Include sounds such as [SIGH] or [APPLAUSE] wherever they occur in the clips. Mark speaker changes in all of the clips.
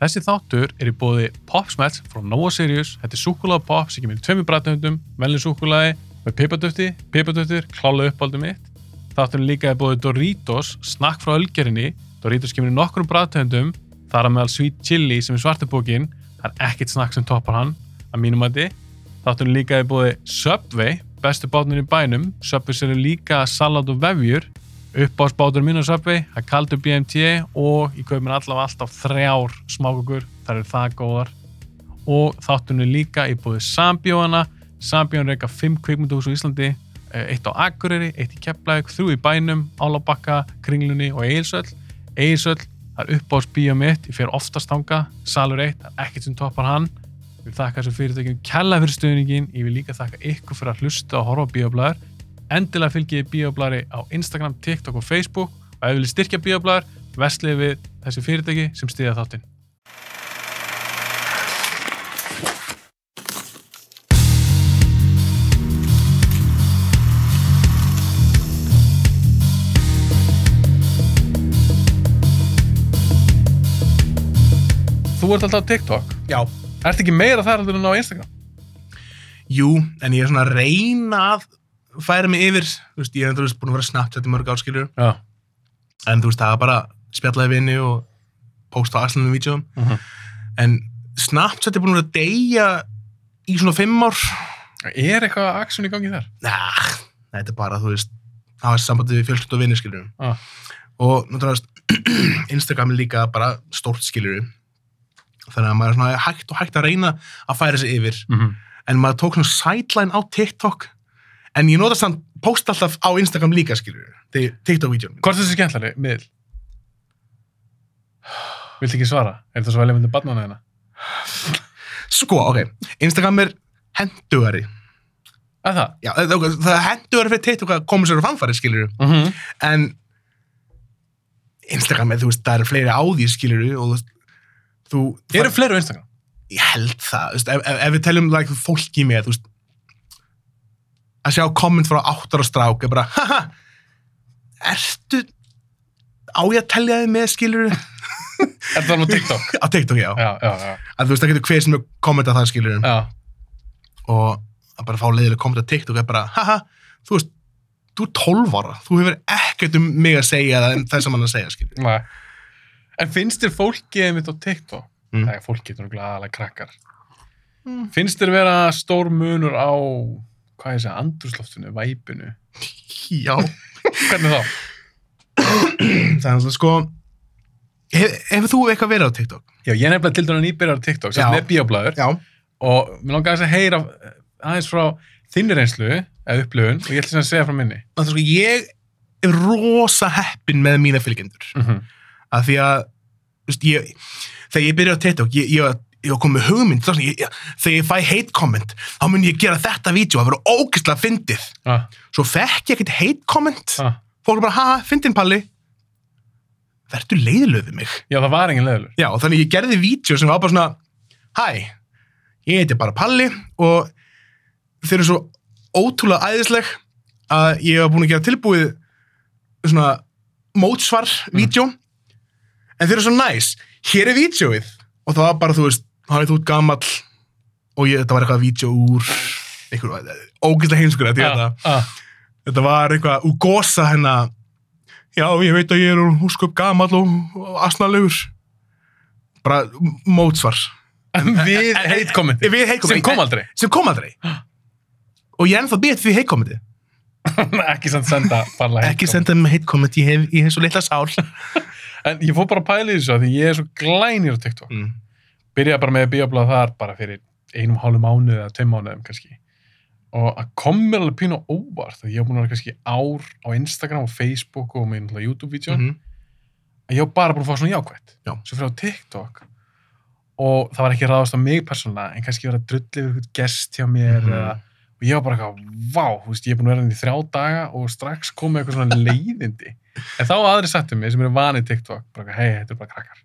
Speaker 1: Þessi þáttur er í bóði Popsmets frá Nova Sirius. Þetta er súkulega pop sem kemur í tveimur brætnöfndum, velin súkulaði með pipadöfti, pipadöftir, klála uppáldum mitt. Þátturinn líka er bóði Doritos, snakk frá ölgerinni. Doritos kemur í nokkrum brætnöfndum, þar að meðal Sweet Chili sem er svartabókin. Það er ekkert snakk sem toppar hann, að mínum að þið. Þátturinn líka er bóði Subway, bestu bátnir í bænum. Subway sem líka salat og vefjur uppáðsbátur mín á Subway, það er kaldur BMT og ég kaup mér allavega alltaf þrjár smákukur, það eru það góðar og þáttunni líka í búið Sambjóana, Sambjón reyka 5 kvikmyndahús á Íslandi eh, eitt á Akureyri, eitt í Keflavík, þrjú í bænum Álabakka, Kringlunni og Egilsöll Egilsöll, það er uppáðsbíja mitt ég fer oftast þanga, Salur 1 það er ekkert sem toppar hann ég vil þakka þessu fyrirtökjum kella fyrir stöðningin ég vil líka þakka ykkur fyrir að hlusta og horfa á bíoblæður endilega fylgjið Bíoblari á Instagram, TikTok og Facebook og ef við viljið styrkja Bíoblar, vestlið við þessi fyrirtæki sem stiðja þáttinn. Þú ert alltaf á TikTok.
Speaker 2: Já,
Speaker 1: Ert ekki meira þar heldur en á Instagram?
Speaker 2: jú, en ég er svona að reyna að færa mig yfir, þú veist, ég er endur búin að vera Snapchat í mörg áskiljur,
Speaker 1: Já.
Speaker 2: en þú veist, það er bara spjallaði vini og posta á aðslanum vídjóum,
Speaker 1: Mhm.
Speaker 2: en Snapchat er búin að vera að deyja í svona fimm ár,
Speaker 1: Er eitthvað aksjón í gangi þar?
Speaker 2: nah, þetta er bara, þú veist, hafa sambandi við fjölskyld og vini, skiljur,
Speaker 1: Já.
Speaker 2: og náttúrulega [CLEARS THROAT] Instagram er líka bara stórt, skiljur, þannig að maður er svona hægt og hægt að reyna að færa sig yfir,
Speaker 1: Mm -hmm.
Speaker 2: en maður tók svona sideline á TikTok en ég nota samt post alltaf á Instagram líka skilur við, TikTok-vídeón
Speaker 1: Hvort er þessi skemmtlari, miðl? Viltu ekki svara? Er þetta svo velja myndið barnana hérna?
Speaker 2: sko, ok, Instagram er hendugari
Speaker 1: Að það?
Speaker 2: Já, það, ok, það er hendugari fyrir TikTok að koma sér á fanfari skilur við,
Speaker 1: Mm -hmm.
Speaker 2: en Instagram, er, þú veist, það eru fleiri á því skilur við, og þú veist þú,
Speaker 1: Eru fleiri á Instagram?
Speaker 2: ég held það, þú veist, ef, ef, ef við teljum like, fólki með, þú veist að sjá komment frá áttar og strák er bara, haha ertu á ég að telja þið með skilur
Speaker 1: Er það alveg á TikTok?
Speaker 2: á TikTok, [LAUGHS] já,
Speaker 1: já, já, já.
Speaker 2: að þú veist, það getur hver sem er kommentað það skilur
Speaker 1: já.
Speaker 2: og að bara fá leiðileg komment á TikTok er bara, haha, þú veist þú er 12 ára, þú hefur ekkert um mig að segja það en það sem hann að segja skilur
Speaker 1: Nei. En finnst þér fólkið mitt á TikTok?
Speaker 2: Mm.
Speaker 1: Nei, fólkið er náttúrulega aðalega krakkar. Finnst þér vera stór munur á, hvað ég segja, andrúsloftinu, væpinu?
Speaker 2: já,
Speaker 1: Hvernig þá?
Speaker 2: þannig að sko hef, hefur þú eitthvað verið á TikTok?
Speaker 1: Já, ég er nefnilega til dæmis nýbyrjar á TikTok, sem
Speaker 2: Já.
Speaker 1: er bíoblæður.
Speaker 2: Já,
Speaker 1: Og mér langar aðeins að heyra eh, aðeins frá þinni reynslu, eða upplöfun, og ég ætla sem að segja frá minni.
Speaker 2: þannig að sko ég er rosa heppin með mína fylgjendur
Speaker 1: Mm -hmm.
Speaker 2: af því að þú veist, ég, þegar ég byrja á TikTok ég, ég, ég var komið með hugmynd þá svona, ég, ég, þegar ég fæ hate comment þá mun ég gera þetta vídeo að vera ógeðslega fyndið
Speaker 1: ah,
Speaker 2: svo fekk ég ekkert hate comment
Speaker 1: ah.
Speaker 2: fólk er bara haha, fyndin palli verður leiðilega við mig
Speaker 1: Já, það var engin leðilur.
Speaker 2: já, og þannig ég gerði vídeo sem var bara svona hæ, ég heiti bara palli og þeir eru svo ótrúlega æðisleg að ég var búin að gera tilbúið svona mótsvar vídeo en þeir eru svo næs hér er vídeoið og það var bara, þú veist, hann er þú út gamall og ég, þetta var eitthvað vídeo úr einhverju, ógeðslega heimskur hérna." þetta ég þetta
Speaker 1: ah.
Speaker 2: Þetta var eitthvað úr gósa hennar Já, ég veit að ég er úr húskup gamall og, og asnalegur bara m- mótsvar
Speaker 1: Við heitkommenti.
Speaker 2: Við
Speaker 1: Sem
Speaker 2: heitkommenti.
Speaker 1: kom [LAUGHS] aldrei.
Speaker 2: sem kom aldrei og ég er ennþá býtt því heitkommenti
Speaker 1: ekki samt senda bara
Speaker 2: ekki
Speaker 1: heitkommenti.
Speaker 2: senda mig heitkommenti, ég hef, ég hef svo litla sál
Speaker 1: En ég fór bara að pæla í þessu að því ég er svo glænir á TikTok.
Speaker 2: mm.
Speaker 1: Byrjaði bara með bíoblað þar bara fyrir einum hálfu mánuði eða tveim mánuðum kannski. Og að kom mér alveg pínu á óvart að ég hef búin að vera kannski ár á Instagram og Facebook og með náttúrulega YouTube-vídeó.
Speaker 2: Mhm.
Speaker 1: Að ég hef bara búin að fá svona jákvætt.
Speaker 2: Já.
Speaker 1: Svo fyrir á TikTok og það var ekki ráðast á mig persónulega en kannski vera að drulli við eitthvað gest hjá mér
Speaker 2: Mhm.
Speaker 1: eða og ég var bara eitthvað, vá, þú veist, ég er búin að vera hérna í þrjá daga og strax komið eitthvað svona leiðindi. En þá hafa aðri sattu mig sem eru vanið TikTok, bara eitthvað, hei, þetta er bara krakkar.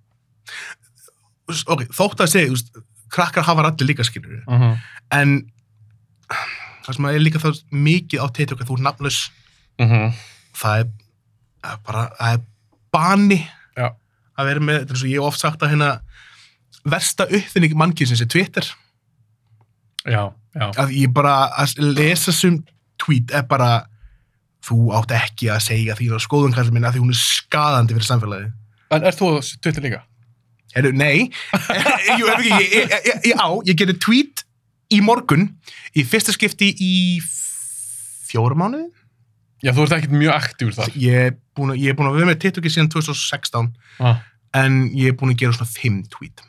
Speaker 2: ok, þótt að segja, þú veist, krakkar hafa allir líka skilur
Speaker 1: Uh -huh.
Speaker 2: en það sem að er líka þá mikið á teitur þú er nafnlaus
Speaker 1: Uh -huh.
Speaker 2: það er, það er bara það er bani
Speaker 1: Já.
Speaker 2: að vera með, þetta er eins og ég hef oft sagt að hérna versta uppfinning mannkynsins er Twitter
Speaker 1: já, já,
Speaker 2: að ég bara að lesa sum tweet er bara þú átt ekki að segja því að skoðun kallar minna því hún er skadandi fyrir samfélagi
Speaker 1: en er þú á Twitter líka?
Speaker 2: Heru, nei, [LAUGHS] Eh, Jú, ef ekki, ég, ég, ég, ég á, ég gerði tweet í morgun í fyrsta skipti í fjóra mánuði
Speaker 1: Já, þú ert ekkert mjög aktífur þar.
Speaker 2: ég er búinn að- ég er búin að vera með TikToki síðan 2016
Speaker 1: Ah.
Speaker 2: en ég er búin að gera svona fimm tweet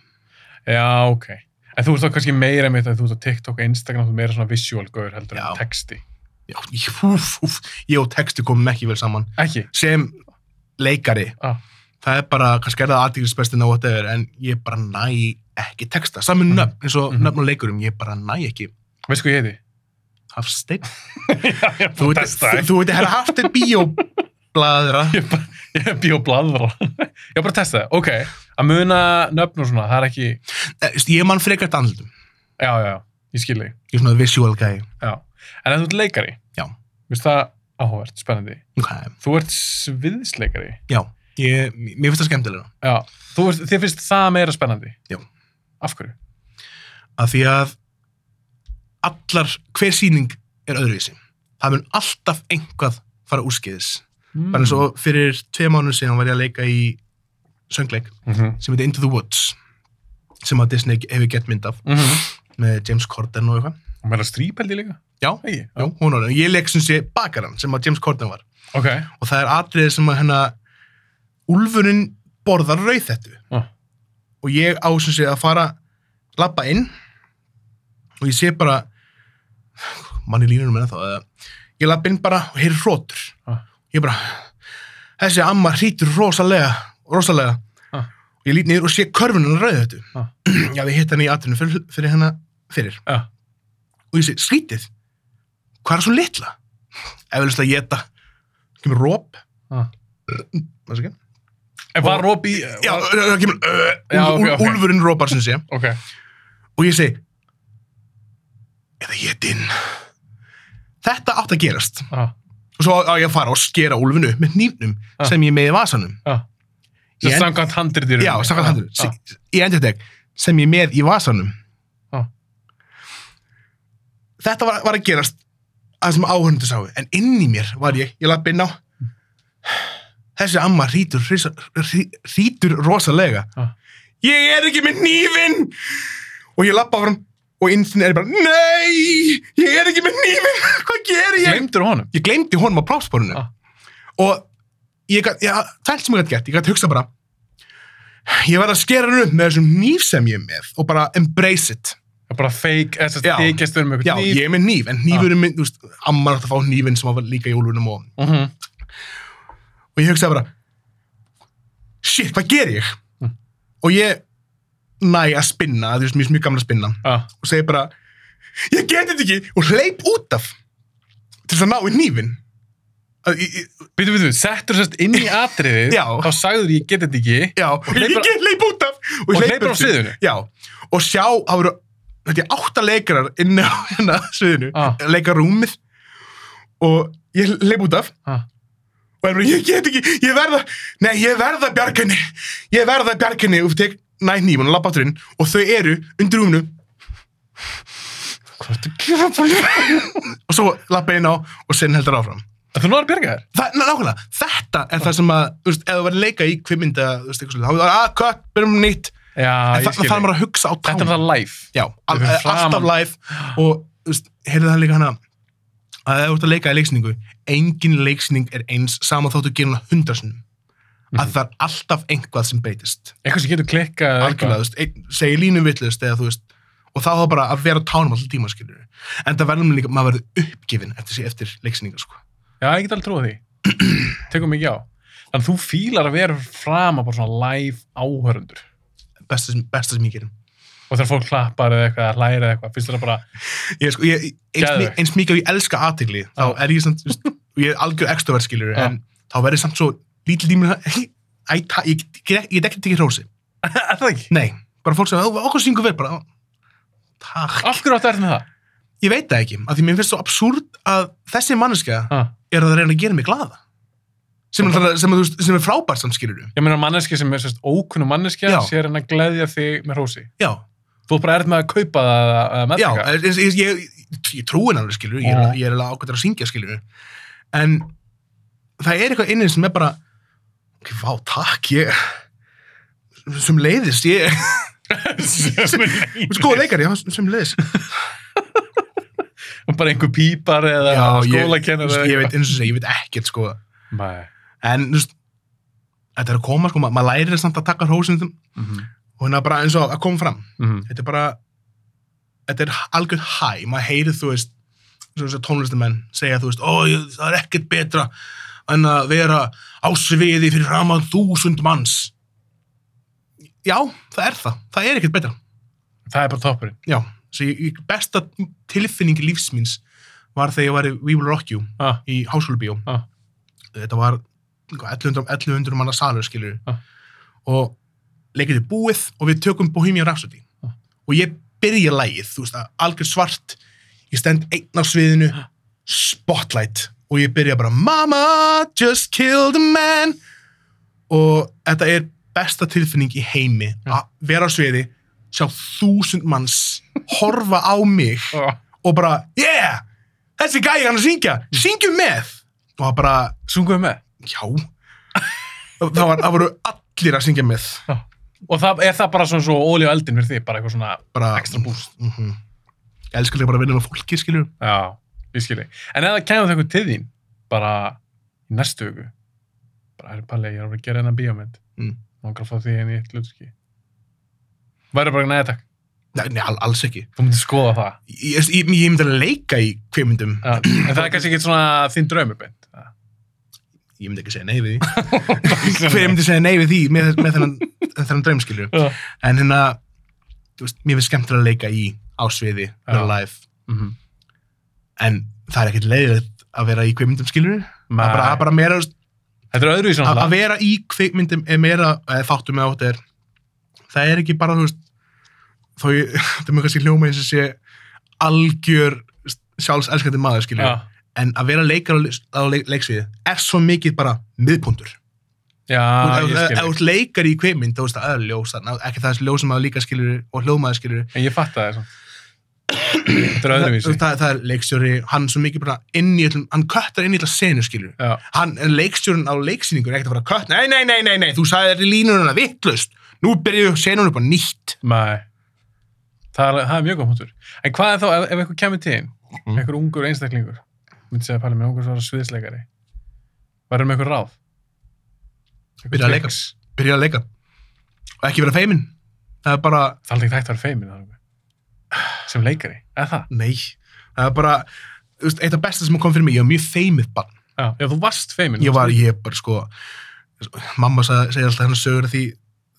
Speaker 1: Já, ok. En þú ert þá kannski meira með þetta að þú ert á TikTok og Instagram, þú ert meira svona visual gaur heldur
Speaker 2: Já.
Speaker 1: en texti.
Speaker 2: Já, ég, úf, úf, ég og texti komum ekki vel saman
Speaker 1: Ekki?
Speaker 2: sem leikari
Speaker 1: Ah.
Speaker 2: það er bara, kannski er það aðdýrisbestin á whatever, en ég bara næ ekki texta, saman
Speaker 1: Mhm.
Speaker 2: nöfn, eins og
Speaker 1: Mhm.
Speaker 2: nöfn og leikurum ég bara næ ekki
Speaker 1: Veist hvað ég heiti?
Speaker 2: Hafstein
Speaker 1: [LAUGHS] já, ég er bara að
Speaker 2: þú veit,
Speaker 1: testa
Speaker 2: þú-
Speaker 1: það.
Speaker 2: þú veit, herra Hafstein
Speaker 1: [LAUGHS]
Speaker 2: bíóbladra
Speaker 1: Ég er bara- ég er bíó bladra. [LAUGHS] ég er bara að testa það. Ok, að muna nöfn og svona, það er ekki...
Speaker 2: Eh, veist, ég man frekar dandlutum
Speaker 1: Já, já, já, ég skil þig.
Speaker 2: ég er svona visual guy
Speaker 1: Já. En að þú ert leikari.
Speaker 2: Já.
Speaker 1: Vist það áhugavert, spennandi.
Speaker 2: okay.
Speaker 1: Þú ert sviðsleikari.
Speaker 2: já, ég, mér finnst það skemmtilega
Speaker 1: Já. Þú ert, þér finnst það meira spennandi?
Speaker 2: Já.
Speaker 1: Af hverju?
Speaker 2: af því að allar, hver síning er öðruvísi það mun alltaf einhvað fara úrskeiðis bara eins og fyrir tvei mánu síðan var ég að leika í söngleik
Speaker 1: Mhm.
Speaker 2: sem heitir Into the Woods sem að Disney hefur gett mynd af
Speaker 1: Mhm.
Speaker 2: með James Corden og eitthvað
Speaker 1: Og meira strípeldi líka?
Speaker 2: Já.
Speaker 1: Ekki?
Speaker 2: Jú, hún orðin, ég leik sem sé bakaran sem að James Corden var
Speaker 1: Ok.
Speaker 2: og það er atriðið sem að hérna Úlfurinn borðar rauðhettu
Speaker 1: Ah.
Speaker 2: og ég á sem sé að fara labba inn og ég sé bara manni línunum en þá eða, ég labba inn bara og heyri hrótur
Speaker 1: Ah.
Speaker 2: ég bara þessi amma hrítur rosalega rosalega
Speaker 1: Ah.
Speaker 2: og ég lít niður og sé körfunum rauðhettu
Speaker 1: Ah.
Speaker 2: [CLEARS THROAT] já við hitt hann í atrinu fyrir, fyrir hana fyrir
Speaker 1: Já.
Speaker 2: og ég segi, skrítið hvað er svo litla? eflust að geta kemur róp
Speaker 1: Ah.
Speaker 2: Var það ekki?
Speaker 1: En var
Speaker 2: Og-
Speaker 1: Robi...
Speaker 2: já,
Speaker 1: var-
Speaker 2: það kemur uh,
Speaker 1: Já, ok,
Speaker 2: úl,
Speaker 1: ok.
Speaker 2: úlfurinn rópar sem sé
Speaker 1: Ok.
Speaker 2: og ég segi eða getinn þetta átt að gerast
Speaker 1: Ah.
Speaker 2: og svo á á ég að fara og skera úlfinu upp með nýfnum
Speaker 1: Ah.
Speaker 2: sem ég er með í vasanum
Speaker 1: Ah. Sem
Speaker 2: Ég-
Speaker 1: samkvæmt handrið í rauninni.
Speaker 2: já, samkvæmt handur
Speaker 1: Ah.
Speaker 2: ah. ég endur þetta sem ég er með í vasanum
Speaker 1: Ah.
Speaker 2: þetta var, var að gerast að sem áhörnundu sáu en inn í mér var ég, ég lapp inn á þessi amma hrítur hrisa- hrí- hrítur rosalega
Speaker 1: Ah.
Speaker 2: ég er ekki með nýfin og ég lappa fram og innfinn er ég bara, nei ég er ekki með nýfin, [LAUGHS] hvað gerir ég
Speaker 1: Gleymdur honum?
Speaker 2: ég glemdi honum á plásborinu
Speaker 1: Ah.
Speaker 2: og ég gat, já, tælt sem ég gætt gert, ég gætt hugsa bara ég verð að skera hann upp með þessum nýf sem ég er með og bara embrace it
Speaker 1: Það er bara fake, þess að
Speaker 2: Já.
Speaker 1: þykjast um
Speaker 2: já,
Speaker 1: eitthvað nýr.
Speaker 2: ég er með nýf, en nýfurinn minn, þú veist ammar átt að fá nýfinn sem var líka í úlunum og,
Speaker 1: Mhm.
Speaker 2: og ég hugsaði bara shit, hvað ger ég?
Speaker 1: Mm.
Speaker 2: og ég næ að spinna, þú veist, mér er mjög gamla að spinna
Speaker 1: Ah.
Speaker 2: og segi bara ég get þetta ekki og hleyp út af til þess að ná í nýfinn Að ég- ég-
Speaker 1: Býtu, býtu, settur sérst inn í atriðið,
Speaker 2: Já.
Speaker 1: þá sagður ég get þetta ekki.
Speaker 2: Já, og ég
Speaker 1: hleypur-
Speaker 2: get leip út af
Speaker 1: Og
Speaker 2: ég
Speaker 1: hleypur á
Speaker 2: burtu.
Speaker 1: sviðinu?
Speaker 2: Já, og sjá, það voru þetta er átta leikarar inn á hérna sviðinu,
Speaker 1: Ah.
Speaker 2: leikarúmið og ég leip út af
Speaker 1: Ah.
Speaker 2: og er bara, ég get ekki, ég verða nei, ég verða bjarginni ég verða bjarginni og tek nætt nýmun og lappa átturinn og þau eru undir rúminu Hvað ertu að gefa búin? og svo lappa inn á og sen heldur áfram
Speaker 1: En Þú náður að bjarga þér?
Speaker 2: Það, ná- nákvæmlega, þetta er það sem að, þú veist, ef þú verður að leika í kvimmynda, þú veist, eitthvað svolítið, þá er það, að, hvað, byrjum nýtt,
Speaker 1: Já,
Speaker 2: en
Speaker 1: Ah, ég
Speaker 2: þarna
Speaker 1: skil
Speaker 2: þarf
Speaker 1: þig.
Speaker 2: maður að hugsa á
Speaker 1: Þetta er
Speaker 2: tánum.
Speaker 1: það live.
Speaker 2: Já, al, eh,
Speaker 1: fyrir framan.
Speaker 2: alltaf live og, þú veist, heyrðu það líka hana, að ef þú ert að leika í leiksningu, engin leiksning er eins sama þóttu gerir hana hundarsunum, að það er alltaf einhvað sem breytist.
Speaker 1: Eitthvað sem getur klikkað. eða
Speaker 2: Algjörlega,
Speaker 1: Mhm. eitthvað.
Speaker 2: þú veist, ein, segir línum villust eða þú veist, og þá þá bara að vera á tánum alltaf tíma, skilur. En það verður líka, maður verður uppgefin eftir, eftir leiksninga, sko.
Speaker 1: Já, ég get alveg trúið því. Tekum mikið á. Þannig að þú fílar að vera fram að bara svona live áhörundur.
Speaker 2: Besta sem, besta sem ég gerir.
Speaker 1: Og þegar fólk klappar eða eitthvað, eða læra eða eitthvað, finnst þér það bara,
Speaker 2: ég, sko, ég, eins, mi-
Speaker 1: Geðveikt.
Speaker 2: eins mikið og ég elska aðtegli þá
Speaker 1: Já.
Speaker 2: er ég samt, þú veist, og ég er algjör extrovert skilur,
Speaker 1: Já.
Speaker 2: en þá verður samt svo lítil dýmur, æ, ta, ég, ég, ég, ég dekki ekki hrósi,
Speaker 1: er það ekki?
Speaker 2: nei bara fólk sem, "Ó, okkur syngur vel, bara "Ó, takk,
Speaker 1: Af hverju áttu erfitt með það?
Speaker 2: ég veit það ekki, af því mér finnst svo absúrt að þessi manneskja
Speaker 1: Ha?
Speaker 2: er að reyna að gera mig glada sem, okay. sem, að þú veist, sem er frábært samt skilur
Speaker 1: Ég meina manneski sem er sérst ókunnu manneskja
Speaker 2: Já.
Speaker 1: sér hann að gleðja þig með rósi.
Speaker 2: já,
Speaker 1: Þú er bara erð með að kaupa það að- að
Speaker 2: já,
Speaker 1: meðtaka.
Speaker 2: ég, ég, ég, ég trúin alveg skilur ég
Speaker 1: Já.
Speaker 2: er, ég er alveg ákveður að syngja skilur en það er eitthvað inni sem er bara ok, vá, takk ég sem leiðist ég [LAUGHS]
Speaker 1: Sem er leiðis.
Speaker 2: sko leikari, já, sem leiðist
Speaker 1: bara einhver pípar eða skólakennar
Speaker 2: ég, ég veit eins og segja, ég veit ekkert sko en, þú veist þetta er að koma sko, ma- maður lærir samt að taka hrósindum
Speaker 1: Mhm.
Speaker 2: og hérna bara eins og að koma fram þetta er bara þetta er algjörð hæ, maður heyrið þú veist svona svo tónlistamenn segja þú veist, ó ég, það er ekkert betra en að vera á sviði fyrir framan þúsund manns já, það er það það er ekkert betra,
Speaker 1: Það er bara toppurinn.
Speaker 2: já svo ég, ég, besta tilfinning lífs míns var þegar ég var í We Will Rock You
Speaker 1: Ah,
Speaker 2: í háskólubíó
Speaker 1: Ah.
Speaker 2: þetta var sko, hvað, 1100, 1100 manna salur skilur
Speaker 1: Ah.
Speaker 2: og leikir þið búið og við tökum Bohemian Rhapsody
Speaker 1: Ah.
Speaker 2: og ég byrja lægið, þú veist að algjör svart ég stend einn á sviðinu
Speaker 1: Ah.
Speaker 2: spotlight og ég byrja bara Mama just killed a man og þetta er besta tilfinning í heimi
Speaker 1: Ah.
Speaker 2: að vera á sviði sjá þúsund manns horfa á mig
Speaker 1: ah.
Speaker 2: og bara, yeah, þessi gæi hann að
Speaker 1: Mm.
Speaker 2: syngja, syngjum með og það bara,
Speaker 1: Sunguðu með.
Speaker 2: já það, var, það voru allir að syngja með
Speaker 1: Og það, er það bara svona svo óli á eldin fyrir því, bara eitthvað svona
Speaker 2: bara,
Speaker 1: ekstra búst.
Speaker 2: mm ég elskar líka bara að vinna með fólki, skilur
Speaker 1: Já, ég skilji. En ef það kemur þau eitthvað til þín, bara í næstu viku, bara er palli, ég er að fara að gera hennar bíómynd.
Speaker 2: Mm.
Speaker 1: Nóngar að fá því henni í eitt hlutverki. Væri bara neða takk.
Speaker 2: nei, nei, al- alls ekki
Speaker 1: Þú myndir skoða það.
Speaker 2: ég, ég, ég, ég myndi að leika í kveimundum
Speaker 1: Já. En það er kannski ekki svona þín draumubind.
Speaker 2: ég myndi ekki segja nei
Speaker 1: [LAUGHS]
Speaker 2: við því hver myndi segja nei við því með, með þennan, þennan draum, skilur
Speaker 1: Já.
Speaker 2: en hérna, þú veist, mér finnst skemmtilega að leika í ásviði, vera
Speaker 1: Já.
Speaker 2: live
Speaker 1: Mhm.
Speaker 2: en það er ekkert leiðilegt að vera í kveimundum, skilur það er bara, það er
Speaker 1: Nei.
Speaker 2: bara meira, þú veist,
Speaker 1: Þetta er öðruvísi
Speaker 2: að að
Speaker 1: náttúrulega.
Speaker 2: vera í kvikmyndum er meira eða þáttum með átt er það er ekki bara, þú veist þó ég, [LAUGHS] þetta er mjög kannski hljóma eins og sé algjör sjálfselskandi maður skilja,
Speaker 1: Já.
Speaker 2: en að vera leikar á, leik- á leik, leiksviði er svo mikið bara miðpuntur.
Speaker 1: Já,
Speaker 2: Þú
Speaker 1: Ah,
Speaker 2: veist,
Speaker 1: ég
Speaker 2: ef- ef
Speaker 1: skilji.
Speaker 2: þú ert leikar í kvikmynd, þú veist að það er ljós þarna, ekki það er ljós sem maður líka skilur og hljómaður skilur,
Speaker 1: En ég fatt það þessum. Þetta er
Speaker 2: það,
Speaker 1: öðruvísi.
Speaker 2: það, það er leikstjóri hann er svo mikið bara inn í öllum, hann köttar inn í öllum senu skilur
Speaker 1: Já.
Speaker 2: hann en leikstjórinn á leiksýningun er ekkert að fara að kött nei, nei, nei, nei, nei, þú sagði þetta línununa vittlust nú byrjuðu senunum bara nýtt
Speaker 1: Nei. Það er, það er mjög góð punktur. En hvað er þá, ef, ef eitthvað kemur til þín,
Speaker 2: Mhm.
Speaker 1: einhver ungur einstaklingur, myndi segja Palli, mér ungur svo að vera sviðsleikari, varum með eitthvað ráð? Einhver
Speaker 2: Byrja að leika.
Speaker 1: tricks?
Speaker 2: byrja að leika og ekki vera feiminn það er bara,
Speaker 1: Það er aldrei hægt að vera feimin, það er alveg. Sem leikari, eða það?
Speaker 2: nei það er bara, þú veist, eitt af besta sem kom fyrir mig ég var mjög feimið barn,
Speaker 1: Já, já þú varst feimin.
Speaker 2: ég var, ég bara sko mamma sagði, segir alltaf hennar sögur af því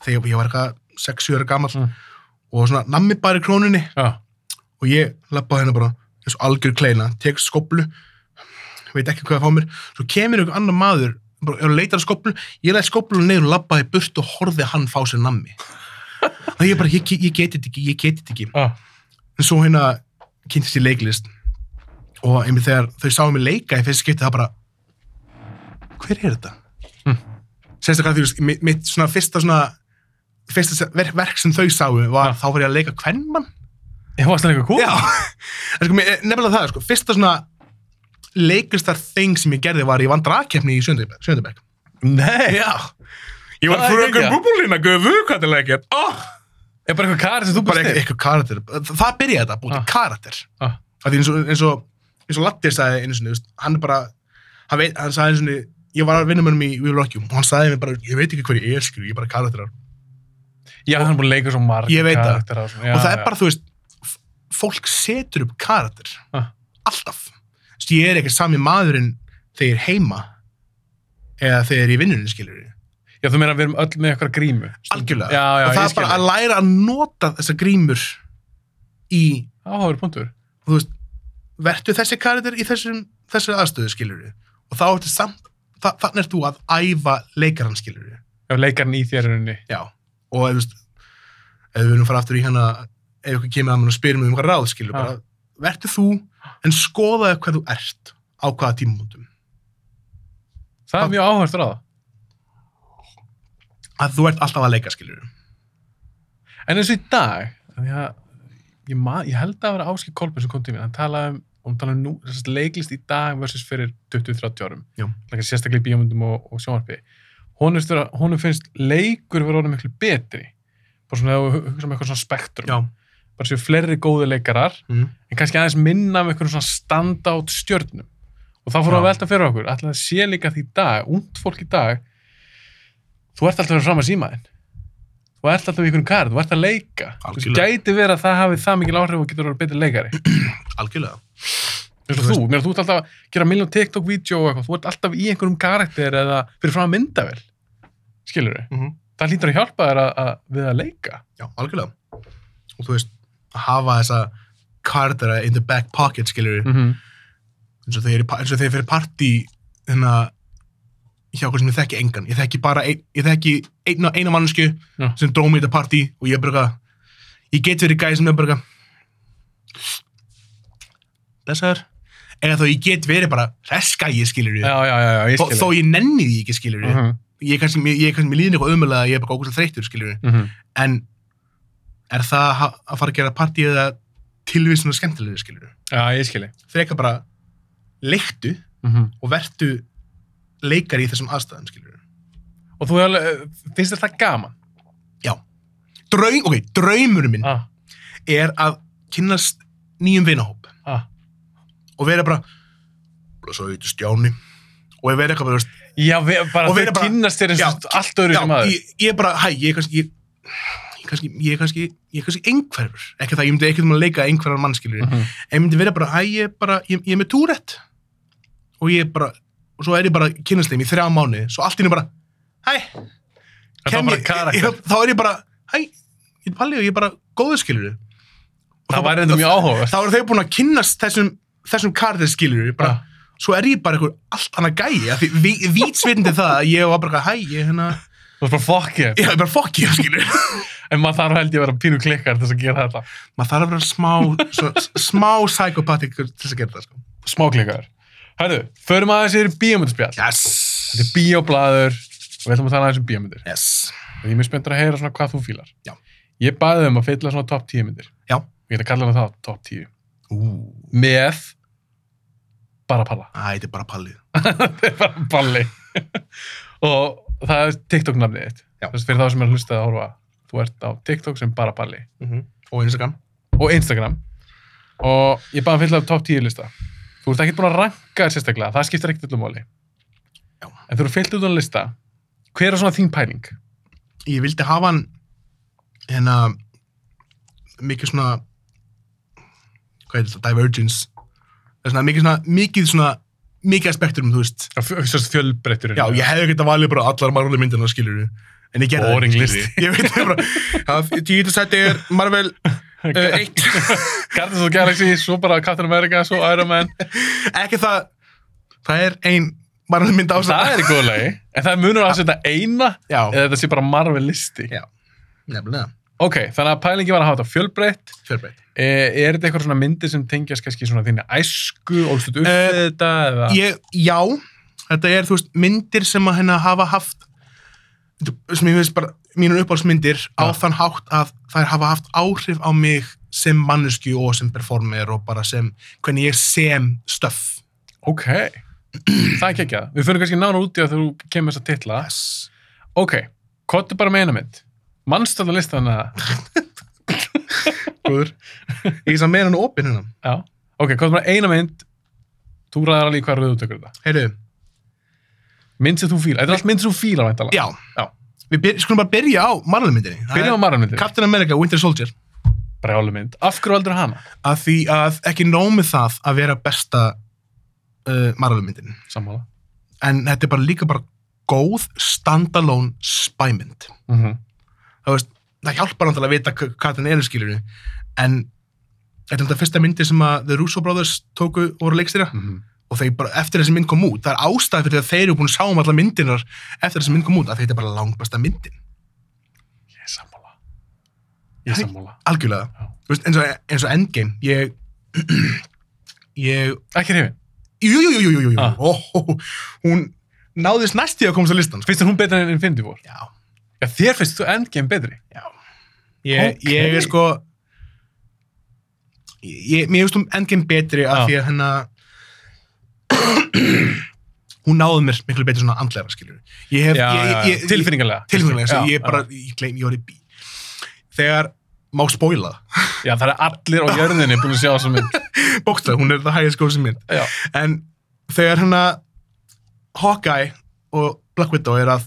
Speaker 2: þegar ég var eitthvað 6-7 ára gamall
Speaker 1: Mm.
Speaker 2: og svona nammi bara í krónunni
Speaker 1: Já,
Speaker 2: og ég lappaði hennar bara eins og algjör kleina, tek skoblu veit ekki hvað að fá mér svo kemur einhver annar maður bara er að leita að skoblu, ég læt skoblu neyður og lappaði burt og horfði hann fá sér nammi og ég bara, ég, ge- ég geti þetta ekki ég geti þetta ekki,
Speaker 1: já,
Speaker 2: en svo hérna kynntist ég leiklist og einmitt þegar þau sáum mig leika í fyrst skipti það bara hver er þetta?
Speaker 1: Hm.
Speaker 2: sérstaklega því, þú veist, mi- mitt svona fyrsta svona fyrsta verk, verk sem þau sáum var,
Speaker 1: Já.
Speaker 2: þá var ég að leika kvennmann
Speaker 1: ég varst það eitthvað kúl.
Speaker 2: Já, En sko, mér- nefnilega það, sko, fyrsta svona leiklistar þing sem ég gerði var ég vann dragkeppni í Sjöndabæk.
Speaker 1: Nei, já.
Speaker 2: Ég
Speaker 1: vann fröken
Speaker 2: búbúlína, guðu, hvað er leikir? Oh,
Speaker 1: Er bara eitthvað kari sem þú
Speaker 2: bara
Speaker 1: búst
Speaker 2: eitthvað
Speaker 1: til?
Speaker 2: eitthvað karakter. Þa- Það byrjaði þetta, búið
Speaker 1: Ah.
Speaker 2: ah. karakter.
Speaker 1: Ah.
Speaker 2: Af því eins og, eins og, eins og Latti sagði einu sinni, þú veist, hann er bara, hann, veit, hann sagði einu sinni, ég var að vinna með hann í We Will Rock You og hann sagði mér bara, ég veit ekki hver ég er, skilju, ég er bara karakterar.
Speaker 1: Já, hann er búin að leika svo marg.
Speaker 2: Ég veit það.
Speaker 1: Og
Speaker 2: og það er bara, þú veist, f- fólk setur upp karakter.
Speaker 1: Ah.
Speaker 2: Alltaf. Þú veist, ég er ekki sami maðurinn þegar ég er heima eða þegar ég er í vinnunni, skilur ég.
Speaker 1: Já, þú meina að við erum öll með eitthvað grímu.
Speaker 2: Algjörlega.
Speaker 1: Já, já,
Speaker 2: og það
Speaker 1: ég
Speaker 2: er bara
Speaker 1: skilji.
Speaker 2: að læra að nota þessa grímur í,
Speaker 1: Áhauður punktur.
Speaker 2: þú veist, vertu þessi karakter í þessum, þessu aðstöðu, skilur ég. Og þá ertu samt, þa þannig ert þú að æfa leikarann, skilur ég.
Speaker 1: Já, leikarinn í þér unni.
Speaker 2: Já. Og ef, þú veist, ef við viljum fara aftur í hana, ef ykkur kemur að mér og spyrir mig um hvað ráð, skilur,
Speaker 1: Ah.
Speaker 2: bara vertu þú en skoða hvað þú ert á hvaða tímumótum.
Speaker 1: Það er
Speaker 2: Hvað-
Speaker 1: mjög áhört ráða.
Speaker 2: að þú ert alltaf að leika skilur
Speaker 1: En eins og í dag, þannig að ég, ma, ég held að vera Áskei Kolbjörn sem kom til mér, hann talaði um, og hann talaði um nú, þess að leiklist í dag versus fyrir 20-30 árum.
Speaker 2: Já.
Speaker 1: Lækka sérstaklega í bíómyndum og, og sjónvarpi. Honum finnst, vera- honum finnst leikur vera orðin miklu betri. Bara svona að hugsa um eitthvað svona spektrum.
Speaker 2: já,
Speaker 1: Bara séu fleiri góði leikarar
Speaker 2: mm.
Speaker 1: en kannski aðeins minna af einhverjum svona standout stjörnum og þá fórum við að
Speaker 2: Já.
Speaker 1: velta fyrir okkur ætla að sé líka því í dag, ungt fólk í dag þú ert alltaf að fram að síma þinn þú ert alltaf í einhverjum kar þú ert að leika, þú veist,
Speaker 2: Algjörlega.
Speaker 1: gæti verið að það hafi það mikil áhrif og getur að vera betri leikari
Speaker 2: algjörlega
Speaker 1: eins og þú, mér þú ert alltaf að gera miljón TikTok-vídeó og eitthvað, þú ert alltaf í einhverjum karakter eða fyrir fram að mynda vel skilur við,
Speaker 2: mm -hmm.
Speaker 1: það lítur að hjálpa þér að, að, við að leika
Speaker 2: já, algjörlega og þú veist, að hafa þessa kardara in the back pocket skilur
Speaker 1: mm -hmm.
Speaker 2: eins og þeir, eins og þeir fyrir partí hérna hjá okkur sem ég þekki engan, ég þekki bara ein, ég þekki eina, eina mannsku
Speaker 1: Já.
Speaker 2: sem dróð mér í þetta partí og ég bara eitthvað- ég get verið gæði sem er bara blessaður eða þó ég get verið bara reskæði skilur
Speaker 1: já, já, já, já, ég
Speaker 2: þó,
Speaker 1: skilur
Speaker 2: þó ég nenni því ekki skilur
Speaker 1: mm -hmm.
Speaker 2: ég er kannski, mér- ég er kannski, mér líðin eitthvað ömulega ég er bara okkur þreyttur skilur
Speaker 1: mhm.
Speaker 2: en er það ha- að fara að gera partí eða tilvísinu skemmtilegri skilur
Speaker 1: já, ég skilur
Speaker 2: frekar bara leiktu
Speaker 1: mm -hmm.
Speaker 2: og vertu leikari í þessum aðstæðum, skilur við.
Speaker 1: og þú hefur alveg- finnst þér það gaman
Speaker 2: Draum, ok, draumurinn minn
Speaker 1: ah,
Speaker 2: er að kynnast nýjum vinahóp
Speaker 1: ah.
Speaker 2: og vera bara, bara svo eitthvað stjáni og vera eitthvað bara, veist,
Speaker 1: Já, við, bara
Speaker 2: Og
Speaker 1: þau
Speaker 2: við erum bara-
Speaker 1: kynnast þér eins og
Speaker 2: Já,
Speaker 1: allt öðru
Speaker 2: já,
Speaker 1: sem aður.
Speaker 2: ég, ég er bara, hæ, ég er kannski, ég, ég er kannski, ég er kannski, ég er kannski einhverfur, ekki það, ég myndi ekkert um að leika einhverjar mann, skilur við,
Speaker 1: Mhm.
Speaker 2: ég myndi vera bara, hæ, ég er bara, ég, ég er með túrætt og ég er bara, og svo er ég bara að kynnast þeim í þrjá mánuði, svo allt í henni bara, hæ,
Speaker 1: Það var
Speaker 2: kem
Speaker 1: bara
Speaker 2: ég-
Speaker 1: karakter.
Speaker 2: ég- þá er ég bara, hæ, ég er Palli og ég er bara góður skilur
Speaker 1: Það væri þetta mjög áhuga.
Speaker 2: þá eru þau búin að kynnast þessum þessum karðir skilur bara, svo er ég bara einhver allt annað gæi af því vi, vítsvitandi það að ég var bara hæ, ég hérna,
Speaker 1: Þú veist bara fokk ég.
Speaker 2: ég er bara fokk ég skilur
Speaker 1: En maður þarf held ég að vera pínu klikkar til þess að gera þetta.
Speaker 2: maður þarf að vera smá svo, smá psychopathic til þess að gera það sko.
Speaker 1: Smá klikkar. Herðu, förum aðeins yfir bíómyndspjall.
Speaker 2: yes,
Speaker 1: Þetta er bíóblaður og við ætlum að tala aðeins um bíómyndir.
Speaker 2: yes.
Speaker 1: Og Ég er mjög spenntur að heyra svona hvað þú fílar.
Speaker 2: Já.
Speaker 1: Ég bæði um að fylla svona top 10 myndir.
Speaker 2: Já.
Speaker 1: Ég ætla að kalla hana það top 10.
Speaker 2: Ú,
Speaker 1: Með bara palla.
Speaker 2: æ, þetta er bara Palli
Speaker 1: Þetta er [LAUGHS] bara balli. og það er TikTok nafnið þitt.
Speaker 2: Já.
Speaker 1: Þess fyrir þá sem er hlustað að horfa. Þú ert á TikTok sem bara balli.
Speaker 2: og Instagram
Speaker 1: og Instagram og ég baði hann fylla af top 10 lista þú ert ekki búin að ranka þér sérstaklega það skiptir ekkert öllum máli
Speaker 2: Já.
Speaker 1: en þú eru fyllt út á lista hver er svona þín pæling?
Speaker 2: ég vildi hafa hann hérna mikið svona hvað er þetta, divergence Það er svona, mikið svona, mikið svona mikið að spektrum, þú veist
Speaker 1: Þessast fjölbreyttur
Speaker 2: já, [LAUGHS] ég hefði geta valið bara allar Marvel myndina skilur en ég gerði það
Speaker 1: Boring
Speaker 2: ekki,
Speaker 1: listi.
Speaker 2: skilurðu. ég veit það bara, það- ég geta sagt ég er Marvel uh,
Speaker 1: hef
Speaker 2: 1
Speaker 1: Guardians of the Galaxy, svo bara Captain America svo Iron Man,
Speaker 2: ekki það, það er ein Marvel mynd á
Speaker 1: það Eh. er í góðu lagi en það munur að setja eina
Speaker 2: já,
Speaker 1: eða þetta sé bara Marvel listi
Speaker 2: Já. nefnilega,
Speaker 1: ok, þannig að pælingi var að hafa þetta fjölbreytt
Speaker 2: fjörbreytt
Speaker 1: Eh, er þetta eitthvað svona myndi sem tengjast kannski svona þínu æsku, ólstu upp
Speaker 2: Eh,
Speaker 1: við þetta eða...
Speaker 2: ég, já, þetta er þú veist, myndir sem að hérna hafa haft sem ég veist bara mínur uppáhaldsmyndir á
Speaker 1: Já.
Speaker 2: þann hátt að þær hafa haft áhrif á mig sem mannesku og sem performer og bara sem hvernig ég sem stöf
Speaker 1: Ok, það er ekki Við fyrir kannski nána út í að þú kemur þess að titla.
Speaker 2: yes.
Speaker 1: Ok, kottu bara með eina mynd. Manstu alltaf listan að...
Speaker 2: Góður Ég er samt meira hann opinn hérna
Speaker 1: Já. Ok, kottu bara eina mynd. Þú ræðar alveg í hvað rauðu tökur þetta.
Speaker 2: Heyrðu,
Speaker 1: Mynd sem þú fílar. Þetta er allt mynd sem þú fílar, væntalega.
Speaker 2: já,
Speaker 1: Já.
Speaker 2: Við byr, skulum bara byrja á Marvel-myndinni Það
Speaker 1: Byrjum á
Speaker 2: er
Speaker 1: marranmyndin.
Speaker 2: Captain America Winter Soldier
Speaker 1: Brjálu mynd. Af hverju aldrei hana?
Speaker 2: að því að ekki nómið það að vera besta uh, Marvel-myndin
Speaker 1: Sammála.
Speaker 2: en þetta er bara líka bara góð standalone spæmynd
Speaker 1: Mm -hmm.
Speaker 2: það, veist, það hjálpar náttúrulega að vita hva- hvað þannig er skilur en þetta er þetta fyrsta myndi sem að The Russo Brothers tóku og voru leikstýra
Speaker 1: Mhm.
Speaker 2: og þeir bara eftir þessi mynd kom út það er ástæð fyrir því að þeir eru búin að sjá um alla myndinar eftir þessi mynd kom út að þetta er bara langbesta myndin
Speaker 1: Ég er sammála. Ég er
Speaker 2: Hæ?
Speaker 1: sammála. Já.
Speaker 2: algjörlega Þú veist, eins, og, eins og Endgame ég [CLEARS THROAT] ég
Speaker 1: Ekki hrifin.
Speaker 2: jú, jú, jú, jú, jú, jú.
Speaker 1: Ah.
Speaker 2: Ó, hún náðist næst í að komast á listan sko.
Speaker 1: Finnst þér hún betri en Infinity War?
Speaker 2: já,
Speaker 1: Já, þér finnst þú Endgame betri.
Speaker 2: já ég,
Speaker 1: Ok.
Speaker 2: ég er sko ég, mér finnst um endgame betri
Speaker 1: Já.
Speaker 2: af því að hennar hún náði mér miklu betri svona andlega skiljur ég hef,
Speaker 1: Já,
Speaker 2: ég,
Speaker 1: já,
Speaker 2: ég,
Speaker 1: já.
Speaker 2: ég,
Speaker 1: Tilfinningalega.
Speaker 2: tilfinningalega, sem
Speaker 1: Já,
Speaker 2: ég bara, ég gleym, ég var í bí þegar má spóila [LAUGHS]
Speaker 1: Já, það er allir á jörðinni búin að sjá þessa mynd.
Speaker 2: bókstað, hún er það hægja skóð sem mynd
Speaker 1: Já,
Speaker 2: en þegar hann að Hawkeye og Black Widow er að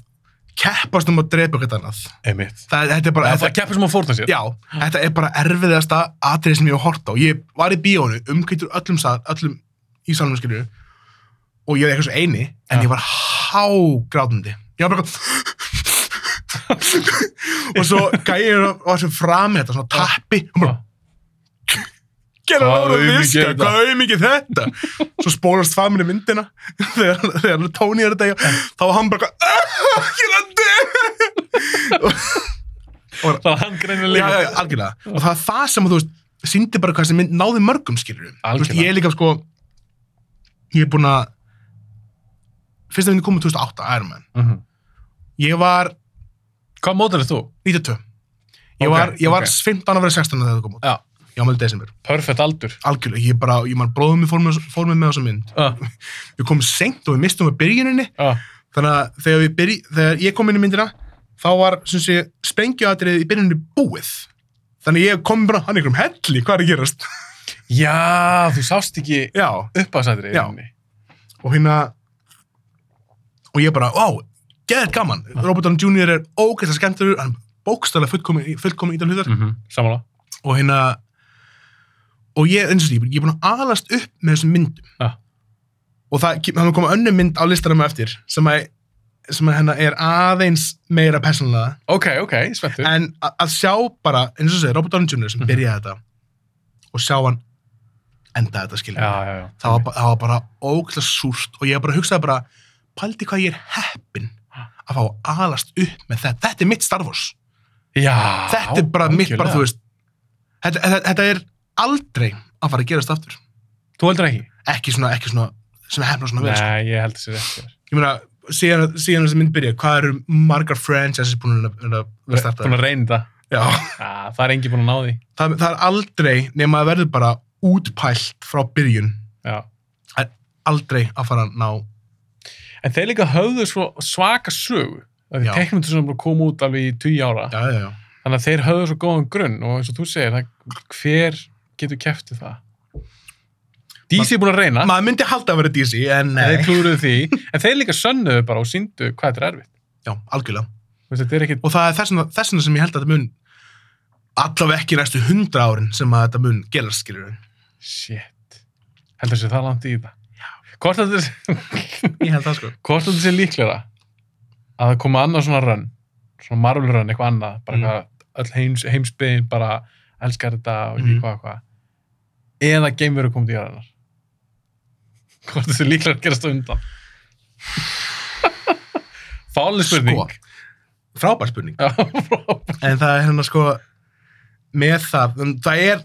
Speaker 2: keppast um að drepa eitthvað annað
Speaker 1: einmitt.
Speaker 2: það, þetta er bara,
Speaker 1: Það, það
Speaker 2: þetta,
Speaker 1: keppir sem að fórna sér.
Speaker 2: já, þetta er bara erfiðasta atrið sem ég hef hort á ég var í bíónu, umkvæmtur öllum, sal, öllum í salunum skilju og ég er eitthvað svo eini, en
Speaker 1: Já.
Speaker 2: ég var hágrátandi ég var bara eitthvað [LAUGHS] og svo gæðir var sem fram með þetta, svona tappi hún bara,
Speaker 1: Hvað
Speaker 2: gera ráð að
Speaker 1: aumingi er
Speaker 2: viska,
Speaker 1: þetta?
Speaker 2: hvað auðmikið þetta svo spólast það minni myndina [LAUGHS] þegar, þegar Tony er þetta í- þá var hann bara eitthvað, "Ah, ég er að dö
Speaker 1: Það er hann greinir
Speaker 2: já,
Speaker 1: líka.
Speaker 2: já, já, algjörlega og það er það sem að þú veist síndi bara hvað sem mynd náði mörgum skilur veist,
Speaker 1: Algjörlega.
Speaker 2: ég er líka sko ég er búin að fyrsta myndi komið 2008, Iron Man
Speaker 1: Mhm.
Speaker 2: ég var
Speaker 1: Hvað mótar þú?
Speaker 2: 92 ég
Speaker 1: Ok,
Speaker 2: var, ég var
Speaker 1: ok.
Speaker 2: 15 að vera 16 þegar það kom út
Speaker 1: Já.
Speaker 2: ég ámæli desember,
Speaker 1: Perfect aldur.
Speaker 2: algjörlega ég bara, ég man bróðum við fór með, fór með með þessa mynd
Speaker 1: Já,
Speaker 2: við komum seint og við mistum við byrjuninni
Speaker 1: já,
Speaker 2: þannig að þegar, við byrj, þegar ég kom inn í myndina þá var sem sé sprengjuatriðið í byrjuninni búið þannig að ég kom bara hann er í einhverjum helli, hvað er að gerast [LAUGHS]
Speaker 1: Já, þú sást ekki
Speaker 2: já,
Speaker 1: uppásætri í
Speaker 2: Já.
Speaker 1: rauninni.
Speaker 2: og hérna og ég bara, vá, geðið gaman Robert Downey Jr. er ógeðslega skemmtur hann bókstæðlega fullkomi, fullkomi í þann hlutar
Speaker 1: Mhm. Sammála.
Speaker 2: og hérna og ég, eins og því, ég er búin að alast upp með þessum myndum
Speaker 1: Já.
Speaker 2: og það, kem- það mun koma önnum mynd á listanum á eftir sem að, sem að hennar er aðeins meira persónulega
Speaker 1: Ok, ok, spenntur.
Speaker 2: en að, að sjá bara, eins og segir, Robert Downey Jr. sem
Speaker 1: Mhm.
Speaker 2: byrjaði þetta og sjá hann enda þetta skilja
Speaker 1: Já, já, já.
Speaker 2: það var, ba- það var bara ógæslega súrt og ég bara hugsaði bara paldi hvað ég er heppin að fá að alast upp með þetta þetta er mitt Star Wars
Speaker 1: Já,
Speaker 2: þetta er bara mitt bara,
Speaker 1: algjörlega.
Speaker 2: þú veist þetta, þetta, þetta er aldrei að fara að gerast aftur
Speaker 1: Þú heldur ekki?
Speaker 2: ekki svona, ekki svona sem hefna svona vel sko.
Speaker 1: Nei, ég held þessi rétt.
Speaker 2: ég meina, síðan, síðan þessi mynd byrja hvað eru margar franchises búin að, að, að starta
Speaker 1: Búin að reyna það.
Speaker 2: Já,
Speaker 1: Ah, það er engi búin að ná því.
Speaker 2: það, það er aldrei nema að verður bara útpælt frá byrjun
Speaker 1: Já.
Speaker 2: aldrei að fara að ná
Speaker 1: En þeir líka höfðu svo svaka sögu. Það
Speaker 2: Já.
Speaker 1: er teknum sem bara kom út alveg í 20 ára.
Speaker 2: já, já, já,
Speaker 1: Þannig að þeir höfðu svo góðan grunn og eins og þú segir, það, hver getur keftið það? DC er búin að reyna,
Speaker 2: maður myndi halda að vera DC en
Speaker 1: þeir
Speaker 2: nei,
Speaker 1: klúruðu því, en þeir líka sönnuðu bara og síndu hvað þetta er erfitt.
Speaker 2: já, algjörlega
Speaker 1: Þú veist, Þetta er ekkit,
Speaker 2: og það er þessna, þessna sem ég held að þetta mun allavega ekki næstu hundra árin sem að þetta mun gerast skilur
Speaker 1: shit, heldur þessi það langt í þetta. Hvort að þetta er-
Speaker 2: ég held það sko
Speaker 1: hvort að þetta sé líklega að það koma annað svona rönn, svona marvel rönn, eitthvað annað, bara
Speaker 2: Mm.
Speaker 1: hvað öll heims, heimsbyðin bara elskar þetta og ekki
Speaker 2: Mm.
Speaker 1: hvað, hvað. Eða geimveru komið í aðeinar. Hvort að þetta sé líklega að gerast á undan. [LAUGHS] Fáli spurning.
Speaker 2: frábær spurning,
Speaker 1: Já, frábært.
Speaker 2: en það er hérna sko með það, um, það er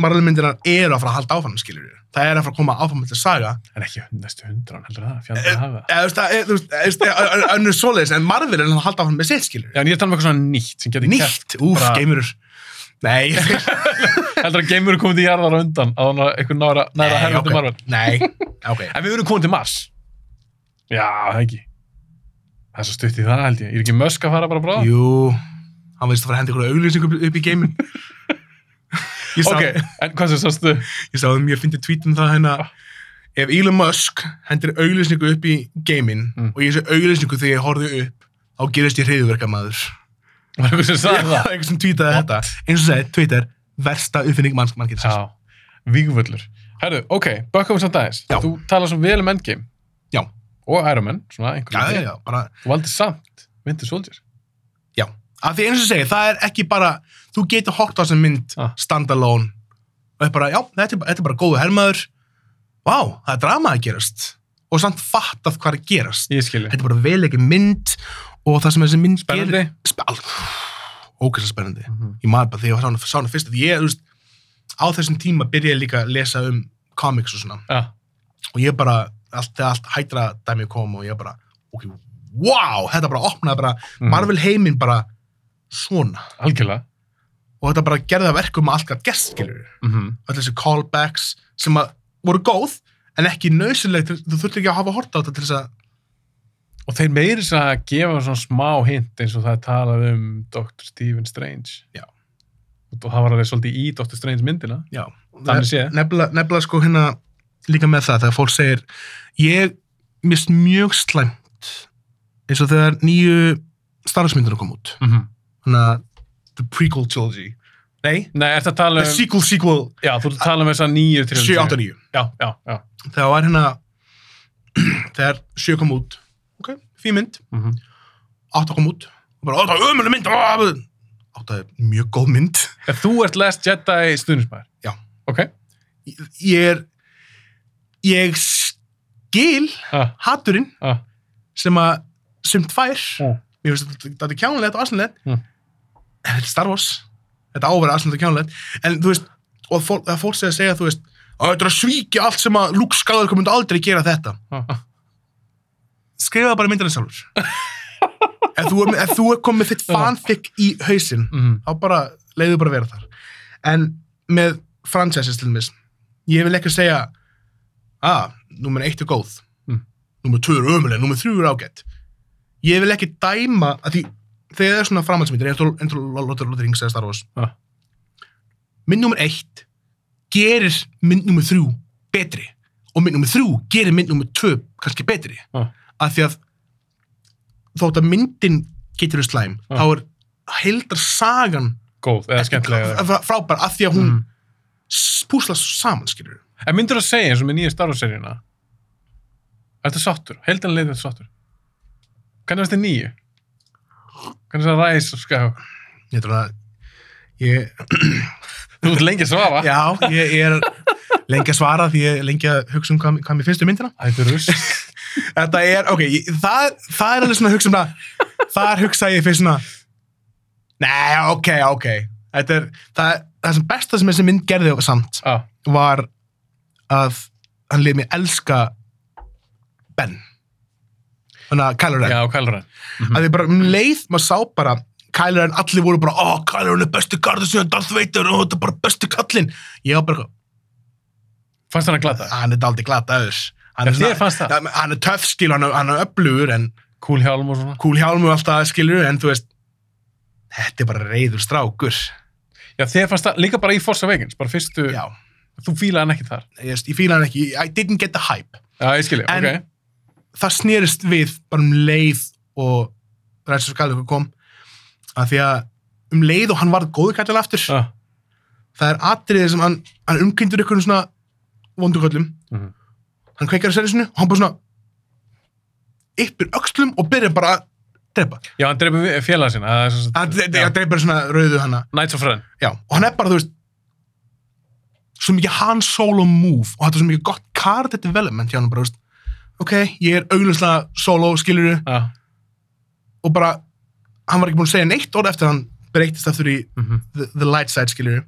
Speaker 2: marlmyndinar eru að fara að halda áfram skilur það er að fara að koma áfram með saga
Speaker 1: en ekki næstu hundran, heldur það, fjandar að hafa það.
Speaker 2: eða þú veist, það er- þú veist, það er- það er- er- önnur svoleiðis en marvel er að halda áfram með sitt skilur
Speaker 1: Já, en ég er talað um eitthvað svona nýtt sem getur
Speaker 2: nýtt, úf,
Speaker 1: bara-
Speaker 2: geimurur nei,
Speaker 1: Heldur að geimveru komið í jarðar á undan á þannig að eitthvað næra, næra
Speaker 2: nei,
Speaker 1: herfandi marvel.
Speaker 2: nei, ok
Speaker 1: En við erum komin til Mars. Já, það ekki. Það er svo stutt í það, held ég. Ég er ekki mösk að fara bara bráðum.
Speaker 2: jú, hann veist að fara að henda ykkur auglýsing upp, upp í geimin ég sá,
Speaker 1: Ok, en hvað sem sástu?
Speaker 2: Ég sá um ég fyndi tweet um það hérna
Speaker 1: Ah.
Speaker 2: Ef Elon Musk hendur auglýsningu upp í gaming
Speaker 1: Mm.
Speaker 2: og ég sé auglýsningu þegar ég horfði upp þá gerist ég hriðverka maður
Speaker 1: Var eitthvað sem
Speaker 2: [LAUGHS]
Speaker 1: sagði það?
Speaker 2: eitthvað sem tweetaði þetta eins og segi, Twitter, versta uppfinning manns mann getur
Speaker 1: [LAUGHS]
Speaker 2: sér
Speaker 1: Já, vígvöllur. Herru, ok, bökkum við samt aðeins.
Speaker 2: Já.
Speaker 1: Þú talar svo vel um Endgame.
Speaker 2: Já.
Speaker 1: Og Iron Man, svona
Speaker 2: Já,
Speaker 1: einhvern
Speaker 2: já, já, bara
Speaker 1: Þú valdi samt Winter Soldier.
Speaker 2: Já, af því eins og segi, það er ekki bara þú getur hort á sem mynd
Speaker 1: Ah.
Speaker 2: standalone og er bara, já, þetta er, bara- þetta er bara góðu hermaður Vá, það er drama að gerast og samt fattað hvað er að gerast
Speaker 1: Ég skilji.
Speaker 2: Þetta er bara vel ekki mynd og það sem þessi mynd gerir
Speaker 1: Spennandi.
Speaker 2: ókvæmst spennandi ég maður bara þegar ég sá hana- sá hana fyrst því ég, þú veist, á þessum tíma byrja ég líka að lesa um comics og svona
Speaker 1: Já,
Speaker 2: og ég bara, allt, þegar allt hætra dæmi kom og ég bara, ok, wow, þetta bara opnaði bara Marvel heiminn bara svona
Speaker 1: algjörlega
Speaker 2: og þetta bara gerði að verkum að allt gætt gerst, skilur
Speaker 1: mm
Speaker 2: öll þessi callbacks sem að voru góð en ekki nöðsynlegt, þú þurfti ekki að hafa horta á þetta til þess að
Speaker 1: og þeir meiri sem að gefa svona smá hint eins og það er talað um Dr. Stephen Strange
Speaker 2: Já.
Speaker 1: og það var alveg svolítið í Dr. Strange myndina
Speaker 2: já,
Speaker 1: Þannig séð.
Speaker 2: nefnilega, nefnilega sko hérna líka með það þegar fólk segir ég mist mjög slæmt eins og þegar nýju starfsmyndinu kom út
Speaker 1: mm -hmm.
Speaker 2: þannig að the prequel trilogy nei,
Speaker 1: Nei, ertu að tala
Speaker 2: the
Speaker 1: um
Speaker 2: sequel sequel
Speaker 1: Já, þú ert að tala um þessa nýju trilógíu.
Speaker 2: 7, 8, 9
Speaker 1: Já, já, já
Speaker 2: þegar var hérna [CLEARS THROAT] þegar 7 kom út ok, fín mynd,
Speaker 1: mm
Speaker 2: 8 kom út og bara, ó, það er ömuleg mynd ó, 8 er mjög góð mynd
Speaker 1: Þú ert Last Jedi stundismæður
Speaker 2: Já.
Speaker 1: Ok
Speaker 2: ég er ég skil
Speaker 1: ah,
Speaker 2: hatturinn
Speaker 1: ah.
Speaker 2: sem að sumt fær
Speaker 1: Mm.
Speaker 2: mér finnst þetta- þetta er kjánulegt og aðsynlegt
Speaker 1: Mm.
Speaker 2: en þetta er Star Wars þetta áverða aðsynlegt og kjánulegt en þú veist, og fólk, það fólk segja að segja þú veist, að þetta er að svíkja allt sem að Luke Skagður myndi aldrei gera þetta
Speaker 1: Ah. ah.
Speaker 2: skrifaðu bara myndina sjálfur [LAUGHS] ef þú, ef þú er komið þitt
Speaker 1: Já.
Speaker 2: fanfic í hausinn
Speaker 1: Mhm.
Speaker 2: þá bara leiðu bara að vera þar en með franchises til mér ég vil ekki segja að, númer eitt er góð
Speaker 1: Mm.
Speaker 2: númer 2 er ömuleg, númer 3 er ágætt ég vil ekki dæma að því, þegar það er svona framhaldsmyndir eins og eins og Lothar Lothar Rings eða Star Wars
Speaker 1: Ah.
Speaker 2: mynd númer 1 gerir mynd númer 3 betri og mynd númer 3 gerir mynd númer 2 kannski betri
Speaker 1: Ah.
Speaker 2: af því að þótt að myndin getur við slæm,
Speaker 1: Ah.
Speaker 2: þá er heldar sagan
Speaker 1: Góð, eða skemmtilega eða-
Speaker 2: frá- frábær af því að hún
Speaker 1: Mm.
Speaker 2: spúsla saman skilur
Speaker 1: En myndur að segja eins og með nýju Star Wars seríuna Ertu sáttur, heldin leiðin ertu sáttur Hvernig varst þið nýju? Hvernig það ræs og ská
Speaker 2: ég er að ég,
Speaker 1: Þú ert lengi að svafa
Speaker 2: já, ég, ég er lengi að svara því ég er lengi að hugsa um hvað, hvað mér finnst um myndina
Speaker 1: Ættu russ
Speaker 2: þetta er, ok, ég, það, það er alveg svona að hugsa um það þar hugsa ég fyrst svona nei, ok, ok þetta er, það, það sem besta sem þessi mynd gerði samt
Speaker 1: ah.
Speaker 2: var að hann liði mig elska Ben þannig að Kylo Ren
Speaker 1: Já, mhm. kælur hann
Speaker 2: að þið bara um leið maður sá bara Kylo Ren, allir voru bara, ó, Kylo Ren er bestu garður síðan Darth Vader og þetta er bara bestu kallinn ég var bara,
Speaker 1: Fannst hann að glata?
Speaker 2: eitthvað, hann er daldi glataður hann
Speaker 1: Ef
Speaker 2: er,
Speaker 1: þér
Speaker 2: svona,
Speaker 1: fannst það?
Speaker 2: Ja, hann er töff skil, hann er, hann er öflugur en
Speaker 1: Kúl hjálm og svona?
Speaker 2: kúl hjálmu alltaf skilur, en þú veist þetta er bara reyður strákur
Speaker 1: Já, þér fannst það líka bara í Force Awakens, bara fyrstu,
Speaker 2: já,
Speaker 1: þú fílaði hann ekki þar.
Speaker 2: ég, ég fíla hann ekki I didn't get the hype
Speaker 1: Já, ég skilji,
Speaker 2: En-
Speaker 1: ok.
Speaker 2: það snerist við bara um leið og Ræsir Skallur kom að því að um leið og hann varð góðu kallinn aftur
Speaker 1: Ah.
Speaker 2: það er atriðið sem hann, hann umkyndur ykkur um svona vonduköllum
Speaker 1: Mhm.
Speaker 2: hann kveikar á servisinu og hann bara svona yppir öxlum og byrjar bara að drepa
Speaker 1: Já, hann dreipur félaga sína. það er svo-
Speaker 2: hann dre-
Speaker 1: Já.
Speaker 2: hann dreipar svona rauðu hana
Speaker 1: Knights of Ren.
Speaker 2: já, og hann er bara þú veist svo mikið hann solo move og þetta er svo mikið gott card development hjá hann bara þú veist ok, ég er augljóslega solo skilur
Speaker 1: Ah.
Speaker 2: og bara hann var ekki búin að segja neitt orð eftir að hann breytist eftir í
Speaker 1: Mhm,
Speaker 2: the, the light side skilur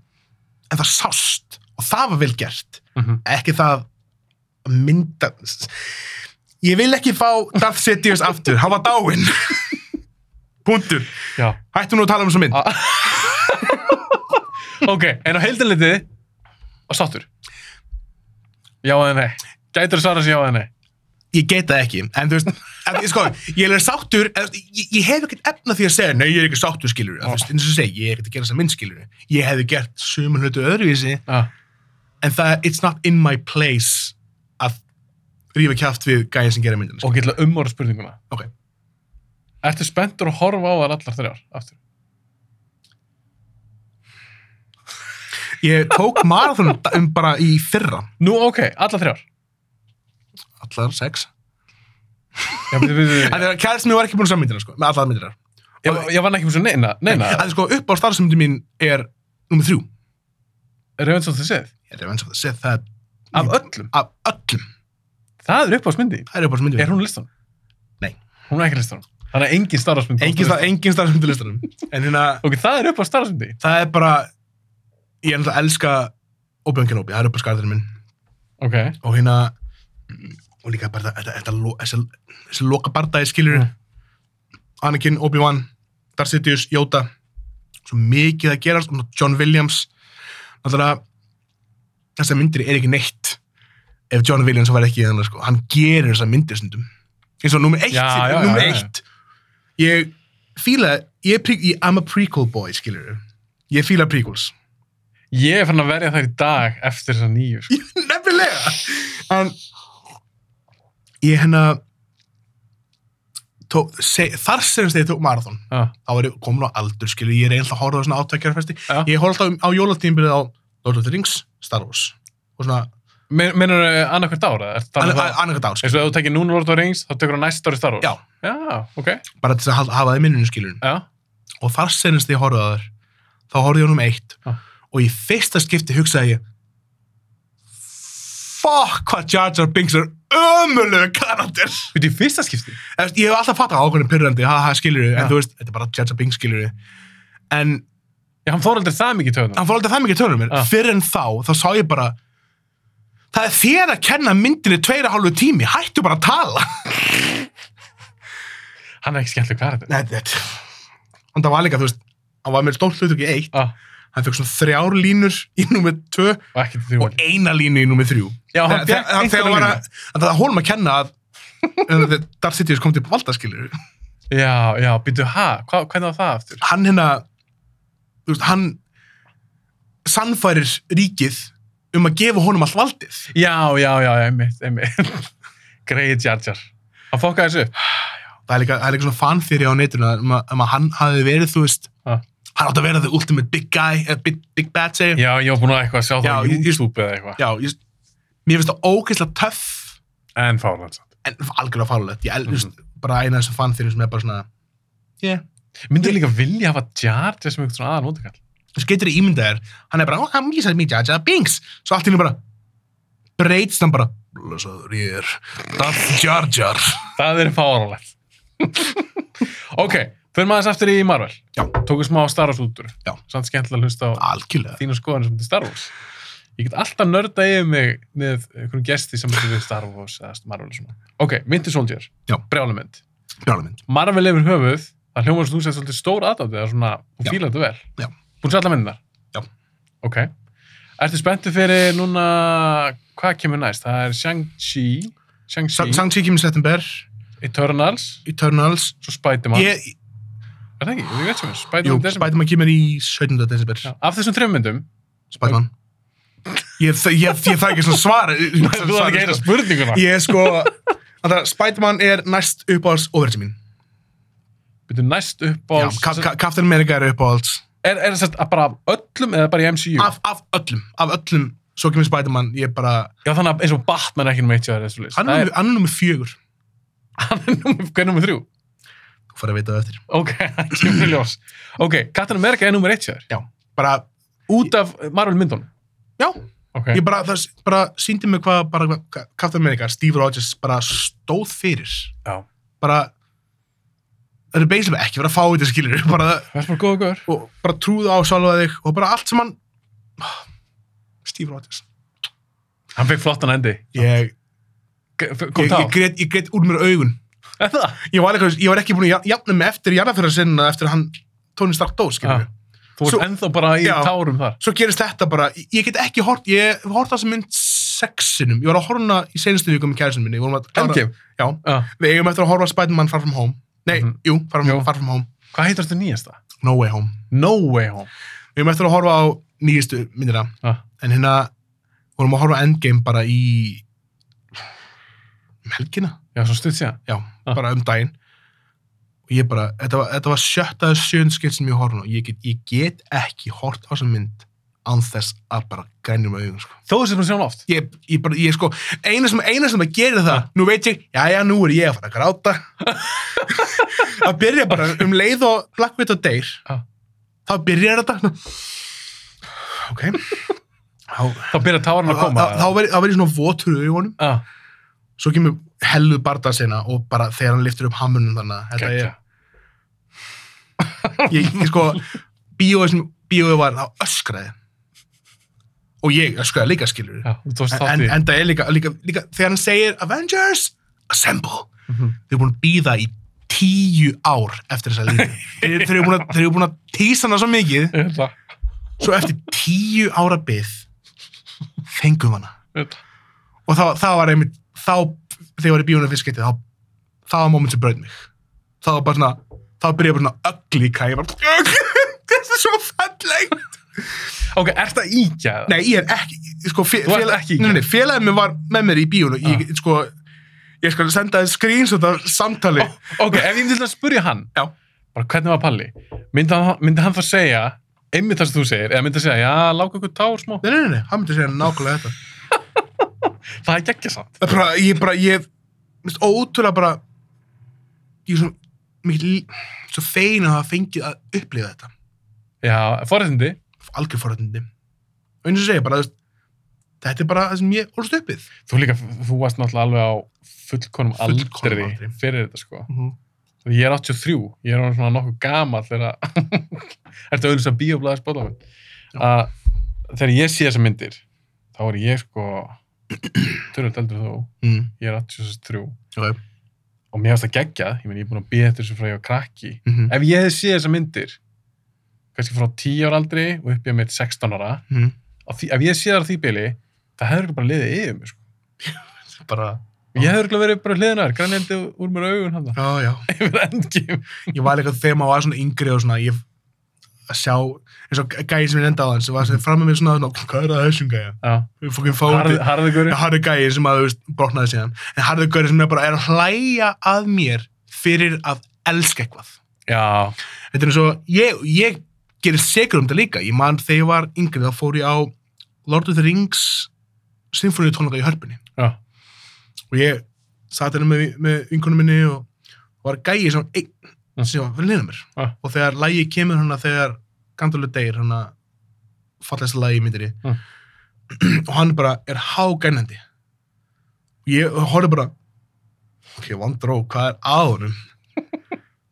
Speaker 2: en það sást og það var vel gert
Speaker 1: mhm,
Speaker 2: ekki það að mynda ég vil ekki fá Darth Sidious aftur, hann var dáinn [LAUGHS] punktur
Speaker 1: Já,
Speaker 2: hættu nú að tala um þessu mynd
Speaker 1: Ah. ok, en á heildinleitið og sáttur. Já eða nei. Gætur að svara sér já eða nei.
Speaker 2: ég get það ekki, en þú veist en, ég sko, ég er sáttur, en, þú veist, ég, ég hef ekkert efna því að segja, nei ég er ekki sáttur skilur en, þú veist, eins og ég segi, ég er ekkert að gera þessa mynd skilur ég hefði gert sumun hlutu öðruvísi
Speaker 1: Ah.
Speaker 2: en það, it's not in my place að rífa kjátt við gæja sem gera myndina sko.
Speaker 1: Og
Speaker 2: skilurðu.
Speaker 1: getla umorða spurninguna.
Speaker 2: Ok.
Speaker 1: Ertu spenntur að horfa á þar allar þrjár aftur?
Speaker 2: ég tók marathon um bara í fyrra
Speaker 1: Nú, ok, allar [LAUGHS] þrjár.
Speaker 2: allar sex
Speaker 1: Já, við, við, við,
Speaker 2: en þegar kærist mér var ekki búin að sammyndina sko, með allar myndinar
Speaker 1: ég, ég var ekki með svo neina, neina.
Speaker 2: að sko upp á starfsmyndi mín er nummið þrjú
Speaker 1: Revenge of the Sith.
Speaker 2: ég er eins og það sé það er
Speaker 1: Af öllum.
Speaker 2: af öllum
Speaker 1: Það er uppáðsmyndi.
Speaker 2: það er upp á starfsmyndi
Speaker 1: Er hún á listanum?
Speaker 2: Nei.
Speaker 1: Hún er ekki á listanum. Þannig að engin starfsmynd.
Speaker 2: engin, star, engin starfsmyndi listanum en hérna
Speaker 1: Ok, það er upp á starfsmyndi.
Speaker 2: það er bara ég er náttúrulega að elska Obi-Wan Kenobi það er upp á skarðinu minn
Speaker 1: Ok.
Speaker 2: og hérna og líka bara þetta, þetta, þetta lo- þessi, þessi loka bardaði skilur
Speaker 1: Mm.
Speaker 2: Anakin, Obi-Wan, Darth Sidious, Yoda svo mikið að gerast og John Williams náttúrulega þessar myndir er ekki neitt ef John Williams var ekki þannig sko, hann gerir þessar myndir stundum eins og nummer eitt,
Speaker 1: Já, já, já,
Speaker 2: nummer
Speaker 1: já, já.
Speaker 2: eitt ég fíla ég, er pre- ég, I'm a prequel boy skilur ég fíla prequels
Speaker 1: Ég er fann að verja þær í dag eftir þessar nýju, sko.
Speaker 2: nefnilega en ég hérna tó, se, þar sem þegar ég tók marathon
Speaker 1: Já,
Speaker 2: þá er ég komin á aldur skilur ég er einhlega að horfa á svona átækjarfesti
Speaker 1: já.
Speaker 2: ég horfa alltaf á jólatímbilið á Lord of the Rings, Star Wars og svona
Speaker 1: Meinar eh, þau annarkvært ára?
Speaker 2: annarkvæmt
Speaker 1: um
Speaker 2: ár skilur.
Speaker 1: Eins og ef þú tekir núna Lord of the Rings, þá tekur það næst ári starf.
Speaker 2: Já.
Speaker 1: Já, ok.
Speaker 2: bara til að hal- hafa það í minninu skilur
Speaker 1: Já.
Speaker 2: og þar sem þegar ég horfa á þar þá horfði ég á um eitt
Speaker 1: Já.
Speaker 2: og í fyrsta skipti hugsaði ég fuck hvað Jar Jar Binks er ömulegu karakter
Speaker 1: Þú í fyrsta skipti?
Speaker 2: Þú veist, ég hef alltaf fattað ákveðin pyrrandi, ha ha skilur
Speaker 1: Já.
Speaker 2: en þú veist, þetta er bara Jar Jar Binks skilur en
Speaker 1: Já, hann fór aldrei það mikið töðunum.
Speaker 2: hann fór aldrei það mikið tölum mér,
Speaker 1: Já.
Speaker 2: fyrr en þá þá sá ég bara það er þér að kenna myndinni tveira hálfu tími hættu bara að tala
Speaker 1: Hann er ekki skemmtileg hvað er þetta?
Speaker 2: Nei, þetta hann það var líka, þú veist, hann var með stórt hlut ekki eitt,
Speaker 1: Ah,
Speaker 2: hann fekk svona þrjár línur í númið tvö
Speaker 1: og ekki til þrjú.
Speaker 2: og eina línu í númið þrjú
Speaker 1: Já, hann
Speaker 2: Þe-
Speaker 1: fekk
Speaker 2: þe- þegar hann var
Speaker 1: einhverja
Speaker 2: að, það er hólum að kenna að Darth Sidious kom til valda skilur
Speaker 1: Já, já, býtu, ha, hva, hvernig var það aftur?
Speaker 2: hann hérna þú veist, hann sannfærir ríkið um að gefa honum allt valdið
Speaker 1: Já, já, já, einmitt, einmitt. [LAUGHS] Greið Jar Jar. Hann fokkaði þessu upp.
Speaker 2: það er líka, það er líka svona fanþýri á netinu um að, um að hann hafi verið, þú veist
Speaker 1: Ha.
Speaker 2: hann átti að vera the ultimate big guy eða big, big bad segir
Speaker 1: Já, ég var búin að eitthvað að sjá
Speaker 2: Já,
Speaker 1: það á
Speaker 2: ég- ég-
Speaker 1: YouTube eða eitthvað.
Speaker 2: Já, ég, mér finnst það ógeðslega töff
Speaker 1: En fárlega samt.
Speaker 2: en algjörlega farulegt ég el,
Speaker 1: Mhm.
Speaker 2: mm bara eina þessu fanþýri sem er bara svona yeah.
Speaker 1: Myndi ég líka vilja hafa Jar Jar sem eitthvað svona aðan útakall?
Speaker 2: þess getur þið ímyndað þér hann er bara, oh, hann vísar mér, jaja, bings svo allt í henni bara breytst hann bara, blessaður ég er Darth Jar Jar
Speaker 1: Það er fáránlegt. [LAUGHS] ok, förum aðeins aftur í Marvel.
Speaker 2: Já.
Speaker 1: Tókum smá Star Wars út úr.
Speaker 2: Já. Ah.
Speaker 1: Samt skemmtilega að hlusta á
Speaker 2: algjörlega
Speaker 1: þínu skoðanir sem til Star Wars. Ég get alltaf nörda yfir mig með einhvern gesti sem er við Star Wars eða Marvel og svona. Ok, Winter Soldier.
Speaker 2: Já.
Speaker 1: Brjálumynd.
Speaker 2: Brjálamind.
Speaker 1: Marvel yfir höfuð, það hljómar sem þú sett svolítið stór aðdáttið, það er svona, þú
Speaker 2: Já.
Speaker 1: fílar þetta vel.
Speaker 2: Já.
Speaker 1: Búin sér alla myndirnar?
Speaker 2: Já.
Speaker 1: Ok. Ertu spenntið fyrir núna, hvað kemur næst? Það er Shang-Chi, Shang-Chi,
Speaker 2: Sang-Chi kemur í september,
Speaker 1: Eternals,
Speaker 2: Eternals
Speaker 1: svo Spider-Man.
Speaker 2: ég,
Speaker 1: Er það ekki? Ég veit sem er,
Speaker 2: jú,
Speaker 1: Spider-Man í desember.
Speaker 2: Spiderman kemur í 17. desember
Speaker 1: Já, Af þessum þrejum myndum,
Speaker 2: Spiderman ég, ég, ég, ég það ekki svona svara
Speaker 1: [LAUGHS] þú þarf ekki að heyra spurninguna.
Speaker 2: ég er sko Andra, Spiderman er næst uppáhalds overtí mín
Speaker 1: Býtu næst upp á...
Speaker 2: Já, Ka- Ka- Captain America er uppáhalds
Speaker 1: Er, er þetta bara af öllum eða bara í MCU?
Speaker 2: af, af öllum, af öllum svo kemur Spiderman, ég er bara
Speaker 1: Já, þannig að eins og Batman er ekki nummer 1 hjá þér, þessu list.
Speaker 2: hann er númer- hann er nummer fjögur
Speaker 1: [LAUGHS] Hann er nummer, hver er nummer 3?
Speaker 2: þú farið að veita það eftir
Speaker 1: Ok, [LAUGHS] það kemur í ljós. Ok, Captain America er nummer 1 hjá þér.
Speaker 2: bara,
Speaker 1: út af Marvel myndunum
Speaker 2: já,
Speaker 1: okay.
Speaker 2: ég bara, það, bara síndi mig hvað bara, hvað Captain America, Steve Rogers bara stóð fyrir
Speaker 1: Já.
Speaker 2: bara það eru basically ekki verið að fá þetta skilur [LAUGHS] bara,
Speaker 1: það er bara góða góður
Speaker 2: og bara trúðu á sjálfa þig og bara allt sem hann Steve Rogers
Speaker 1: hann fekk flottan endi
Speaker 2: ég,
Speaker 1: G- f-
Speaker 2: ég,
Speaker 1: kom
Speaker 2: ég,
Speaker 1: þá
Speaker 2: grét, ég grét úr mér augun
Speaker 1: Er það?
Speaker 2: ég var, eitthvað, ég var ekki búin að jafna mig eftir jarðafyrra sinna eftir að hann Tony Stark dó
Speaker 1: Ah.
Speaker 2: skilur
Speaker 1: þú
Speaker 2: Svo-
Speaker 1: ert ennþá bara í
Speaker 2: Já.
Speaker 1: tárum þar
Speaker 2: svo gerist þetta bara, ég- ég get ekki hort ég hef hort það sem mynd sexinum ég var að horna í senstu vikum með kærisinu minni við vorum að klára-
Speaker 1: Endgame
Speaker 2: já,
Speaker 1: Já.
Speaker 2: við eigum eftir að horfa á Spider-Man Far From Home nei,
Speaker 1: Mhm.
Speaker 2: jú, far from,
Speaker 1: Jú.
Speaker 2: far from Home
Speaker 1: hvað heitar þetta nýjasta?
Speaker 2: No Way Home
Speaker 1: No Way Home
Speaker 2: við eigum eftir að horfa á nýjistu myndina
Speaker 1: ah.
Speaker 2: en hérna, vorum að horfa á Endgame bara í um helgina,
Speaker 1: já, svo stutt síðan
Speaker 2: já,
Speaker 1: Ah.
Speaker 2: bara um daginn og ég bara, þetta var, þetta var sjötta eða sjöndskilt sem ég horfði á ég get, ég get ekki hort á þessa mynd án þess að bara grænum auðum sko
Speaker 1: þó þú sér búin að sjá hann oft
Speaker 2: ég, ég bara, ég sko, eina sem, eina sem að gera það,
Speaker 1: Ja.
Speaker 2: nú veit ég, já, já, nú er ég að fara að gráta að byrja bara um leið og Black Widow deyr,
Speaker 1: Ja.
Speaker 2: þá byrjar þetta ok þá
Speaker 1: þá byrja tárin að koma
Speaker 2: Mm.
Speaker 1: Ah.
Speaker 2: þá- þá verð þá verð ég svona votur í honum,
Speaker 1: þá
Speaker 2: svo kemur helluð barda sinna og bara þegar hann liftur upp hamrunum þannig, að þetta
Speaker 1: Gekkja.
Speaker 2: er ég, ég sko, bíóið sem bíóið var, þá öskraði og ég öskraði líka skilur
Speaker 1: Já, þú tókst
Speaker 2: en,
Speaker 1: þátt
Speaker 2: en,
Speaker 1: í.
Speaker 2: en það er líka, líka, líka þegar hann segir Avengers Assemble
Speaker 1: Mhm.
Speaker 2: þeir eru búin að býða í tíu ár eftir þessa línu
Speaker 1: [LAUGHS]
Speaker 2: þeir, þeir eru búin að- þeir eru búin að tísa hana svo
Speaker 1: Ég
Speaker 2: mikið
Speaker 1: veit það,
Speaker 2: svo eftir tíu ára byð fengum hana
Speaker 1: ég veit það.
Speaker 2: og þá, þá var einmitt þá, þegar ég var í bíónu fyrst getið þá, þá var moment sem braut mig þá var bara svona, þá byrjaði bara svona öglíka, ég bara [LAUGHS] þetta er svo fallegt
Speaker 1: Ok, ert það íkja eða?
Speaker 2: nei, ég er ekki, sko fe-
Speaker 1: Þú ert
Speaker 2: félag-
Speaker 1: ekki í
Speaker 2: nei, nei, félagið mér var með mér í bíónu ég, sko, ég skal senda þér screenshot af samtali
Speaker 1: Ok, ef ég myndi til að spurja hann,
Speaker 2: Já.
Speaker 1: bara hvernig var Palli? Myndi hann, myndi hann það segja, einmitt það sem þú segir, eða myndi hann segja, já, láka ykkur tár smá.
Speaker 2: nei, nei, nei, hann myndi segja nákvæmlega þetta
Speaker 1: Það er geggja samt.
Speaker 2: það er bara, ég bara, ég minnst ótrúlega bara ég er svona mikið, svo fein að hafa fengið að upplifa þetta
Speaker 1: Já, forréttindi.
Speaker 2: algjör forrættindi og eins og segja bara, þú veist, þetta er bara það sem ég orðst uppið
Speaker 1: Þú líka, þú varst náttúrulega alveg á fullkonum aldri,
Speaker 2: Fullkomnum aldri.
Speaker 1: fyrir þetta, sko.
Speaker 2: mm -hmm.
Speaker 1: Ég er 83, ég er orðinn svona nokkuð gamall þegar að, [LAUGHS] ertu auðvitað sem bíoblæðar spóðlafinn,
Speaker 2: Já.
Speaker 1: að þegar ég sé þessar myndir, þá er ég sko, [CLEARS THROAT] törnult eldur þú,
Speaker 2: mm.
Speaker 1: ég er 83,
Speaker 2: ok
Speaker 1: og mér finnst það geggjað, ég meina ég er búin að býða eftir þessu frá ég var krakki.
Speaker 2: mm -hmm.
Speaker 1: Ef ég hefði séð þessar myndir, kannski frá 10 ára aldri og upp ég mitt 16 ára,
Speaker 2: Mm.
Speaker 1: á því, ef ég séð þar á því byli, það hefur bara liðið yfir mig, sko.
Speaker 2: bara,
Speaker 1: Ég hefur ekki verið bara hliðinar, grænjandi úr mér augun hann [LAUGHS] það,
Speaker 2: já, já
Speaker 1: yfir endgjum.
Speaker 2: ég var líka þegar maður var svona yngri og svona ég að sjá, eins og gæði sem ég enda á hann sem var sem fram með mér svona, svona hvað er það að þessum gæja
Speaker 1: Já,
Speaker 2: við fókum
Speaker 1: harði,
Speaker 2: fóðið
Speaker 1: harði guri.
Speaker 2: harðu gæði sem að þú veist brotnaði síðan en harðu gæði sem er bara er að hlæja að mér fyrir að elska eitthvað
Speaker 1: Já,
Speaker 2: þetta er eins og ég, ég gerir segur um þetta líka ég man þegar ég var yngri þá fór ég á Lord of the Rings symfóníu tónleika í Hörpunni
Speaker 1: já.
Speaker 2: og ég satt hérna með, með vinkunum minni og var gæi sem einn
Speaker 1: Mm.
Speaker 2: sem var vel neina mér
Speaker 1: Ah.
Speaker 2: og þegar lægi kemur hana þegar Gandalf deyr hérna, hana fallegsta lægi myndir ég
Speaker 1: Mm.
Speaker 2: [CLEARS THROAT] og hann bara er hágænandi og ég horfði bara ok, vandró, hvað er að honum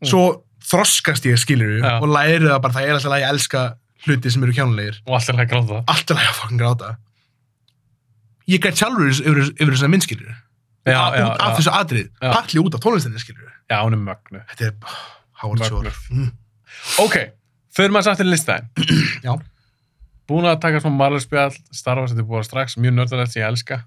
Speaker 2: svo þroskast ég skilur
Speaker 1: Mm. Já.
Speaker 2: og læri það bara það er alltaf að ég elska hluti sem eru kjánulegir
Speaker 1: og allt er að gráta.
Speaker 2: alltaf að ég fokkin gráta ég gæt sjálfur yfir, yfir þessna myndskilur
Speaker 1: Já,
Speaker 2: af,
Speaker 1: já,
Speaker 2: af
Speaker 1: já,
Speaker 2: þessu atrið,
Speaker 1: Já.
Speaker 2: palli út af tónlistinni skilur
Speaker 1: já, hún er mögnu.
Speaker 2: þetta er Howard Shore
Speaker 1: Mögnuð.
Speaker 2: mm.
Speaker 1: Ok, förum maður satt í listaðin.
Speaker 2: Já.
Speaker 1: Búin að taka svona marlarspjall, starfa sem þið búið strax, mjög nördarlegt sem ég elska.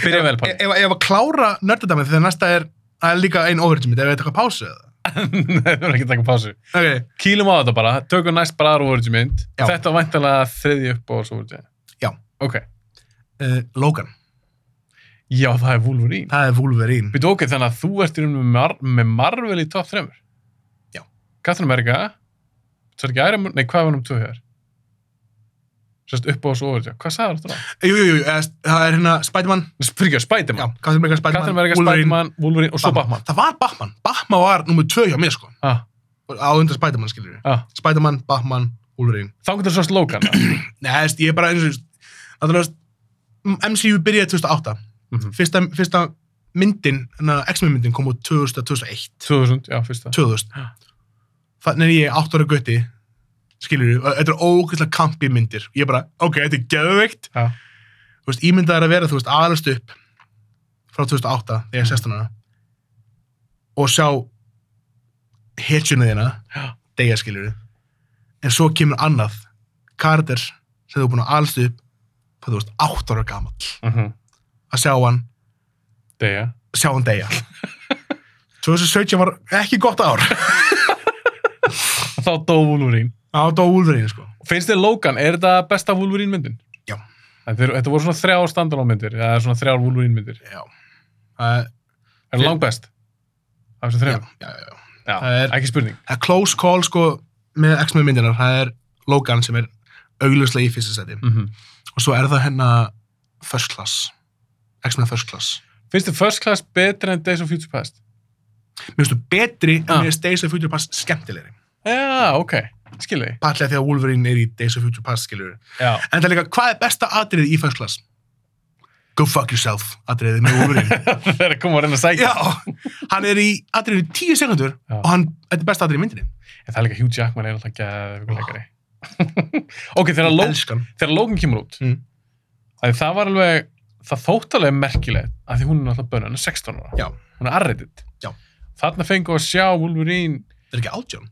Speaker 1: Byrja vel, Palli.
Speaker 2: ef, ef ef að klára nördadamið þegar næsta er það er líka ein overage mitt, ef við eitthvað pásu eða?
Speaker 1: [LAUGHS] Nei, þú verður ekki að taka pásu.
Speaker 2: ok,
Speaker 1: Kýlum á þetta bara, tökum næst bara aðra úrvörðu mynd.
Speaker 2: Já.
Speaker 1: Þetta var væntanlega þriði upp á þessu úrvörðu.
Speaker 2: Já.
Speaker 1: Ok.
Speaker 2: uh, Logan,
Speaker 1: Já, það er Wolverine.
Speaker 2: það er Wolverine
Speaker 1: Býtu ok, þannig að þú ert í raun með, Mar með Marvel í top 3.
Speaker 2: Já.
Speaker 1: Captain America, það er ekki Iron Man, nei, hvað var hann um 2 hér? Sérst upp á þessu úrvörðu. Hvað sagði þetta þá?
Speaker 2: Eh, jú, jú, jú, eða, það er hérna Spiderman,
Speaker 1: Fyrir ekki,
Speaker 2: já,
Speaker 1: Spiderman.
Speaker 2: Captain America,
Speaker 1: Captain
Speaker 2: Spiderman,
Speaker 1: America, Spiderman, Wolverine og svo Batman.
Speaker 2: það var Batman, Batman var nummer 2 hjá mér sko,
Speaker 1: Ah,
Speaker 2: á undan Spiderman skilur við
Speaker 1: ah.
Speaker 2: Spiderman, Batman, Wolverine
Speaker 1: Þá getur svo slókan.
Speaker 2: Nei, þú veist, ég er bara eins og Náttúrulega, þú veist, MCU byrjaði 2008
Speaker 1: Mhm.
Speaker 2: fyrsta, fyrsta myndin, hérna, X-Men myndin kom út 2000, 2001
Speaker 1: 2000, já, fyrsta.
Speaker 2: 2000
Speaker 1: Já.
Speaker 2: Þannig er ég 8 ára gutti skilur þú, þetta er ógeðslega kampi myndir ég bara, ok, þetta er geðveikt
Speaker 1: Já.
Speaker 2: þú veist, ímyndaðar að vera, þú veist, aðalast upp frá 2008, þegar ég er 16 ára og sjá hetjuna þína
Speaker 1: Já.
Speaker 2: degja skilur en svo kemur annað karakter sem þú er búin að alast upp hvað þú veist, 8 ára gamall
Speaker 1: Mhm.
Speaker 2: að sjá hann,
Speaker 1: Deyja.
Speaker 2: sjá hann degja 2017 var ekki gott ár
Speaker 1: Þá dó Wolverine.
Speaker 2: á dó úlverinu sko
Speaker 1: Finnst þér Logan, er þetta besta Wolverine myndin?
Speaker 2: Já.
Speaker 1: Þetta, er, þetta voru svona þrjá standalón myndir, eða svona þrjár Wolverine myndir.
Speaker 2: já, það
Speaker 1: Er það langbest? Af þessum
Speaker 2: já,
Speaker 1: þrjum?
Speaker 2: já, já.
Speaker 1: Já.
Speaker 2: Það er-
Speaker 1: Ekki spurning.
Speaker 2: Það er close call sko með X-Men myndinar, það er Logan sem er augljóslega í fyrsta seti
Speaker 1: Mm -hmm.
Speaker 2: og svo er það hennar first class, X-Men first class
Speaker 1: Finnst þér First Class betri en Days of Future Past?
Speaker 2: mér finnst þú betri en
Speaker 1: Ah.
Speaker 2: mér finnst Days of Future Past skemmtilegri
Speaker 1: Já, ok. Skilji.
Speaker 2: partlega þegar Wolverine er í Days of Future Past skilur
Speaker 1: Já. [LAUGHS]
Speaker 2: en það er líka, hvað er besta atriðið í first class? Go fuck yourself atriðið með
Speaker 1: [LAUGHS]
Speaker 2: Wolverine
Speaker 1: Þegar koma að reyna að sækja.
Speaker 2: já, hann er í atriðinu í tíu sekundur
Speaker 1: Já.
Speaker 2: og hann, þetta er besta atriðið í myndinni
Speaker 1: En það er líka Hugh Jackman er alltaf gæðið leikari. [LAUGHS] ok, þegar
Speaker 2: Ég
Speaker 1: Logan
Speaker 2: elskan
Speaker 1: þegar Logan kemur út
Speaker 2: Mm.
Speaker 1: að það var alveg það þótt alveg merkilegt að því hún er náttúrulega bönn, hún er 16 ára
Speaker 2: Já.
Speaker 1: hún er arreitit
Speaker 2: Já.
Speaker 1: þarna fengið að sjá Wolverine
Speaker 2: Það er ekki átján.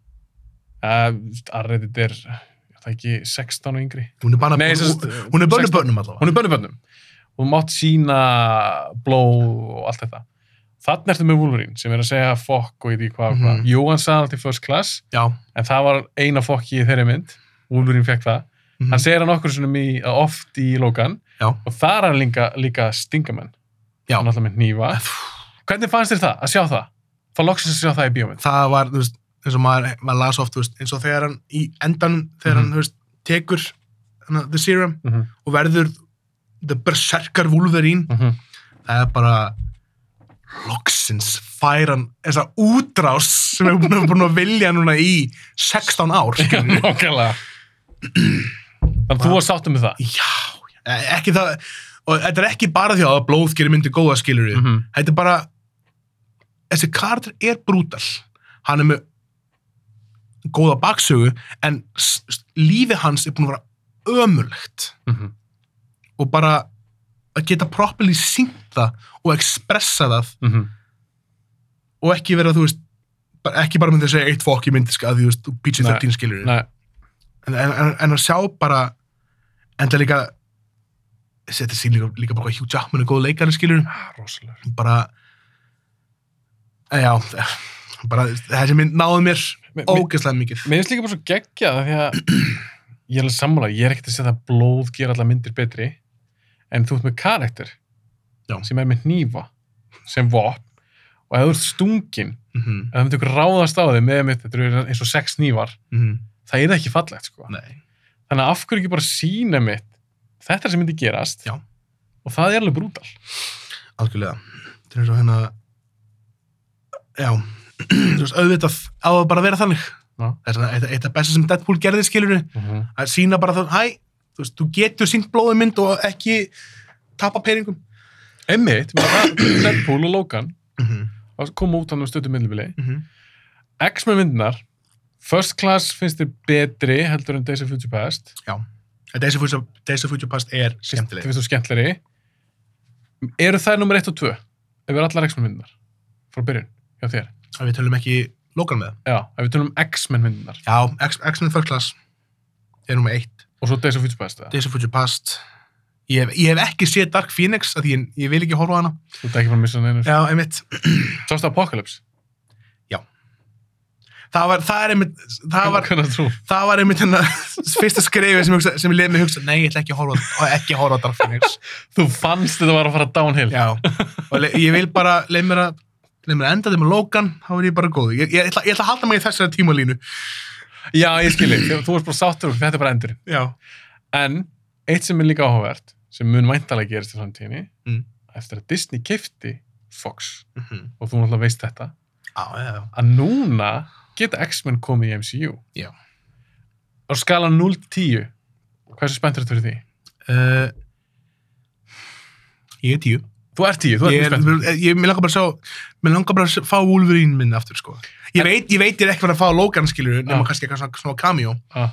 Speaker 1: uh, arreitit er er það ekki 16 og yngri
Speaker 2: Hún er bara,
Speaker 1: Nei, sem
Speaker 2: hún,
Speaker 1: sagt,
Speaker 2: hún er bönnu
Speaker 1: 16.
Speaker 2: bönnum allavega.
Speaker 1: hún er bönnubönnum og mátt sína blóð og allt þetta þarna ertu með Wolverine sem er að segja fokk og ég því hvað og hvað
Speaker 2: Mhm.
Speaker 1: jú hann sagði allt í first class
Speaker 2: Já.
Speaker 1: en það var eina fokki í þeirri mynd Wolverine fekk það
Speaker 2: Mhm.
Speaker 1: hann segir hann okkur svona mjög oft í Logan
Speaker 2: Já.
Speaker 1: og þar er hann líka, líka stingamenn
Speaker 2: Já.
Speaker 1: hann alltaf með nýfa hvernig fannst þér það að sjá það fá loksins að sjá það í bíómynd
Speaker 2: það var, þú veist, eins og maður, maður las oft, þú veist, eins og þegar hann í endan, þegar hann,
Speaker 1: Mhm.
Speaker 2: þú veist, tekur hana, The Serum
Speaker 1: mm -hmm.
Speaker 2: og verður The Berserker Wolverine,
Speaker 1: mhm.
Speaker 2: það er bara loksins fær hann þessa útrás sem við erum búin að vilja núna í 16 ár, skilur
Speaker 1: [LAUGHS]
Speaker 2: við.
Speaker 1: nákvæmlega þannig að þú var sáttum með það
Speaker 2: Já, já, E, ekki það, og þetta er ekki bara því að blóð gerir myndi góða, skilur við.
Speaker 1: mm -hmm.
Speaker 2: þetta er bara þessi karakter er brútal hann er með góða baksögu en s- s- lífi hans er búin að vera ömulegt
Speaker 1: mhm,
Speaker 2: og bara að geta properly syngt það og expressa það
Speaker 1: mhm.
Speaker 2: og ekki vera þú veist bara- ekki bara myndi að segja eitt fokk í myndi að þú veist, PG-13 skilur en,
Speaker 1: Nei,
Speaker 2: en, en en að sjá bara en það líka þetta sé líka, líka bara hvað Hugh Jackman er góð leikari skilur
Speaker 1: Ah, rosalega
Speaker 2: bara Eh, já [LAUGHS] bara þessi mynd náði mér ógeðslega mikið
Speaker 1: Mér finnst líka bara svo geggjað af því að ég er alveg sammála, ég er ekkert að segja að blóð gera allar myndir betri en þú ert með karakter
Speaker 2: Já.
Speaker 1: sem er með hnífa sem vopn og ef þú ert stungin
Speaker 2: Mhm,
Speaker 1: ef það myndi ykkur ráðast á þig með mitt þetta eru eins og sex hnífar
Speaker 2: mhm.
Speaker 1: það er ekki fallegt sko
Speaker 2: Nei.
Speaker 1: þannig að af hverju ekki bara sína mitt þetta er sem myndi gerast
Speaker 2: Já.
Speaker 1: og það er alveg brútal
Speaker 2: algjörlega þetta er svo hérna já, [CLEARS THROAT] þú veist, auðvitað á að bara vera þannig
Speaker 1: Já.
Speaker 2: það er svona eitt- eitt af besta sem Deadpool gerði skilurinn að sína bara það, hæ, þú veist, þú getur sínt blóðið mynd og ekki tapa peringum
Speaker 1: einmitt, ég meina, það- Deadpool og Logan
Speaker 2: mhm,
Speaker 1: það kom út hann um stötu myndlubili
Speaker 2: mhm,
Speaker 1: X-Men myndinar First Class finnst þér betri heldur en Days of Future Past
Speaker 2: En Days of Future, Days of Future Past er
Speaker 1: Þér
Speaker 2: skemmtileg
Speaker 1: finnst þú skemmtleri eru þær nummer 1 og 2 ef við erum allar X-Men myndinar frá byrjun, hjá þér
Speaker 2: að við tölum ekki lókan með það
Speaker 1: já, ef við tölum um X-Men myndinar
Speaker 2: já, X- X-Men First Class er nummer eitt
Speaker 1: og svo Days of Future Past eða?
Speaker 2: Days of Future Past ég hef, ég hef ekki séð Dark Phoenix af því ég, ég vil ekki horfa á hana
Speaker 1: þú ert ekki frá að missa hann einu
Speaker 2: já, einmitt
Speaker 1: sást Apocalypse
Speaker 2: það var, það er einmitt það var,
Speaker 1: hvernig trú
Speaker 2: það var einmitt hérna [LAUGHS] fyrsta skrifið sem, ég hugsa- sem ég leið mig hugsa nei, ég ætla ekki að horfa á- og ekki að horfa á Dark Phoenix
Speaker 1: Þú fannst þetta var að fara downhill.
Speaker 2: já, og le, ég vil bara leið mér að leið mér að enda þeim að Logan þá er ég bara góð, ég, ég, ætla, ég ætla að halda mig í þessari tímalínu
Speaker 1: Já, ég skilji. Þú þú varst bara sáttur og þetta er bara endur.
Speaker 2: já,
Speaker 1: En eitt sem er líka áhugavert, sem mun væntalega gerist í framtíðinni,
Speaker 2: Mm.
Speaker 1: eftir að Disney kifti Fox,
Speaker 2: mm -hmm.
Speaker 1: og þú náttúrulega veist þetta,
Speaker 2: já, já, já.
Speaker 1: að núna geta X-Men komið í MCU.
Speaker 2: Já.
Speaker 1: Á skala 0 til 10, hversu spenntur þetta fyrir því?
Speaker 2: Uh, ég er tíu
Speaker 1: Þú ert 10, þú ert
Speaker 2: ég,
Speaker 1: mjög
Speaker 2: er, eh,
Speaker 1: spenntur.
Speaker 2: ég, mér langar bara að sjá mér langar bara að sjá- fá Wolverine minn aftur sko. ég,
Speaker 1: En-
Speaker 2: veit, ég veit ég er ekki verið að fá Logan skilur nema
Speaker 1: Já.
Speaker 2: kannski eitthvað svona, svona cameo
Speaker 1: Ah.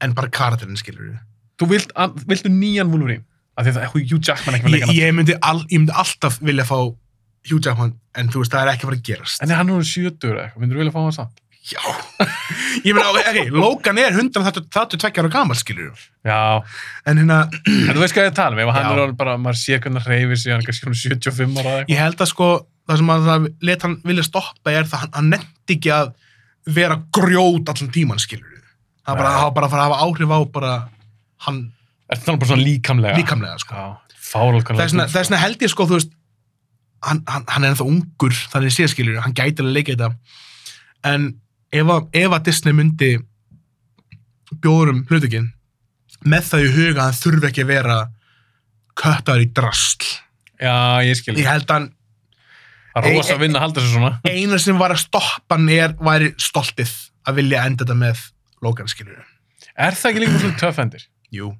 Speaker 2: en bara karakterinn skilur
Speaker 1: Þú vilt, an, viltu nýjan Wolverine, af því að það- Hugh Jackman er ekki með
Speaker 2: ég,
Speaker 1: leikana.
Speaker 2: ég, myndi all, ég myndi alltaf vilja fá Hugh Jackman en þú veist það er ekki að fara að gerast
Speaker 1: En er hann núna 70 eða eitthvað, myndur þú vilja fá hann samt?
Speaker 2: já ég meina, ok, Logan er 132 ára gammal skilur
Speaker 1: Já,
Speaker 2: en hérna,
Speaker 1: En þú veist hvað ég tala um, ef hann
Speaker 2: Já.
Speaker 1: er orðin bara, maður sér hvernig hann reyfir sig, hann er kannski um 75 ára eða eitthvað.
Speaker 2: ég held að sko það sem að það let hann vilja stoppa er það hann, hann nefndi ekki að vera grjót allan tíman skilur það bara,
Speaker 1: Nei.
Speaker 2: það var bara að fara að hafa áhrif á bara hann
Speaker 1: Er það bara svona líkamlega?
Speaker 2: líkamlega sko.
Speaker 1: Já, fáralkan.
Speaker 2: þess vegna- þess vegna held ég sko þú veist hann, hann, hann er ennþá ungur þannig sé skilur hann gæti alveg að leika þetta en ef að, ef að Disney myndi bjóðurum hlutökin með það í huga að hann þurfi ekki að vera köttar í drasl
Speaker 1: Já, ég skil.
Speaker 2: ég held að hann
Speaker 1: Það er rosa
Speaker 2: Ei-
Speaker 1: vinna að halda þessu svona.
Speaker 2: eina sem var að stoppa hann er væri stoltið að vilja enda þetta með Logan skilur
Speaker 1: Er það ekki líka bara svona töffendir?
Speaker 2: Jú,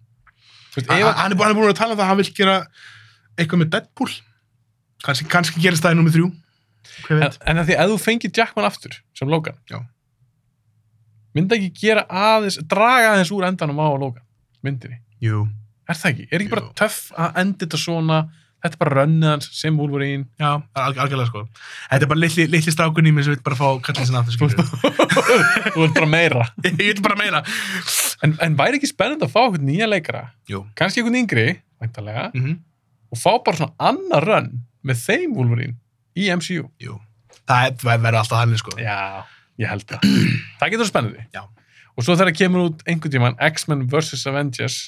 Speaker 1: Þú veist,
Speaker 2: hann,
Speaker 1: ef að...
Speaker 2: hann, er búin, hann er búin að tala um það að hann vil gera eitthvað með Deadpool kannski, kannski gerist það í nummer þrjú hver
Speaker 1: En,
Speaker 2: veit
Speaker 1: en að því að þú fengir Jackman aftur, sem Logan.
Speaker 2: Já.
Speaker 1: Myndi ekki gera aðeins, draga aðeins úr endanum á Logan, myndinni.
Speaker 2: Jú,
Speaker 1: Er Er það ekki? Er ekki bara
Speaker 2: Jú.
Speaker 1: töff að enda þetta svona? Þetta er bara rönnið hans sem Wolverine. [LAUGHS]
Speaker 2: Já, alg algjörlega sko. Þetta er bara litli, litli strákun í mér sem vil bara fá kallin sinna aftur skilur.
Speaker 1: Þú ert bara meira.
Speaker 2: [LAUGHS] ég vil bara meira.
Speaker 1: En, en væri ekki spennandi að fá eitthvað nýja leikara?
Speaker 2: Jú.
Speaker 1: Kanski eitthvað yngri, væntalega,
Speaker 2: Mm
Speaker 1: og fá bara svona annar rönn með þeim Wolverine í MCU.
Speaker 2: Jú. Það er- það verður alltaf þannig sko.
Speaker 1: Já, ég held það. það getur spennandi.
Speaker 2: Já.
Speaker 1: Og svo þegar kemur út einhvern tímann X-Men vs. Avengers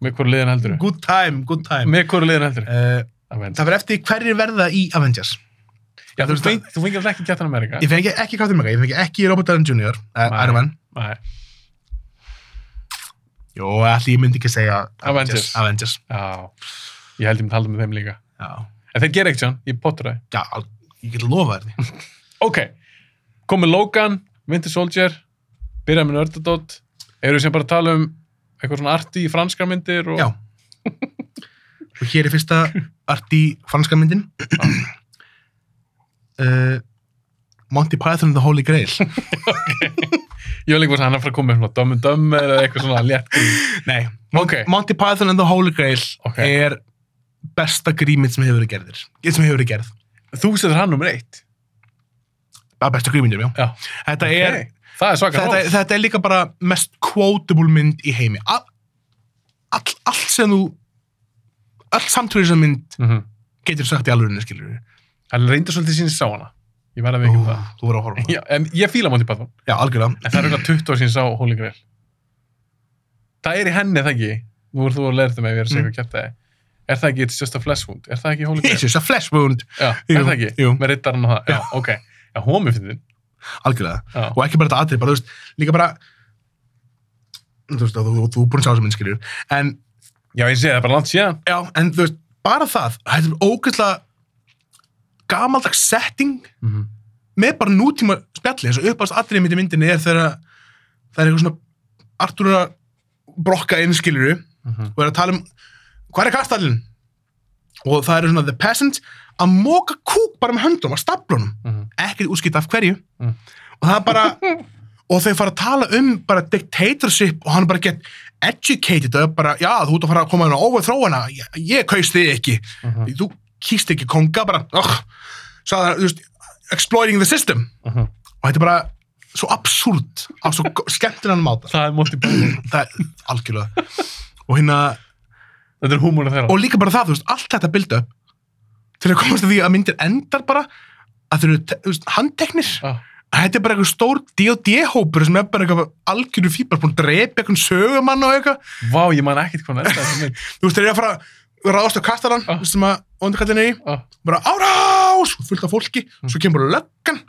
Speaker 1: með hverju liðin heldur?
Speaker 2: Good time, good time.
Speaker 1: Með hverju liðin heldur?
Speaker 2: Uh,
Speaker 1: Avengers.
Speaker 2: það verður eftir hverjir verða í Avengers.
Speaker 1: Já,
Speaker 2: þú
Speaker 1: þú,
Speaker 2: veist
Speaker 1: feng, þú fengir alltaf ekki Captain America.
Speaker 2: Ég fengi ekki Captain America, ég fengi ekki Robert Downey Jr. Uh,
Speaker 1: Nei.
Speaker 2: Iron Man.
Speaker 1: Nei,
Speaker 2: Jó, allir ég myndi ekki segja
Speaker 1: Avengers.
Speaker 2: Avengers.
Speaker 1: já. Ég held ég myndi halda með þeim líka.
Speaker 2: Já,
Speaker 1: En þeir gera ekkert John, ég potur það.
Speaker 2: já al- ég get lofa þér því.
Speaker 1: Ok, komið Logan, Winter Soldier, byrjað með nördadótt, eru sem bara að tala um eitthvað svona arti í franska myndir og...
Speaker 2: Já. Og hér er fyrsta art í franska myndin. uh, Monty Python and the Holy Grail.
Speaker 1: Ég vil ekki vera hann að fara að koma með svona Dumb and Dumb eða eitthvað svona létt grín.
Speaker 2: Nei.
Speaker 1: Ok.
Speaker 2: Monty Python and the Holy Grail
Speaker 1: Ok.
Speaker 2: er besta grímynd sem hefur verið gerðir. Sem hefur verið gerð.
Speaker 1: Þú setur hann nummer eitt.
Speaker 2: Að besta grímyndum, já.
Speaker 1: Já.
Speaker 2: Þetta er...
Speaker 1: Okay. Það er svaka
Speaker 2: þetta,
Speaker 1: hrós.
Speaker 2: þetta er líka bara mest quotable mynd í heimi all, all, allt sem þú allt samtrúið sem mynd
Speaker 1: Mhm.
Speaker 2: getur sagt í alvörinu skilur við
Speaker 1: Hann reyndi svolítið sín sá hana. Ég verði að veikja um það.
Speaker 2: þú voru að horfa á hana.
Speaker 1: Já, en ég fíla Monty Python.
Speaker 2: já, algjörlega,
Speaker 1: En það er eitthvað 20 ár sín sá Holy Grail. Það er í henni, er það ekki? Nú er þú að læra þetta með að ég er að segja
Speaker 2: Mm.
Speaker 1: hvað kæft það er. Er það ekki It's Just a Flesh Wound? Er það ekki
Speaker 2: [LAUGHS]
Speaker 1: Holy Grail?
Speaker 2: Jesus, a flesh wound
Speaker 1: Já, er
Speaker 2: Jú,
Speaker 1: það ekki?
Speaker 2: jú.
Speaker 1: Með rittarinn og það. Já, ok. Já, homi fyrir þinn.
Speaker 2: algjörlega,
Speaker 1: Já.
Speaker 2: og ekki bara þetta atrið bara, þú veist, líka bara þú veist, þú, þú, þú er búin að sjá þessa mynd skilur við. en,
Speaker 1: Já, ég sé það er bara langt síðan.
Speaker 2: já, en þú veist, bara það þetta er ógeðslega gamaldags setting
Speaker 1: Mm -hmm.
Speaker 2: með bara nútíma spjalli eins og uppáðast atriði mitt í myndinni er þegar það er eitthvað svona Artur er að brokka inn skiluru og er að tala um hvað er kastallin og það eru svona the peasant að móka kúk bara með höndum að staplunum ekkert útskipt af hverju
Speaker 1: Mm.
Speaker 2: og það er bara og þau fara að tala um bara dictatorship og hann er bara get educated og er bara, já, þú ert að fara að koma inn á óverþróana ég, ég kaust þig ekki þú kýst ekki konga bara, oh, svo það, þú veist exploiting the system
Speaker 1: Mhm.
Speaker 2: og þetta er bara svo absúrt á svo skemmtilegan máta
Speaker 1: Það er Monty Python.
Speaker 2: það er algjörlega og hérna,
Speaker 1: Þetta er húmónu þeirra.
Speaker 2: og líka bara það, þú veist, allt þetta build up til að komast að því að myndir endar bara að þeir eru, te- þú veist, handteknir
Speaker 1: Ah.
Speaker 2: þetta er bara eitthvað stór D&D-hópur sem er bara eitthvað algjöru fíbar búin að drepa eitthvað sögumann og eitthvað
Speaker 1: Vá, ég man ekkert hvað hann er þetta mynd.
Speaker 2: þú veist, þeir eru að fara að ráðast á kastaran
Speaker 1: Ah.
Speaker 2: sem að ondakallin er í,
Speaker 1: Ah.
Speaker 2: bara árás fullt af fólki, svo kemur bara löggan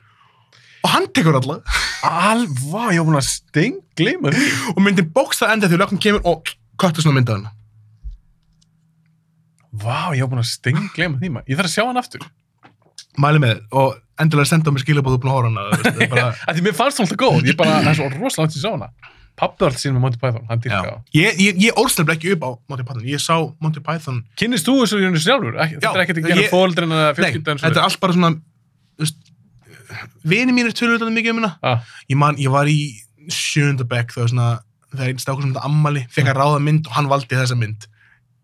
Speaker 2: og hann tekur alla
Speaker 1: Alvá, ég var búin að stenglima því.
Speaker 2: og myndin bókst það enda þegar löggan kemur og köttur svona myndaðina
Speaker 1: Vá, ég var búin að stenglima því maður. Ég þarf að sjá hann aftur.
Speaker 2: mæli með þér og endilega senda mér skilabóð úr blóður hana veist, það er bara,
Speaker 1: Af Því mér fannst hún alltaf góð. Ég bara, það er svo rosalega langt sem ég sá hana. Pappi var alltaf sín með Monty Python, hann
Speaker 2: já.
Speaker 1: dýrka á.
Speaker 2: ég, ég, ég orðslega ekki upp á Monty Python ég sá Monty Python
Speaker 1: Kynnist þú þessu í rauninu sjálfur? Ekki,
Speaker 2: Já,
Speaker 1: þetta er ekkert að gera
Speaker 2: ég-
Speaker 1: fóreldrin eða
Speaker 2: Nei,
Speaker 1: fjölskyldan
Speaker 2: þetta er allt bara svona þú veist, vini mínir tölur þetta mikið um hérna
Speaker 1: Ah,
Speaker 2: ég, man, ég var í sjöndabæk þegar svona þegar einn stákur sem þetta ammali fekk að ráða mynd og hann valdi þessa mynd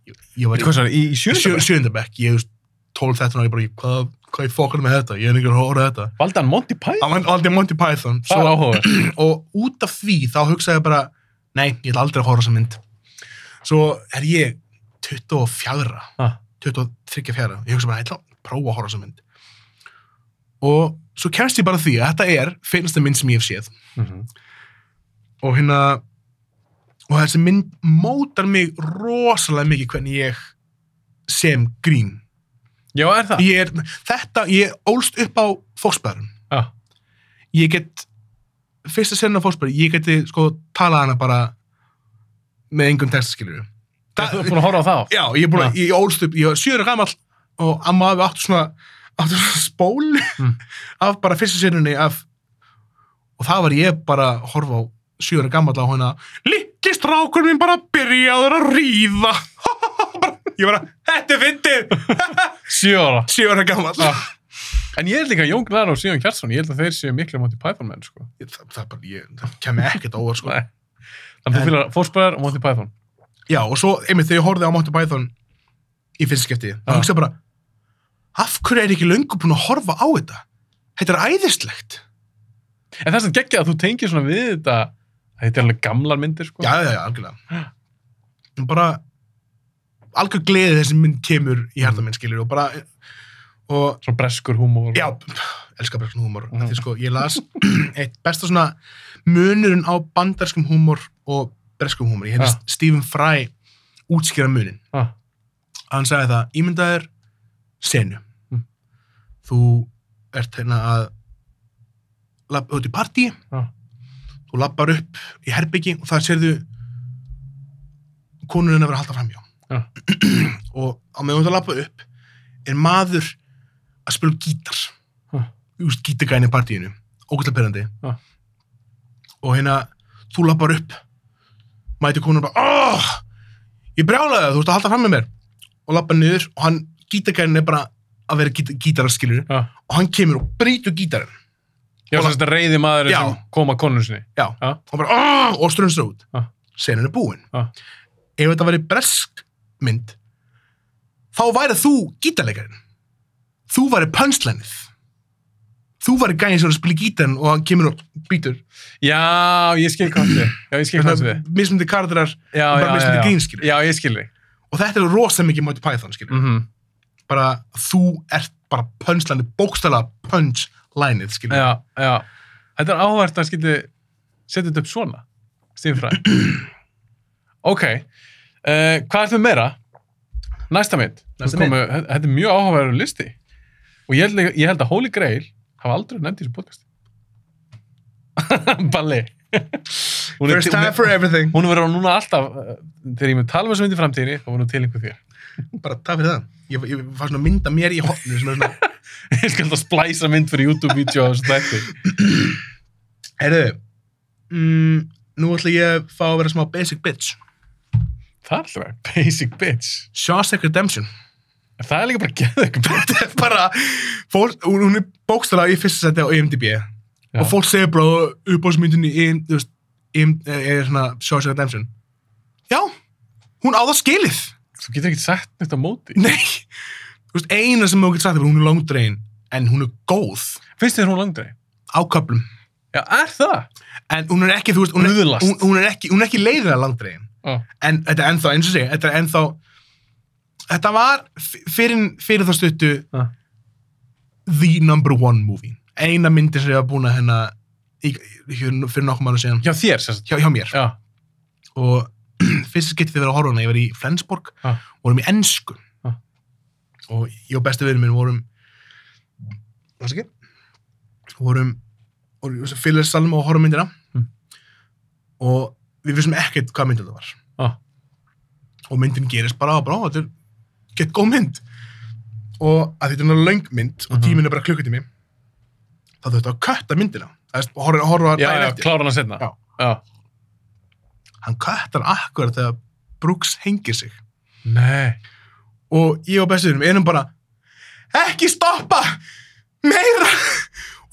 Speaker 2: ég, ég var
Speaker 1: Hvað svo, í,
Speaker 2: í
Speaker 1: í sjöndabæk?
Speaker 2: sjöndabæk ég veist 12-13 og ég bara ég, hvað, hvað ég fokkar með þetta, ég er einhver hóra þetta
Speaker 1: Valdi hann Monty Python?
Speaker 2: hann valdi- valdi Monty Python
Speaker 1: Það er áhuga.
Speaker 2: og út af því þá hugsaði ég bara nei, ég ætla aldrei að horfa á þessa mynd svo er ég 24
Speaker 1: Ah,
Speaker 2: 23 fjara, ég hugsa bara, ég ætla að prófa að horfa á þessa mynd og svo kemst ég bara að því að þetta er finnsta mynd sem ég hef séð
Speaker 1: mhm.
Speaker 2: og hérna og þessi mynd mótar mig rosalega mikið hvernig ég sem grín
Speaker 1: Já, er það?
Speaker 2: ég er, þetta, ég ólst upp á fósbærum
Speaker 1: Ah,
Speaker 2: ég get fyrsta senna fórsbæri, ég geti sko talað hana bara með engum textaskilur
Speaker 1: Þa, þú er búin að horfa á það?
Speaker 2: já, ég er búin
Speaker 1: Já.
Speaker 2: að, ég ólst upp ég var sjöður gamall og amma hafi átt svona átt svona spól
Speaker 1: Mm.
Speaker 2: [LAUGHS] af bara fyrsta sennunni af og það var ég bara að horfa á sjöður gamall á hana litli strákur minn bara byrjaður að ríða [LAUGHS] ég bara, þetta er fyndið
Speaker 1: Sjö ára.
Speaker 2: sjöður gamall
Speaker 1: Ah. En ég er líka Jón Gnar og Síðan Kjartsson, ég held að þeir séu miklu Monty Python menn, sko.
Speaker 2: það, það, bara, ég, það kemur ekkert á óvart sko
Speaker 1: Nei. Þannig að þú
Speaker 2: En-
Speaker 1: fylgir fórspæðar og Monty Python.
Speaker 2: já, og svo einmitt þegar ég horfði á Monty Python í fyrsta skipti, þá
Speaker 1: Já.
Speaker 2: hugsa ég bara af hverju er ég ekki löngu búin að horfa á þetta? Þetta er æðislegt
Speaker 1: En það er sem geggja að þú tengir svona við þetta Þetta er alveg gamlar myndir sko
Speaker 2: Já, já, já, algjörlega En bara algjör gleði þessi mynd kemur í hjarta minn skilur og bara og
Speaker 1: Svo breskur húmór
Speaker 2: já, elskar bara svona húmor
Speaker 1: Mhm.
Speaker 2: því sko, ég las [CLEARS THROAT] eitt besta svona munurinn á bandarskum húmor og breskum húmor, ég hefði
Speaker 1: Ah.
Speaker 2: ah. Stephen Fry útskýra munin
Speaker 1: ah,
Speaker 2: hann sagði það, ímyndaðir senu
Speaker 1: Mm.
Speaker 2: þú ert hérna að lappa út í partí
Speaker 1: ah.
Speaker 2: þú lappar upp í herbyggi og það sérðu konurinn að vera að halda framhjá
Speaker 1: Já.
Speaker 2: [CLEARS THROAT] og á meðan þú ert að lappa upp er maður að spila á gítar
Speaker 1: Já.
Speaker 2: úst gítargæni í partíinu ógæslega perandi
Speaker 1: Já.
Speaker 2: og hérna þú lappar upp mæti konurinn bara oh, ég brjálaði það, þú ert að halda fram með mér og lappa niður og hann gítargænin er bara að vera gít gítararskilur
Speaker 1: Já.
Speaker 2: og hann kemur og breytur gítarinn
Speaker 1: Já, sem þetta reyði maður
Speaker 2: Já.
Speaker 1: sem kom að konun sinni
Speaker 2: Já,
Speaker 1: Já.
Speaker 2: og bara "Ah!" og strunsa út
Speaker 1: Já.
Speaker 2: senan er búin
Speaker 1: Já.
Speaker 2: ef þetta væri bresk mynd þá væri þú gítarleikarinn þú væri pönslænið þú væri gæðin sem er að spila í gítarinn og hann kemur og býtur
Speaker 1: Já, ég skil hvað þetta er. Já, ég skil hvað þetta er.
Speaker 2: mismundi Hérna, karakterar
Speaker 1: Já,
Speaker 2: Bara
Speaker 1: já,
Speaker 2: mismunandi
Speaker 1: já, já.
Speaker 2: grín, skilur.
Speaker 1: Já, ég skil þig.
Speaker 2: og þetta er rosa mikið mæti Python skilur
Speaker 1: Mm
Speaker 2: bara þú ert bara pönslænið bókstæla pönslænið skilur
Speaker 1: Já, já. Þetta er áhvert að skildi setja þetta upp svona, Stífræ.
Speaker 2: [CLEARS THROAT]
Speaker 1: ok, uh, hvað ertu með meira? Næsta mynd.
Speaker 2: Næsta
Speaker 1: Þú komu- Þetta þetta er mjög áhugaverður listi. Og ég held, ég held að Holy Grail hafa aldrei nefnt í þessu podcasti. [LAUGHS] Balli. Hún er
Speaker 2: first
Speaker 1: til- hún
Speaker 2: time
Speaker 1: er-
Speaker 2: for everything
Speaker 1: Hún verður núna alltaf, eh, þegar ég mun tala um þessu mynd í framtíðinni, þá verður hún til einhver þér. [LAUGHS]
Speaker 2: bara það fyrir það ég, ég var svona að mynda mér í hotnu sem er svona
Speaker 1: ég skal alltaf splæsa mynd fyrir YouTube-vídeó á þessu þætti.
Speaker 2: [LAUGHS] Herðu, mm, nú ætla ég að fá að vera smá basic bitch.
Speaker 1: Það er alltaf bara basic bitch.
Speaker 2: Shawshank Redemption. [LAUGHS]
Speaker 1: En Það er líka bara geðveik bitch.
Speaker 2: Þetta er bara, fólk, hún hún er bókstala í fyrsta seti á IMDb.
Speaker 1: Já.
Speaker 2: Og fólk segir bara uppáhaldsmyndinni í, þú veist, im, er svona Shawshank Redemption. Já, hún á það skilið. [LAUGHS]
Speaker 1: Þú getur ekkert sagt neitt á móti.
Speaker 2: Nei, þú veist, eina sem þú getur sagt er bara hún er langdregin, en hún er góð
Speaker 1: Finnst þér hún langdreið?
Speaker 2: á köplum.
Speaker 1: Já, er það?
Speaker 2: En hún er ekki, þú veist, hún er,
Speaker 1: Bruðlast.
Speaker 2: hún, hún er ekki, hún er ekki leiðilega langdregin.
Speaker 1: Ó,
Speaker 2: en þetta er ennþá, eins og segja, þetta er ennþá þetta var f- fyrir, fyrir þá stuttu
Speaker 1: Ah.
Speaker 2: the number one movie eina myndi sem ég var búin að hérna í, í- hérna fyrir nokkuð mánu síðan
Speaker 1: Hjá þér, sem sagt.
Speaker 2: hjá, hjá mér
Speaker 1: Já,
Speaker 2: og [CLEARS THROAT] fyrst getið þið verið að horfa á hana, ég var í Flensborg
Speaker 1: Ah.
Speaker 2: vorum í ennsku
Speaker 1: Ah.
Speaker 2: og ég og bestu viðurinn minn vorum það sé ekki vorum og fyrir salm og horfa á myndina
Speaker 1: Mm.
Speaker 2: og við vissum ekkert hvað myndin það var
Speaker 1: ó,
Speaker 2: og myndin gerist bara á bara, "Ó, þetta er gett góð mynd og að þetta er náttúrulega löng mynd og
Speaker 1: Mhm.
Speaker 2: tíminn er bara klukkutími þá þurftu að kötta myndina Það er- og horfa, horfa
Speaker 1: já,
Speaker 2: daginn
Speaker 1: já,
Speaker 2: eftir
Speaker 1: klára hana setna.
Speaker 2: Já.
Speaker 1: já.
Speaker 2: hann köttar akkur þegar Brooks hengir sig
Speaker 1: Nei.
Speaker 2: og ég og bestuðurum erum bara ekki stoppa meira [LAUGHS]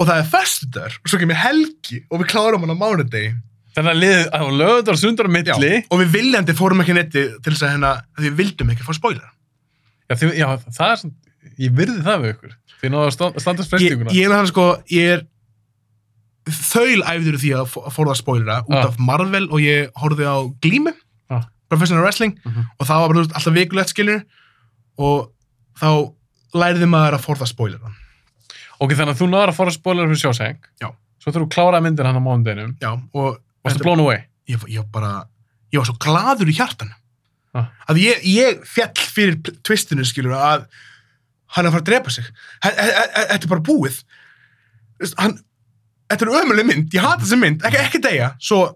Speaker 2: og það er föstudagur og svo kemur helgi og við klárum hann á mánudegi
Speaker 1: Þannig að liðið, að hún lögður sundar á
Speaker 2: Já,
Speaker 1: milli. Já.
Speaker 2: og við viljandi fórum ekki netti til þess að hérna, við vildum ekki fá spoiler
Speaker 1: Já, þið, já, það er svona, ég virði það við ykkur. Þið náðu að stand- standast
Speaker 2: ég,
Speaker 1: freystinguna.
Speaker 2: ég er hann sko ég er þaulæfður í því að fó- að forða spoilera út
Speaker 1: Ah.
Speaker 2: af Marvel og ég horfði á Glímu
Speaker 1: Ah.
Speaker 2: Professional Wrestling
Speaker 1: Mhm.
Speaker 2: og það var bara þú veist, alltaf vikulegt skilur og þá læriði maður að forða spoilera
Speaker 1: Ok, þannig að þú náður að fara að spóla fyrir sjóseng.
Speaker 2: Já.
Speaker 1: Svo þurfum að klára myndin hann á mánudeginum.
Speaker 2: já og
Speaker 1: Varstu
Speaker 2: þetta-
Speaker 1: blown away?
Speaker 2: ég, var- ég var bara ég var svo gladur í hjartan
Speaker 1: Ah.
Speaker 2: að ég, ég fjall fyrir pl- twistinu skilur að hann er að fara að drepa sig He- he- he- he- þetta er bara búið Þú veist, hann, þetta er ömuleg mynd, ég hata þessi mynd ekki, ekki degja, svo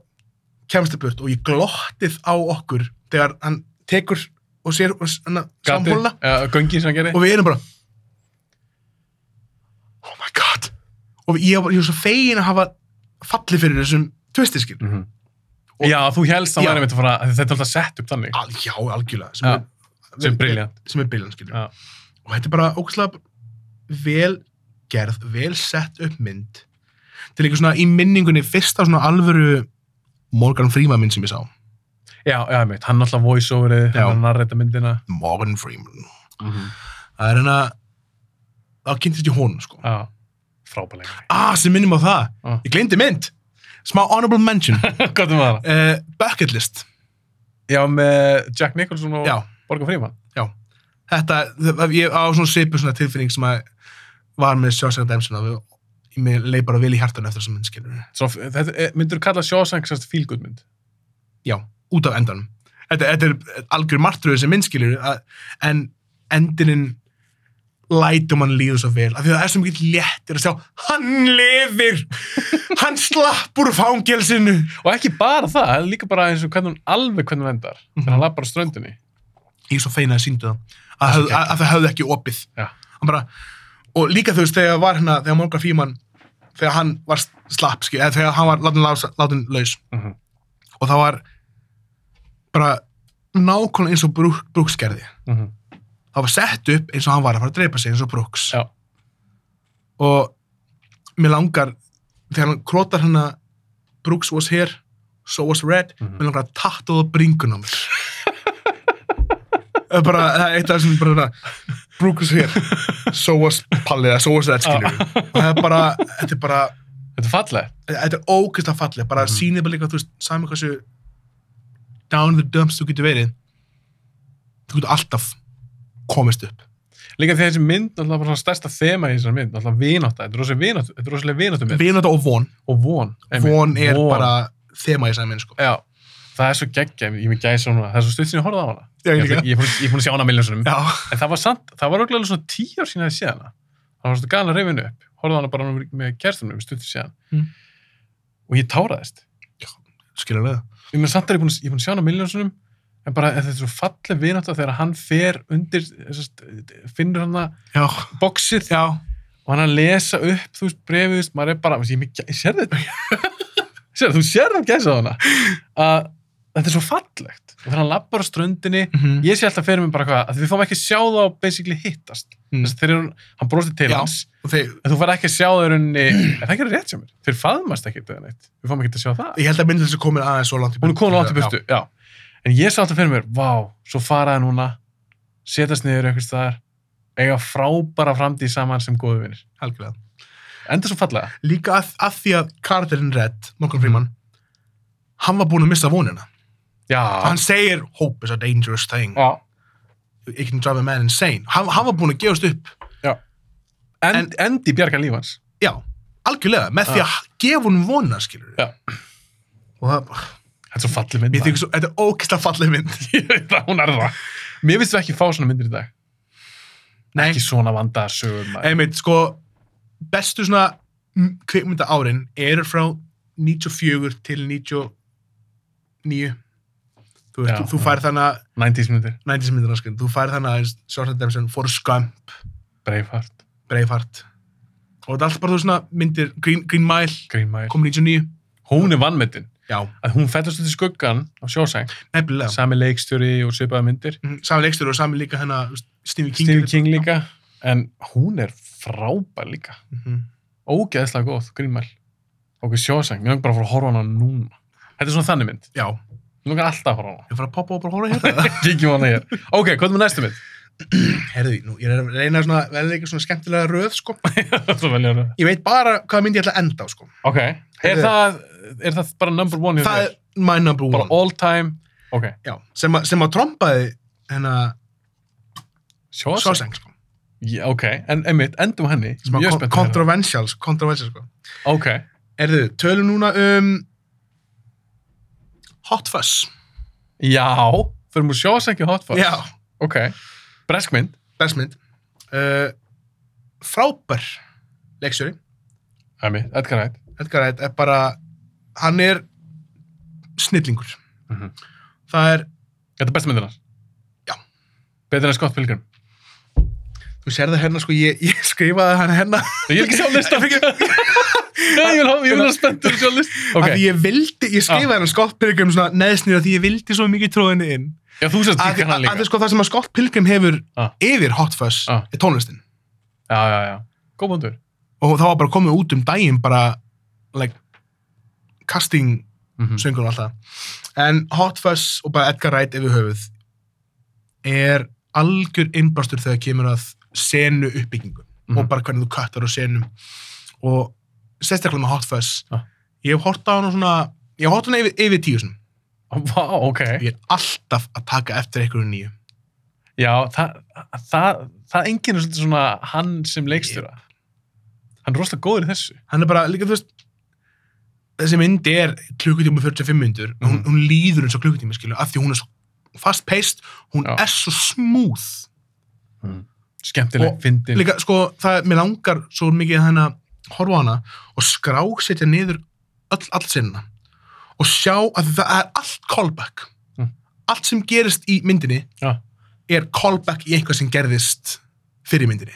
Speaker 2: kemst það burt og ég glottið á okkur þegar hann tekur og sér og s- hana,
Speaker 1: Gatið,
Speaker 2: samhóluna
Speaker 1: já, göngin sem hann gerði.
Speaker 2: og við erum bara oh my god og ég, var- ég var svo fegin að hafa fallið fyrir þessum twistiskil
Speaker 1: Mm -hmm.
Speaker 2: Og-
Speaker 1: Já, þú helst að
Speaker 2: Já. Ah,
Speaker 1: væri mitt að fara, þetta er alltaf sett upp þannig,
Speaker 2: Al, já, algjörlega sem
Speaker 1: Já,
Speaker 2: er,
Speaker 1: sem er brilljant.
Speaker 2: sem er brilliant, skilur
Speaker 1: Já.
Speaker 2: og þetta er bara ógæslega vel gerð, vel sett upp mynd til eitthvað svona í minningunni fyrsta svona alvöru Morgan Freeman mynd sem ég sá
Speaker 1: Er Já, já, mitt, hann alltaf voice-overið,
Speaker 2: Já. Mhm.
Speaker 1: hann er að narrita myndina.
Speaker 2: Morgan Freeman það er hérna þá kynntist ég honum sko
Speaker 1: Já,
Speaker 2: [LAUGHS]
Speaker 1: frábælega.
Speaker 2: ah, sem minnum á það,
Speaker 1: Ah.
Speaker 2: ég glemdi mynd smá honorable
Speaker 1: [LAUGHS]
Speaker 2: mention
Speaker 1: Hvað er það?
Speaker 2: uh, bucket list
Speaker 1: Já, með Jack Nicholson og
Speaker 2: já,
Speaker 1: Borga Fríman.
Speaker 2: þetta, það- ég á svona svipu svona tilfinning sem að var með Sjósæk Dæmsson að ég mig leið bara vel í hjartan eftir þessum myndskilur
Speaker 1: Svo, þetta, er- myndirðu kalla Shawshank sérst feel-good mynd?
Speaker 2: já, út af endanum þetta, þetta er algjör martröðu sem myndskilur en endinin lætum hann líða svo vel af því að það er svo mikið léttir að sjá hann lifir, hann slapp úr fangelsinu
Speaker 1: Og ekki bara það, það er líka bara eins og hvernig hún alveg hvernig hún endar. Mm
Speaker 2: Mhm.
Speaker 1: hann lappar á ströndinni.
Speaker 2: ég er svo feina að síndu það að, að, að það höfðu ekki opið
Speaker 1: Já.
Speaker 2: Hann bara, og líka þú veist þegar var hérna þegar Morgan Freeman þegar hann var slapp skil, eða þegar hann var látin, lása, látin laus
Speaker 1: Mhm.
Speaker 2: og það var bara nákvæmlega eins og brúk, brúkskerði
Speaker 1: Mm
Speaker 2: það var sett upp eins og hann var að fara að dreipa sig eins og brúks
Speaker 1: Já.
Speaker 2: og mér langar þegar hann krotar hana brúks was here, so was red
Speaker 1: Mhm.
Speaker 2: mér langar að tattu það bringun á mér Það er bara, það er eitt af þessum bara svona, Brooke was here, so was Palli eða so was that skilur
Speaker 1: Ah.
Speaker 2: við. og það er bara, þetta er bara
Speaker 1: Þetta er fallega.
Speaker 2: þetta er ógeðslega fallið, bara
Speaker 1: Mhm.
Speaker 2: mm. sýnir bara líka, þú veist, sami hversu down in the dumps þú getur verið þú getur alltaf komist upp
Speaker 1: Líka því að þessi mynd, alltaf bara svona stærsta þema í þessari mynd, alltaf vinátta. Þetta er rosalega vinátta, þetta er rosalega vinátta mynd.
Speaker 2: vinata og von,
Speaker 1: og von. einmitt.
Speaker 2: von er bara þema í þessari minn, sko
Speaker 1: Já, það er svo geggja, ég mér gæði svona, það er svo stutt sem ég horfði á hana. Ég,
Speaker 2: Já, ég
Speaker 1: ég,
Speaker 2: líka.
Speaker 1: ég, er búinn- ég er búin að sjá hana miljónsunum.
Speaker 2: Já,
Speaker 1: En það var samt, það var örglega svona tíu ár síðan að ég séð hana. Það var svona gana reyfinu upp. Horfði á hana bara með kerstunum, stutt sem séð hana.
Speaker 2: Mm.
Speaker 1: Og ég táraðist.
Speaker 2: skiljulega
Speaker 1: Ég meina samt er ég búin að, ég er búin að sjá hana miljónsunum, en bara en þetta er svo falleg vinátt þegar hann fer undir, sest, finnur hann að
Speaker 2: Já,
Speaker 1: boxið
Speaker 2: já,
Speaker 1: og hann að lesa upp, þú veist, brefið, þú veist, maður er bara, þú veist, ég, ég, ég sér þetta. sér, þú sér þetta gæsa hana. Að þetta er svo fallegt. Og þegar hann lappar á ströndinni,
Speaker 2: mhm,
Speaker 1: ég sé alltaf fyrir mig bara hvað, að við fáum ekki að sjá það og basically hittast.
Speaker 2: Mm.
Speaker 1: Þess að þeir eru, hann brosti til
Speaker 2: Já.
Speaker 1: hans,
Speaker 2: og þeir
Speaker 1: en þú fær ekki að sjá það í rauninni,
Speaker 2: [CLEARS THROAT]
Speaker 1: en það er ekki rétt hjá mér. Þeir faðmast ekki þetta neitt. Við fáum ekki að sjá það.
Speaker 2: Ég held að myndin þessi komin aðeins svo langt í sko.
Speaker 1: Hún er komin átt í
Speaker 2: Já.
Speaker 1: burtu, já. En ég sé alltaf fyrir mér, vá, svo faraði núna, setast niður einhvers staðar, eiga frábæra framtíð saman sem góðu vinir.
Speaker 2: Algjörlega.
Speaker 1: Enda svo fallega.
Speaker 2: Líka að, að því að karakterinn Red,
Speaker 1: Mhm.
Speaker 2: Morgan Freeman, hann var búinn að missa vonina.
Speaker 1: Já.
Speaker 2: Hann segir, hope is a dangerous thing.
Speaker 1: já.
Speaker 2: It can drive a man insane. Hann, hann var búinn að gefast upp.
Speaker 1: En,
Speaker 2: En-
Speaker 1: endi bjarga lífans.
Speaker 2: Já, algjörlega, með því
Speaker 1: Já.
Speaker 2: að gefa hún vona, skilur við.
Speaker 1: Já.
Speaker 2: Og það,
Speaker 1: Þetta er svo falleg mynd.
Speaker 2: mér þykir svo, þetta er ókista falleg mynd.
Speaker 1: [LAUGHS] Ég veit að hún er það. Mér finnst við ekki fá svona myndir í dag.
Speaker 2: Nei.
Speaker 1: Ekki svona vandaðar sögum. maður.
Speaker 2: Einmitt, sko, bestu svona mm, kvikmynda árin eru frá 94 til 99. Þú veist,
Speaker 1: Já.
Speaker 2: þú, þú fær þannig að
Speaker 1: 90s myndir.
Speaker 2: 90s myndina skil, sko, þú færð þannig aðeins Sjórnætt Dempsson, Forrest Gump,
Speaker 1: Braveheart,
Speaker 2: Braveheart og þetta er alltaf bara þú svona myndir Green, Green Mile,
Speaker 1: Green Mile.
Speaker 2: komin 99
Speaker 1: Hún er vannmyndin.
Speaker 2: já,
Speaker 1: Að hún fættast út í skuggan á sjósæng.
Speaker 2: nefnilega,
Speaker 1: Sami leikstjóri og svipaða myndir.
Speaker 2: Mhm, sami leikstur og sami líka hérna, hennar Stevie King,
Speaker 1: Stephen King líka. En hún er frábær líka.
Speaker 2: Mhm.
Speaker 1: Ógeðslega góð, Green Mile. Og sjósæng. Mér langar bara að fara að horfa á hana núna. Þetta er svona þannig mynd.
Speaker 2: já,
Speaker 1: Mér langar alltaf að horfa á
Speaker 2: [LAUGHS]
Speaker 1: hana.
Speaker 2: ég fara að poppa og bara hóra [LAUGHS] hérna
Speaker 1: Kikki á hana hér. Ok, hvað er með næstu mynd?
Speaker 2: herði, nú, ég er að reyna svona vel eitthvað svona skemmtilega röð, sko
Speaker 1: Þú velja hana.
Speaker 2: ég veit bara hvað myndi ég ætla að enda á, sko
Speaker 1: Ok, er
Speaker 2: Heyrðu.
Speaker 1: það, er það bara number one hjá
Speaker 2: það
Speaker 1: þér?
Speaker 2: er my number
Speaker 1: Bara
Speaker 2: one
Speaker 1: all time? Ok,
Speaker 2: já, sem, að- sem að trompaði hennar
Speaker 1: Shawshank?
Speaker 2: Sjórnætt, sko
Speaker 1: Já, Ok, en einmitt, endum á henni.
Speaker 2: sem
Speaker 1: Mjög hérna.
Speaker 2: að
Speaker 1: spennt. að heyra.
Speaker 2: kontroversial, kontroversial, sko
Speaker 1: Ok,
Speaker 2: Erðu, tölum núna um Hot Fuzz.
Speaker 1: já, fyrir múið Shawshank í Hot Fuzz.
Speaker 2: Já,
Speaker 1: Ok, breskmynd.
Speaker 2: bestmynd. Uh, frábær leikstjóri.
Speaker 1: Einmitt, Edgar Wright.
Speaker 2: Edgar Wright er bara, hann er snillingur.
Speaker 1: Mhm.
Speaker 2: Það er,
Speaker 1: Þetta er besta myndin hans.
Speaker 2: Já.
Speaker 1: Betur en Scott Pilgrim.
Speaker 2: þú sér það hérna, sko, ég, ég skrifaði hann hérna.
Speaker 1: Nei, Ég vil ekki sjá lista.
Speaker 2: [LAUGHS] Ég-
Speaker 1: Nei, ég vil hafa, ég vil hafa spenntur að sjá lista.
Speaker 2: Af því
Speaker 1: Ok,
Speaker 2: ég vildi, ég skrifaði hann Scott Pilgrim svona neðsnýra því ég vildi svo mikið tróðinni inn.
Speaker 1: já, þú sérst
Speaker 2: Af því
Speaker 1: ekki hann
Speaker 2: af því,
Speaker 1: líka.
Speaker 2: sko það sem að Scott Pilgrim hefur
Speaker 1: Ah.
Speaker 2: yfir Hot Fuzz
Speaker 1: Ah.
Speaker 2: er tónlistin.
Speaker 1: Já, já, já. Góð búndur.
Speaker 2: og það var bara komið út um daginn bara like casting
Speaker 1: Mhm.
Speaker 2: söngur og alltaf En Hot Fuzz og bara Edgar Wright yfir höfuð er algjör innbástur þegar kemur að senu uppbyggingu
Speaker 1: Mhm.
Speaker 2: og bara hvernig þú kattar á senum og sérstaklega með Hot Fuzz
Speaker 1: Ah.
Speaker 2: ég hef hort á hann svona ég hef hort hann yfir, yfir tíu sinum
Speaker 1: Vá, ok.
Speaker 2: ég er alltaf að taka eftir einhverju nýju
Speaker 1: Já, það, það, það enginn er svolítið svona hann sem leikstjóra. Hann er rosalega góður í þessu.
Speaker 2: hann er bara líka þú veist þessi myndi er klukkutíma og 45 myndur hún,
Speaker 1: Mhm.
Speaker 2: hún líður eins og klukkutíma skilu af því hún er svo fast paced hún
Speaker 1: Já.
Speaker 2: er svo smúð
Speaker 1: Skemmtileg,
Speaker 2: Og
Speaker 1: fyndin.
Speaker 2: líka sko það mér langar svo mikið að hana horfa á hana og skrásetja niður öll, öll sinna og sjá að það er allt callback
Speaker 1: Mm.
Speaker 2: allt sem gerist í myndinni
Speaker 1: Já.
Speaker 2: er callback í eitthvað sem gerðist fyrir myndinni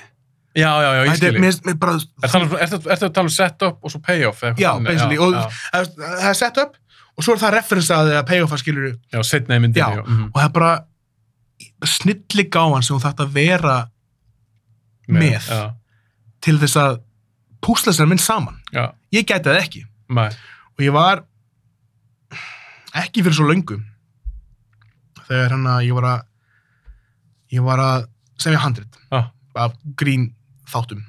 Speaker 1: Já, já, já, ég
Speaker 2: Þetta er,
Speaker 1: skilji.
Speaker 2: mér, mér bara,
Speaker 1: Ertu að tala um- ertu- ertu að tala um set-up og svo payoff? eða eitthvað
Speaker 2: Já,
Speaker 1: þannig?
Speaker 2: basically,
Speaker 1: Mm, Já,
Speaker 2: og-
Speaker 1: já.
Speaker 2: það er- það er set up og svo er það referensaði að payoffa skilur
Speaker 1: Já, setna í myndinni.
Speaker 2: Já.
Speaker 1: Já. mhm.
Speaker 2: og það er bara snilli gáan sem hún þarf að vera með.
Speaker 1: Já,
Speaker 2: til þess að púsla sér minn saman
Speaker 1: já,
Speaker 2: ég gæti það ekki
Speaker 1: mæ.
Speaker 2: og ég var ekki fyrir svo löngu þegar hann að ég var að ég var að semja handrit
Speaker 1: Já.
Speaker 2: af grín þáttum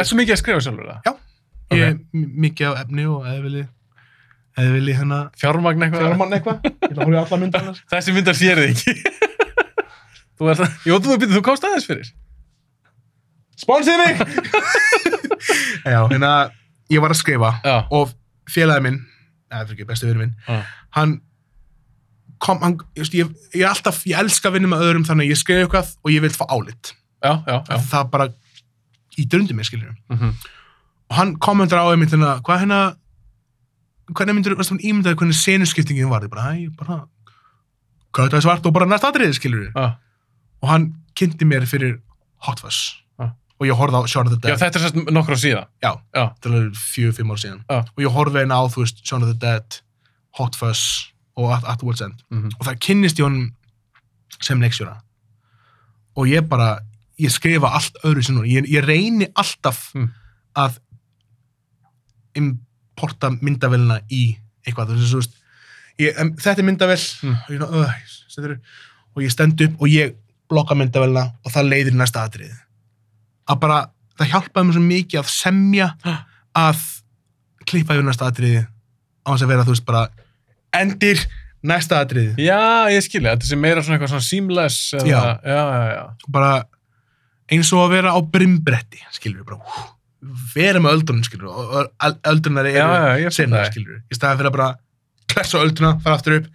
Speaker 1: Er Ah. svo mikið að skrifa sjálfur það?
Speaker 2: Já. ég er m- mikið af efni og eðvili eðvili hérna
Speaker 1: Fjármagn eitthvað?
Speaker 2: fjármann eitthvað ég ætla að horfa í alla myndar annars
Speaker 1: Þessi myndar sér þið ekki. þú er það... Jó, þú, þú komst aðeins fyrir.
Speaker 2: sponsið mig já hérna ég var að skrifa
Speaker 1: Já.
Speaker 2: og félagi minn eða fyrir ekki bestu vinur minn
Speaker 1: Já.
Speaker 2: hann kom, hann, ég, veist, ég, ég, er alltaf, ég elska að vinna með öðrum þannig að ég skrifa eitthvað og ég vil fá álit
Speaker 1: Já, já, já.
Speaker 2: það bara ítir undir mér skilur
Speaker 1: Mhm.
Speaker 2: og hann kommentar á einmitt hérna, hvað hérna hvernig myndir, veist hann ímyndaði hvernig senuskiptingin var, ég bara, hæ, bara hvað þetta er svart og bara næst atriðið skilur
Speaker 1: Já.
Speaker 2: og hann kynnti mér fyrir Hot Fuzz
Speaker 1: Já.
Speaker 2: og ég horfði á Shaun of the
Speaker 1: Já,
Speaker 2: Dead
Speaker 1: þetta er sérst nokkur á síðan.
Speaker 2: til að fjögur, fimm ár síðan
Speaker 1: Já.
Speaker 2: og ég horfði einn á, þú veist, Shaun of the Dead Hot Fuzz og At, At the World's End
Speaker 1: Mhm.
Speaker 2: og það kynnist ég honum sem leikstjóra og ég bara, ég skrifa allt öðru sem núna, ég, ég reyni alltaf
Speaker 1: Mm.
Speaker 2: að importa myndavélina í eitthvað, þú veist, þú veist ég, em, þetta er myndavél
Speaker 1: Mm.
Speaker 2: og, ég, ná- öh, setur- og ég stend upp og ég blokka myndavélina og það leiðir í næsta atrið að bara, það hjálpaði mér svo mikið að semja
Speaker 1: Ha.
Speaker 2: að klippa yfir næsta atrið á þess að vera, þú veist, bara endir næsta atrið
Speaker 1: Já, ég skilja. Þetta sé meira svona eitthvað svona seamless. Eða... Já,
Speaker 2: Já.
Speaker 1: já, já.
Speaker 2: bara eins og að vera á brimbretti skilur við bara hú, vera með öldrunum skilur við og öl- öldrunar
Speaker 1: Já,
Speaker 2: eru
Speaker 1: já, ég finn
Speaker 2: sinna
Speaker 1: það.
Speaker 2: skilur við í staðan fyrir að bara klessa á öldruna, fara aftur upp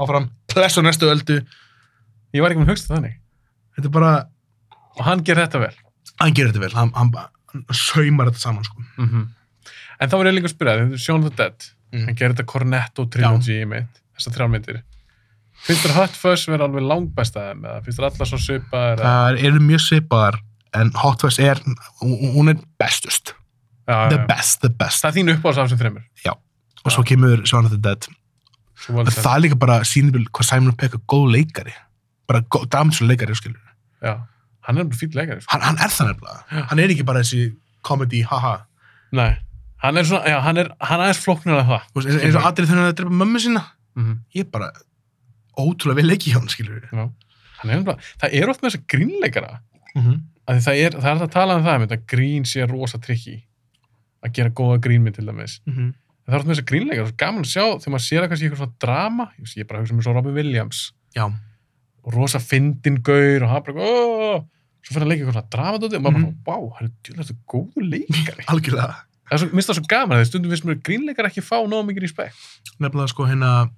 Speaker 2: áfram, klessa á næstu öldu
Speaker 1: Ég var ekki með að hugsa þannig.
Speaker 2: þetta er bara,
Speaker 1: Og hann ger þetta vel.
Speaker 2: hann gerir þetta vel hann, hann, bara- hann saumar þetta saman sko
Speaker 1: Mhm. En þá var ég líka að spyrja þig, þetta er Shaun of the Dead.
Speaker 2: Mm.
Speaker 1: Hann gerir þetta Cornetto trilogy í mitt, þessar þrjár myndir. Finnst þér Hot Fuzz vera alveg langbæstaði með það? Finnst þér allar svona svipaðar? eða-
Speaker 2: það eru mjög svipaðar en Hot Fuzz er, hún hún er bestust
Speaker 1: Já,
Speaker 2: the
Speaker 1: já, já.
Speaker 2: best, the best
Speaker 1: Það er þín uppáhalds af þessum þreymur.
Speaker 2: og svo kemur Shaun of the Dead
Speaker 1: Svo var
Speaker 2: en
Speaker 1: þetta-
Speaker 2: það er líka bara sýnibil hvað Simon Peck er góð leikari bara góð, damsur leikari skilur
Speaker 1: Já. Hann er bara fýll leikari. sko.
Speaker 2: hann, hann er það nefnilega hann er ekki bara þessi comedy haha
Speaker 1: Nei. Hann er svona, já, hann er, hann er aðeins flóknur að það.
Speaker 2: Þú veist, eins, eins og aðrið þegar hann er að drepa mömmu sína
Speaker 1: Mm
Speaker 2: ég er bara ótrúlega vel ekki hjá hann skilur við
Speaker 1: Hann er bara, það er oft með þessa grínleikara.
Speaker 2: mm -hmm.
Speaker 1: að það er, það er hægt að tala um það einmitt, að grín sé rosa trikki að gera góða grínmynd til dæmis
Speaker 2: mm -hmm.
Speaker 1: en það er alltaf með þess að grínleika, það er svo gaman að sjá þegar maður sér að kannski eitthvað svona drama ég veist, ég er bara að hugsa mér svo Robin Williams
Speaker 2: já,
Speaker 1: og rosa fyndin gaur og hann bara "Åh!" svo fyrir að leika eitthvað svona dramadóti og maður
Speaker 2: Mhm.
Speaker 1: bara, vá, hann er djúlega þetta góður leikari
Speaker 2: algjörlega
Speaker 1: það er svo, minnst það svo gaman, þegar stundum finnst mér grínleikar ekki fá nóg mikið respekt
Speaker 2: nefnilega sko hérna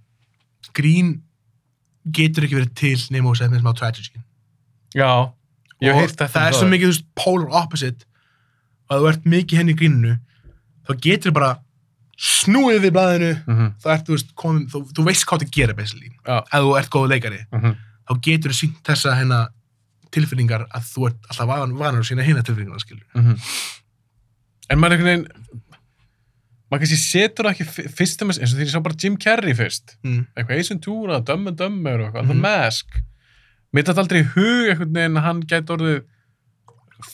Speaker 2: grín getur ekki verið til nema og segja með smá tragedy
Speaker 1: já, ég
Speaker 2: Og
Speaker 1: hef heyrt þetta
Speaker 2: það er
Speaker 1: um
Speaker 2: svo mikið þú veist polar opposite og að þú ert mikið henni í gríninu þá getur bara snúið við blaðinu
Speaker 1: Mhm,
Speaker 2: þá ert þú veist komin, þú, þú veist hvað það gera basically,
Speaker 1: Já.
Speaker 2: ef þú ert góð leikari
Speaker 1: mhm.
Speaker 2: þá getur þú sínt þessa hérna tilfinningar að þú ert alltaf van, vanar að sína hérna tilfinningar, skilur.
Speaker 1: Mhm. En maður einhvern veginn maður kannski setur það ekki fi- fyrst um, eins og því ég sá bara Jim Carrey fyrst
Speaker 2: Mm.
Speaker 1: eitthvað Ace Ventura, Dumb and Dumber og eitthvað,
Speaker 2: Mhm.
Speaker 1: The Mask mér þetta aldrei í hug einhvern veginn að hann gæti orðið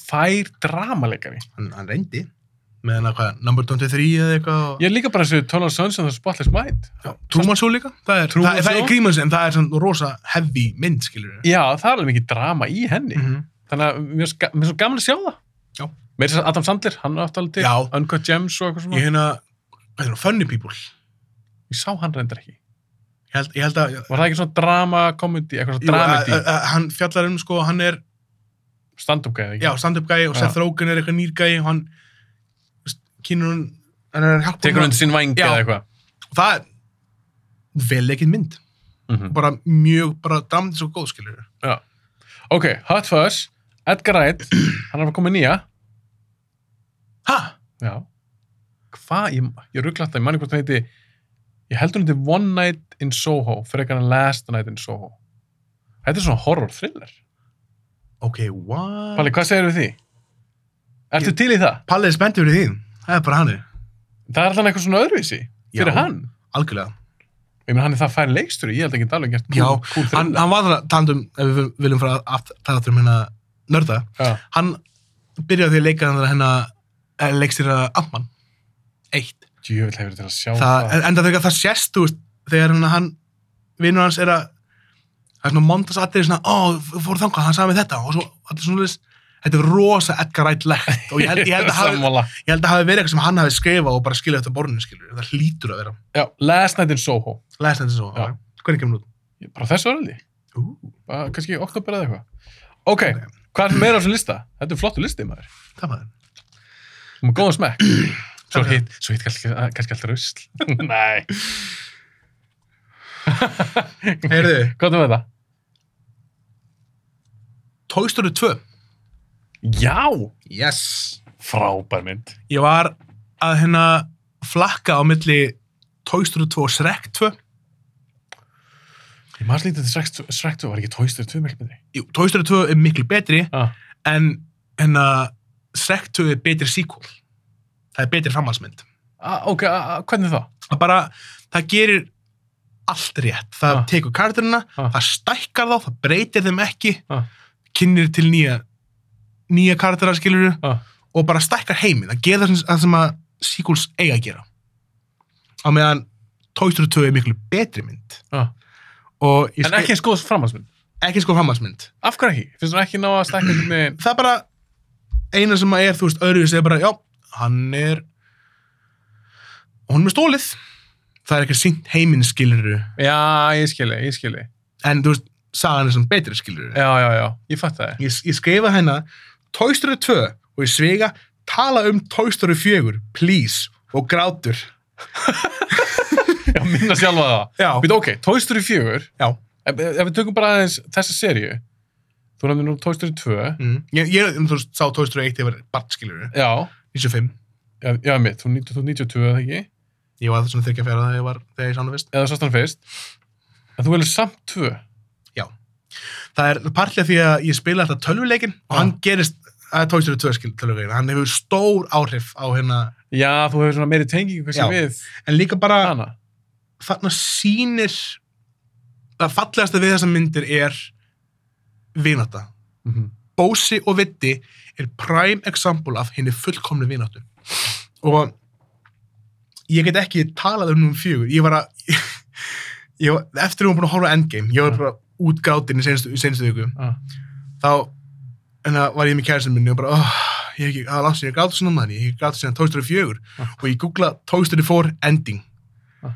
Speaker 1: fær dramaleikari
Speaker 2: Hann, hann reyndi. með hana hvað, number 23 eða eitthvað
Speaker 1: Ég er líka bara að segja Tónal Sönsson og Spotless Mind.
Speaker 2: og... Truman Show líka það er,
Speaker 1: Truman
Speaker 2: það, það
Speaker 1: Show.
Speaker 2: er grímans en það er svona rosa heavy mynd skilur við
Speaker 1: Já, það er alveg mikið drama í henni.
Speaker 2: -hmm.
Speaker 1: Þannig að mér er svo ga- mér er svo gaman að sjá það.
Speaker 2: Já.
Speaker 1: Meir þess að Adam Sandler, hann átti alveg til.
Speaker 2: Já.
Speaker 1: Uncut Gems og eitthvað svona.
Speaker 2: ég
Speaker 1: Ég,
Speaker 2: hérna, hvað er það, Funny People ég
Speaker 1: sá hann reyndar ekki.
Speaker 2: held, ég held að
Speaker 1: Var það ekki svona drama, komedi, eitthvað
Speaker 2: Jú, eh,
Speaker 1: svona dramedi,
Speaker 2: að- að- að hann fjallar um sko, hann er
Speaker 1: stand-up gæði ekki?
Speaker 2: já, stand-up gæi og
Speaker 1: Já.
Speaker 2: Seth Rogen er eitthvað nýr gæi og hann veist, kynur hann hann er að hjálpa
Speaker 1: Tekur
Speaker 2: honum.
Speaker 1: hann sinn vangi
Speaker 2: Já.
Speaker 1: eða eitthvað?
Speaker 2: og það er vel ekkert mynd
Speaker 1: Mhm.
Speaker 2: bara mjög, bara damndis og góð skilur við
Speaker 1: Já. Ok, Hot Fuzz, Edgar Wright, [CLEARS THROAT] hann er að koma með nýja.
Speaker 2: ha,
Speaker 1: Já. Hvað, ég, ég ruggla alltaf, ég manni hvort hann heiti, ég heldur hann heiti One Night in Soho, frekar en Last Night in Soho. Þetta er svona horror thriller.
Speaker 2: ok, what
Speaker 1: Palli, hvað segir við því? Ertu til í það?
Speaker 2: Palli er spenntið fyrir því, það er bara hann
Speaker 1: Það er alltaf eitthvað svona öðruvísi fyrir
Speaker 2: Já.
Speaker 1: hann.
Speaker 2: algjörlega
Speaker 1: Ég meina, hann er það fær leikstur ég held að hann geta alveg gert
Speaker 2: Já,
Speaker 1: cool, cool
Speaker 2: hann,
Speaker 1: thriller.
Speaker 2: hann var það talandum, ef við viljum fara aft- það aftur um hérna nörda
Speaker 1: Já.
Speaker 2: hann byrjaði á því að leika hérna, eh, hann hennar leikstýra Amman eitt,
Speaker 1: Djöfull hefur til að sjá
Speaker 2: það, en- enda þegar það sést þú veist, þegar hann, hann vinnur hans er að það er svona montas aðrið svona, ó, við fórum þangað, hann sagði mig þetta og svo, þetta er svona leis þetta er rosa Edgar Wright legt og ég held, ég
Speaker 1: [LAUGHS]
Speaker 2: held að hafi
Speaker 1: Sammála.
Speaker 2: ég held að hafi verið eitthvað sem hann hafi skrifað og bara skilja þetta borðinu skilur, það hlýtur að vera
Speaker 1: Já, Last Night in Soho.
Speaker 2: læst þetta svo,
Speaker 1: Já.
Speaker 2: ok. hvernig kemur hún út?
Speaker 1: Ég- Bara þessu orðið.
Speaker 2: Ú,
Speaker 1: Bara kannski oktober eða eitthvað. Ok,
Speaker 2: Ok.
Speaker 1: hvað er meira á þessum lista? Þetta er flottu listi, maður.
Speaker 2: það maður
Speaker 1: Þú maður góðan smekk. [CLEARS THROAT] Svo
Speaker 2: Takk.
Speaker 1: hitt, svo hitt kannski, eh, kannski alltaf rusl. [LAUGHS] Nei.
Speaker 2: Heyrðu,
Speaker 1: Hvað er með það?
Speaker 2: Toy Story 2
Speaker 1: Já,
Speaker 2: Yes.
Speaker 1: frábær mynd.
Speaker 2: Ég var að hérna flakka á milli Toy Story 2 og Shrek 2.
Speaker 1: Ég maður slítið til Shrek 2, var ekki Toy Story 2 mjög myndri?
Speaker 2: Jú, Toy Story 2 er miklu betri
Speaker 1: Ah.
Speaker 2: en hérna Shrek 2 er betri sequel. Það er betri framhalsmynd.
Speaker 1: Ah, ok, ah, ah, hvernig þá?
Speaker 2: Það bara, það gerir allt rétt. Það
Speaker 1: Ah.
Speaker 2: tekur karakterina,
Speaker 1: Ah.
Speaker 2: það stækkar þá, það breytir þeim ekki,
Speaker 1: Ah.
Speaker 2: kynir til nýja, nýja karaktera skiluru
Speaker 1: Ah.
Speaker 2: og bara stækkar heiminn. Það gerir það sem, það sem að sequels eiga að gera. Á meðan Toy Story 2 er miklu betri mynd.
Speaker 1: Ah.
Speaker 2: og ég
Speaker 1: En
Speaker 2: skil-
Speaker 1: ekki sko eins góðs framhalsmynd.
Speaker 2: ekki sko framhaldsmynd
Speaker 1: Af hverju ekki? Finnst þú ekki ná að stekka einhvern veginn?
Speaker 2: það er bara eina sem að er þú veist öðruvis er bara já, hann er honum er stólið það er ekki sínt heiminn skiluru
Speaker 1: Já, ég skilji, ég skilji.
Speaker 2: en þú veist, sagan er sem betri
Speaker 1: Já,
Speaker 2: skiluru
Speaker 1: já, já, ég fatt það.
Speaker 2: ég, ég skrifa hennar Toy Story 2 og ég svega tala um Toy Story 4, please og grátur
Speaker 1: Já, minna sjálfa það.
Speaker 2: já,
Speaker 1: Við ok, Toy Story 4,
Speaker 2: já.
Speaker 1: ef, ef við tökum bara aðeins þessa seríu, þú nefnir nú Toy Story 2,
Speaker 2: Mm. ég, ég um, þú veist, sá Toy Story 1 yfir bart skiluru,
Speaker 1: já,
Speaker 2: 95
Speaker 1: já, já mitt, þú 90 þú 92 eða ekki,
Speaker 2: ég var svona þykja fjara þegar ég var þegar ég sá hana fyrst
Speaker 1: eða sást hann fyrst, en þú velur samt 2.
Speaker 2: það er partlega því að ég spila alltaf tölvuleikin og
Speaker 1: Já.
Speaker 2: hann gerist það er Toy Story 2 skil tölvuleikin, hann hefur stór áhrif á hérna,
Speaker 1: Já, þú hefur svona meiri tengingu
Speaker 2: Já. Ah.
Speaker 1: kannski við
Speaker 2: en líka bara
Speaker 1: hana.
Speaker 2: þarna sýnir það fallegasta við þessa myndir er vinata
Speaker 1: Mm
Speaker 2: Bósi og Vitti er prime example af henni fullkomnu vináttu og ég get ekki talað um núm fjögur ég var að [LAUGHS] ég var, eftir að við varum búin að horfa á Endgame ég var bara útgátinn í senstu, í senstu viku
Speaker 1: ah.
Speaker 2: þá enna, var ég með kærisinn minni og bara oh, ég hef ekki, það er langt sér, ég gráti svona mann ég hef ekki gráti síðan Toy Story 4
Speaker 1: Ah.
Speaker 2: og ég googla Toy Story 4 ending
Speaker 1: Ah.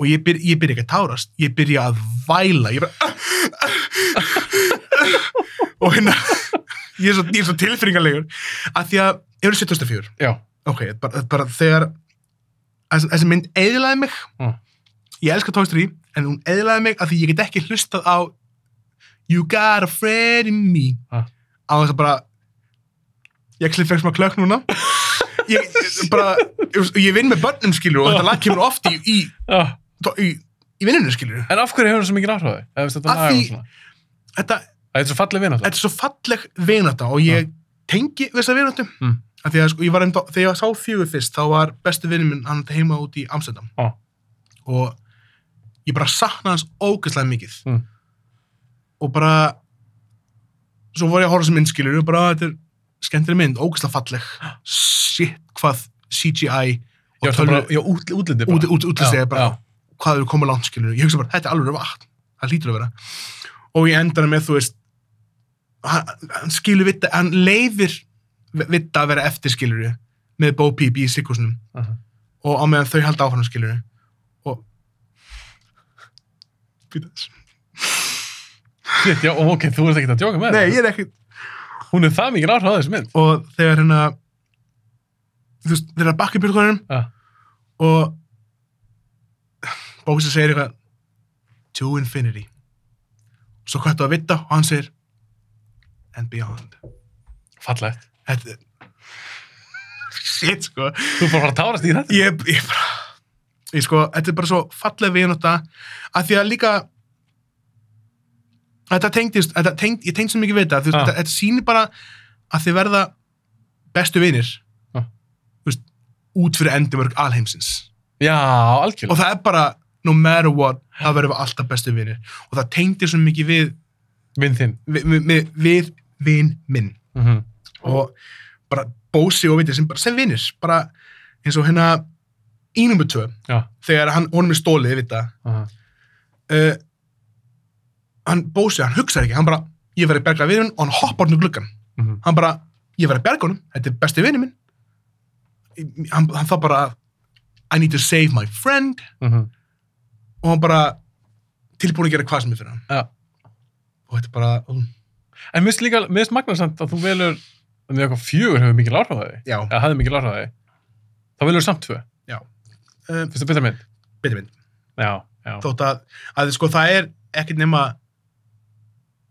Speaker 2: og ég byrja ég byrja ekki að tárast ég byrja að væla ég bara og hérna [LAUGHS] ég er svo, ég er svo tilfinningarlegur að því að ég er 74
Speaker 1: Já,
Speaker 2: ok, þetta er bara, þetta er bara þegar þessi þessi mynd eðlaði mig
Speaker 1: Mm.
Speaker 2: ég elska Toy Story en hún eðlaði mig af því ég get ekki hlustað á You got a friend in me
Speaker 1: Ah.
Speaker 2: á þess að bara ég ekki fekk smá klökk núna ég, ég- bara, ég, ég vinn með börnum skilur og þetta lag kemur oft í, í,
Speaker 1: já.
Speaker 2: í, í vinnunum skilur
Speaker 1: Ah, En af hverju hefur hann svo mikið áhráði? Eða veist þetta
Speaker 2: Af
Speaker 1: lagar
Speaker 2: því-
Speaker 1: og svona?
Speaker 2: þetta,
Speaker 1: Það er svo falleg vinn alltaf.
Speaker 2: þetta er svo falleg vinata og ég tengi við þessa vinatu
Speaker 1: Ah. Mm.
Speaker 2: af því að sko, ég var einmitt á- þegar ég sá fjögur fyrst þá var besti vinnum minn hann átti heima út í Amsterdam
Speaker 1: Ah.
Speaker 2: og ég bara saknaði hans ógeðslega mikið
Speaker 1: Mm.
Speaker 2: og bara
Speaker 1: [GASPS]
Speaker 2: svo var ég að horfa sem myndskilur og bara þetta er skemmtileg mynd, ógeðslega falleg shit hvað CGI
Speaker 1: Já,
Speaker 2: og
Speaker 1: það bara,
Speaker 2: tölvu
Speaker 1: já út, útlitið bara.
Speaker 2: út, út, útlistið
Speaker 1: Já,
Speaker 2: er bara
Speaker 1: já.
Speaker 2: hvað eru komið langt skilur ég hugsa bara, þetta er alveg vatn, það hlýtur að vera og ég endana með, þú veist hann, hann skilur vitta hann leifir vitta að vera eftir skilur ég, með Bo Peep í sikkúsnum
Speaker 1: Aha.
Speaker 2: og á meðan þau halda áfram skilur ég og Býta þess.
Speaker 1: Shit, já, ok, þú ert ekkert að djóka með
Speaker 2: Nei,
Speaker 1: það.
Speaker 2: ég er ekkert
Speaker 1: Hún er það mikið ráð á þessu mynd.
Speaker 2: og þegar hérna þú veist, þeir eru að bakka í björgunum
Speaker 1: Já.
Speaker 2: og Bósi segir eitthvað to infinity og svo kvættu að vita og hann segir and beyond
Speaker 1: Fallegt.
Speaker 2: þetta er shit sko
Speaker 1: Þú er bara að fara að tárast í þetta.
Speaker 2: ég, ég bara ég sko, þetta er bara svo falleg viðnóta að því að líka þetta tengdist þetta tengd, ég tengd svo mikið við þetta þú veist,
Speaker 1: Ah.
Speaker 2: þetta, þetta sýnir bara að þið verða bestu vinir
Speaker 1: Ah.
Speaker 2: Þú veist, út fyrir endimörk alheimsins
Speaker 1: Já, algjörlega.
Speaker 2: og það er bara no matter what, það verðum við alltaf bestu vinir og það tengdi svo mikið við
Speaker 1: Vinn þinn.
Speaker 2: við, við, við, við vin minn
Speaker 1: Mm -hmm.
Speaker 2: og bara bósi og veitir sem bara sem vinir bara eins og hérna í nummer 2
Speaker 1: Já.
Speaker 2: þegar hann, honum er stólið, við þetta uh, hann bósi, hann hugsar ekki hann bara, ég verði að berga vinur minn og hann hoppar hann úr gluggan,
Speaker 1: Mhm,
Speaker 2: hann bara ég verði að berga honum, þetta er besti vinur minn Í- hann, hann þá bara I need to save my friend
Speaker 1: mhm.
Speaker 2: og hann bara tilbúin að gera hvað sem er fyrir hann
Speaker 1: Já.
Speaker 2: og þetta er bara, um,
Speaker 1: En minnst líka, minnst Magnarsamt að þú velur, þannig að eitthvað fjögur hefur mikið á því.
Speaker 2: já,
Speaker 1: Já, hafði mikið á því. Þá velur samt tvö.
Speaker 2: uh,
Speaker 1: Fyrst að byrja mynd.
Speaker 2: betur minn
Speaker 1: Já, já.
Speaker 2: þótt að, að sko, það er ekkert nema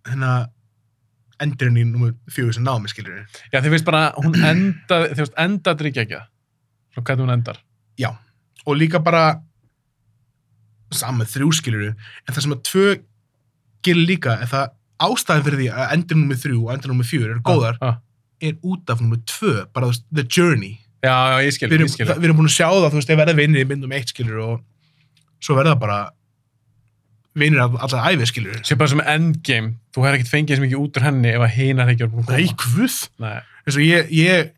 Speaker 2: hérna endurinn í nummer fjögur sem námi skilur
Speaker 1: Já, þið finnst bara, hún enda, þið finnst enda drikja ekki það. Svo hvernig hún endar.
Speaker 2: og líka bara saman þrjú skilur en það sem að tvö gerir líka en það ástæðan fyrir því að endur nummer þrjú og endur nummer fjögur eru góðar
Speaker 1: Ah, ah.
Speaker 2: er út af nummer tvö, bara þú veist, the journey
Speaker 1: Já, já, ég skil,
Speaker 2: við erum,
Speaker 1: ég skil.
Speaker 2: það- við erum búin að sjá það, þú veist, þeir verða vinir í myndum eitt skilur og svo verða bara vinir af alltaf æfi skilur
Speaker 1: Sér bara sem endgame, þú hefur ekkert fengið sem ekki út úr henni ef að hinar ekki er búin að
Speaker 2: Nei,
Speaker 1: koma.
Speaker 2: hvud
Speaker 1: Nei.
Speaker 2: eins og ég, ég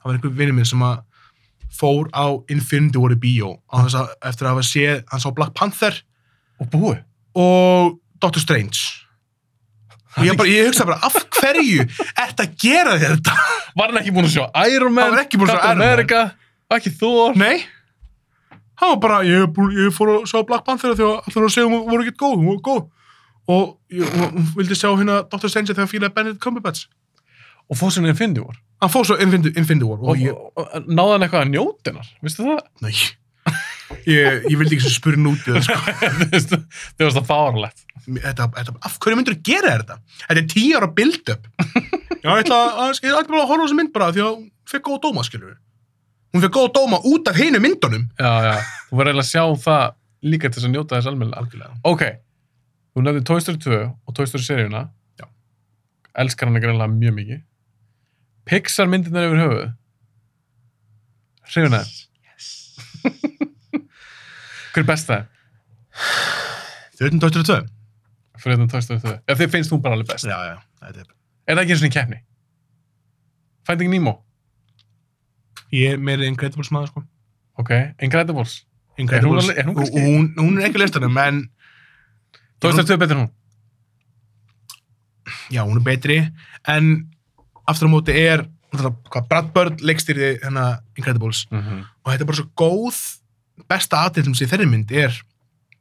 Speaker 2: það var einhver vinur minn sem að fór á Infinity War í bíó á þess að eftir að hafa séð, hann sá Black Panther
Speaker 1: Og búið.
Speaker 2: og Doctor Strange og ég, bara, ég hugsa bara, af hverju ert að gera þér þetta?
Speaker 1: Var hann ekki búin að sjá Iron Man?
Speaker 2: Hann var ekki búinn að sjá
Speaker 1: Captain
Speaker 2: Iron Man.
Speaker 1: America, ekki Thor.
Speaker 2: Nei hann var bara, ég, er búinn- ég fór að sjá Black Panther því að allir að segja hún voru ekkert góð, hún voru góð og ég, hún, hún vildi sjá hérna Doctor Strange þegar fílaði Benedict Cumberbatch
Speaker 1: Og fór sinni Infinity War.
Speaker 2: hann fór svo Infinity, Infinity War
Speaker 1: Og,
Speaker 2: og ég,
Speaker 1: og, og náði hann eitthvað að njóta hennar, vistu það? [LAUGHS]
Speaker 2: nei ég, ég vildi ekki svo spurinn út í það sko
Speaker 1: Þú veist, það var það fáralegt.
Speaker 2: þetta, þetta, af hverju myndur þú gera þér þetta? Þetta er tíu ára [LAUGHS] build-up. Já, ég ætla að, ég ætla bara að horfa á þessu mynd bara því að hún fekk góða dóma, skilur við. Hún fekk góða dóma út af hinu myndunum.
Speaker 1: Já, já, þú verður eiginlega að sjá um það líka til þess að njóta þess almennilega.
Speaker 2: Algjörlega.
Speaker 1: Ok, þú nefnir Toy Story 2 og Toy Story seríuna.
Speaker 2: Já.
Speaker 1: Elskar hann greinlega mjög mikið. Pixar myndirnar yfir höfuð. Hrifuna. [LAUGHS] Hver er best það?
Speaker 2: Þau erum dóttur og tvö.
Speaker 1: Fyrir þetta Toy Story 2. Ef þið finnst hún bara alveg best.
Speaker 2: Já, já, þetta er.
Speaker 1: Er það ekki eins og í keppni? Finding Nemo.
Speaker 2: Ég er meira Incredibles maður, sko.
Speaker 1: Ok, Incredibles.
Speaker 2: Incredibles.
Speaker 1: alveg- er hún
Speaker 2: hún,
Speaker 1: kannski-
Speaker 2: hún, hún er ekki á listanum, en
Speaker 1: Toy Story 2 er betur en hún.
Speaker 2: já, hún er betri. En aftur á móti er, náttúrulega, hvað, Brad Bird leikstýrði hennar Incredibles.
Speaker 1: Mm -hmm.
Speaker 2: og þetta er bara svo góð besta aðeins í þeirri mynd er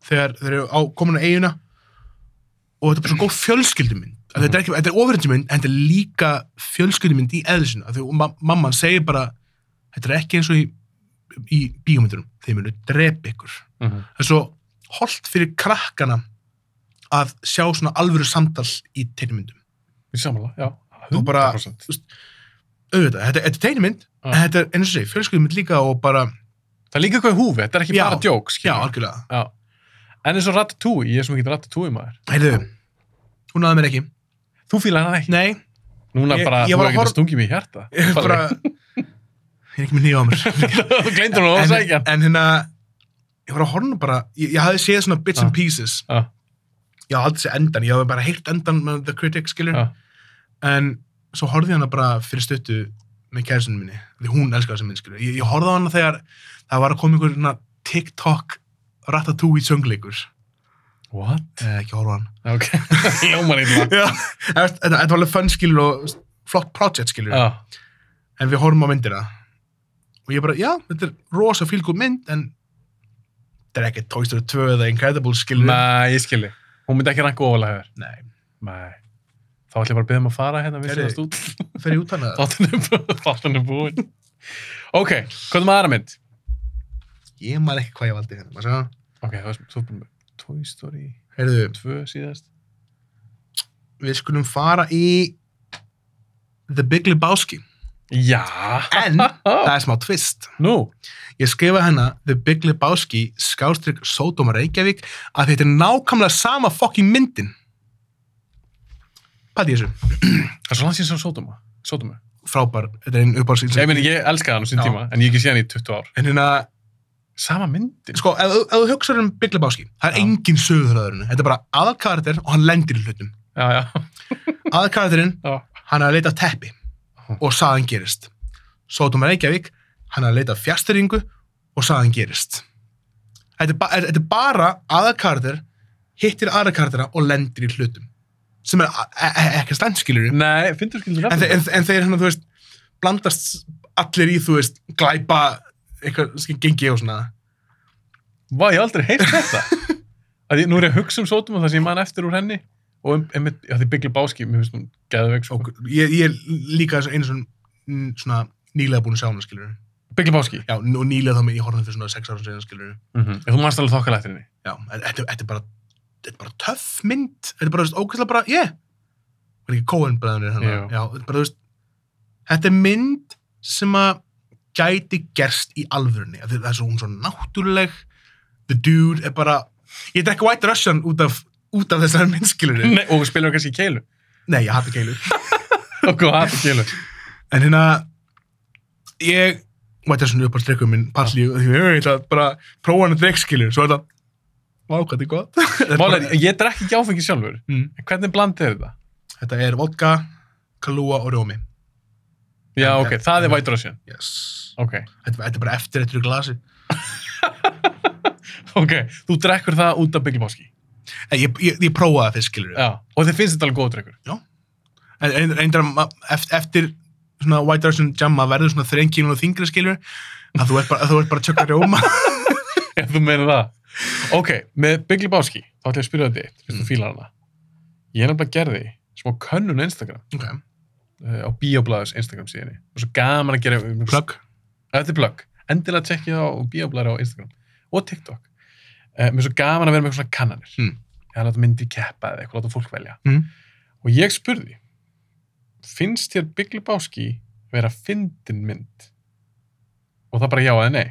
Speaker 2: þegar þeir eru á komin á eiguna og þetta er bara svo góð fjölskyldumynd mm þetta er, ekki- þetta er ofurindumynd en þetta er líka fjölskyldumynd í eðlisinu af því að ma mamman segir bara þetta er ekki eins og í, í bíómyndunum þeir munu drepa ykkur
Speaker 1: Mm -hmm.
Speaker 2: það er svo holdt fyrir krakkana að sjá svona alvöru samtal í tegnmyndum
Speaker 1: Í samanlega, já.
Speaker 2: Og bara-
Speaker 1: 100%.
Speaker 2: auðvitað, þetta, þetta er tegnmynd
Speaker 1: Já.
Speaker 2: en þetta er eins og segi, fjölskyldumynd líka og bara,
Speaker 1: Það er líka eitthvað í húfi, þetta er ekki
Speaker 2: Já.
Speaker 1: bara djók,
Speaker 2: já,
Speaker 1: skiljum.
Speaker 2: algjörlega
Speaker 1: Já. En eins og Ratatouille, ég er svo mikið Ratatouille maður.
Speaker 2: heyrðu, hún aða mér ekki
Speaker 1: Þú fílar hann ekki.
Speaker 2: nei,
Speaker 1: Núna
Speaker 2: Ég-
Speaker 1: bara,
Speaker 2: ég
Speaker 1: þú
Speaker 2: var
Speaker 1: er
Speaker 2: að
Speaker 1: ekki að
Speaker 2: horf-
Speaker 1: stungið mér í hjarta.
Speaker 2: ég er bara ég er ekki með nýja á mér
Speaker 1: [LAUGHS] þú gleyndur hún að sækja
Speaker 2: en, en hérna ég var að horna bara, ég, ég hafði séð svona bits
Speaker 1: Ah.
Speaker 2: and pieces
Speaker 1: hann.
Speaker 2: ég hafði aldrei séð endan, ég hafði bara heyrt endan með The Critic skilur,
Speaker 1: Já, já.
Speaker 2: en svo horfði ég hana bara fyrir stuttu með kæristinu minni, því hún elskar þessi minn skilur. ég, ég horfði á hana þegar það var að koma einhver svona TikTok ratatouille söngleikur
Speaker 1: What?
Speaker 2: eh, ekki horfa á hann
Speaker 1: Ok, [LAUGHS] ljómar illa.
Speaker 2: Já, þetta, þetta var alveg fun skilur og flott project skilur
Speaker 1: Já,
Speaker 2: en við horfum á myndina og ég bara, já, þetta er rosa fílgúð mynd en þetta er ekki Toy Story 2 eða Incredibles skilur
Speaker 1: nei, ég skilji. Hún myndi ekki ranka ofalega hefur.
Speaker 2: Nei,
Speaker 1: Nei. Þá ætlum ég bara að byggja um að fara hérna við
Speaker 2: Heyrðu.
Speaker 1: séðast út. [LAUGHS]
Speaker 2: fer ég út hana
Speaker 1: Þáttan er búin. Ok, hvað er maður aðra mynd?
Speaker 2: ég man ekki hvað ég valdi hérna maður sagði,
Speaker 1: Ok, það var svo búin með Toy Story
Speaker 2: heyrðu,
Speaker 1: 2 síðast.
Speaker 2: við skulum fara í The Big Lebowski
Speaker 1: Já.
Speaker 2: [LAUGHS] en það er smá twist
Speaker 1: [LAUGHS] Nú,
Speaker 2: ég skrifa hennar The Big Lebowski skástrík Sodom Reykjavík að þetta er nákvæmlega sama fucking myndin pæti ég þessu
Speaker 1: það er svo langt síðan sem Sódóma. Sódóma.
Speaker 2: frábær, þetta er einn uppáhalsins
Speaker 1: Ég meina, ég elska hann á sín
Speaker 2: Já.
Speaker 1: tíma, en ég hef ekki séð hann í 20 ár.
Speaker 2: en hérna,
Speaker 1: Sama myndin.
Speaker 2: sko, ef, ef þú hugsaður um Big Lebowski, það er
Speaker 1: Já.
Speaker 2: engin sögurþröðurinn þetta er bara aðalkarakter og hann lendir í hlutum
Speaker 1: Já, já.
Speaker 2: aðalkarakterinn,
Speaker 1: já.
Speaker 2: hann er að leita að teppi og saðan gerist Sótum Reykjavík, hann er að leita að fjastringu og saðan gerist þetta er, ba þetta er bara aðakarður hittir aðakarðura og lendir í hlutum sem er a- e- e- ekki standskilur en,
Speaker 1: Nei, finnst þú skilur
Speaker 2: þe- en, en þeir hann, þú veist, blandast allir í, þú veist, glæpa eitthvað, skil, gengi og svona
Speaker 1: Vá, ég hef aldrei heyrt [LAUGHS] þetta. að ég, nú er ég að hugsa um sótum og það sem ég man eftir úr henni og um, einmitt, já, því Byggli Báski, mér finnst hún geðveik sko.
Speaker 2: og ég, ég er líka eins og svona nýlega búin að sjá hana, skilur
Speaker 1: Byggli Báski.
Speaker 2: já, og nýlega þá með ég horfði hana fyrir svona sex ára síðan, skilur
Speaker 1: Mm -hmm. Þú manst alveg þokkalegt henni.
Speaker 2: já, þetta þetta- þetta er bara þetta er bara töff mynd þetta er bara, þú veist, ógæslega bara, yeah var ekki Coen bræðunir hann
Speaker 1: Jú.
Speaker 2: já, þetta er bara, þú veist þetta er mynd sem að gæti gerst í alvörunni Af því það er svo hún er svo náttúruleg the dude er bara ég drekka White Russian út af út af þessari
Speaker 1: [LAUGHS]
Speaker 2: myndskilurinn
Speaker 1: Nei, og spilur kannski í [LAUGHS] keilu.
Speaker 2: nei, ég hati keilu
Speaker 1: Og hvað hattu keilu?
Speaker 2: en hérna ég White Russian er upp á strikkum minn palli og því ég veit að bara prófa hann að drekkskilur svo er þetta Vá, hvað þetta er gott. [LAUGHS] Þetta er
Speaker 1: Málega,
Speaker 2: bara-
Speaker 1: ég drekk ekki áfengi sjálfur.
Speaker 2: Mm.
Speaker 1: En hvernig blandið er þetta?
Speaker 2: Þetta er vodka, kalúa og rjómi.
Speaker 1: Já,
Speaker 2: En-
Speaker 1: ok, það er
Speaker 2: en-
Speaker 1: White Russian.
Speaker 2: Yes.
Speaker 1: Ok,
Speaker 2: Þetta, þetta er bara eftir eftir glasi.
Speaker 1: ok, þú drekkur það út af Byggli Báski.
Speaker 2: Nei, Ég, ég, ég prófaði það fyrst, skilur við.
Speaker 1: Já, og þið finnst þetta alveg góð drekkur.
Speaker 2: En en- reyndar að ma- eft- eftir svona White Russian jam að verður svona þrengin og þingri, skilur við. Að þú ert bara, að þú ert bara að tjökka rjóma.
Speaker 1: Ef þú meina það. Ok, með Byggli Báski, þá ætlum ég að spyrja þetta eitt, fyrst þú
Speaker 2: Mm.
Speaker 1: fílar hana. Ég er nefnilega gerði smá könnun á Instagram,
Speaker 2: [LAUGHS] ok,
Speaker 1: uh, á Bioblæðus Instagram síðinni. Og svo gaman að gera...
Speaker 2: plögg.
Speaker 1: Þetta er plugg. Endilega tjekkið á Bioblæður á Instagram og TikTok. Uh, mér er svo gaman að vera með eitthvað svona kannanir.
Speaker 2: Mm.
Speaker 1: Eða láta myndir keppa eða eitthvað, láta fólk velja.
Speaker 2: Mm.
Speaker 1: Og ég spurði, finnst þér Big Lebowski vera fyndin mynd? Og það bara já eða nei.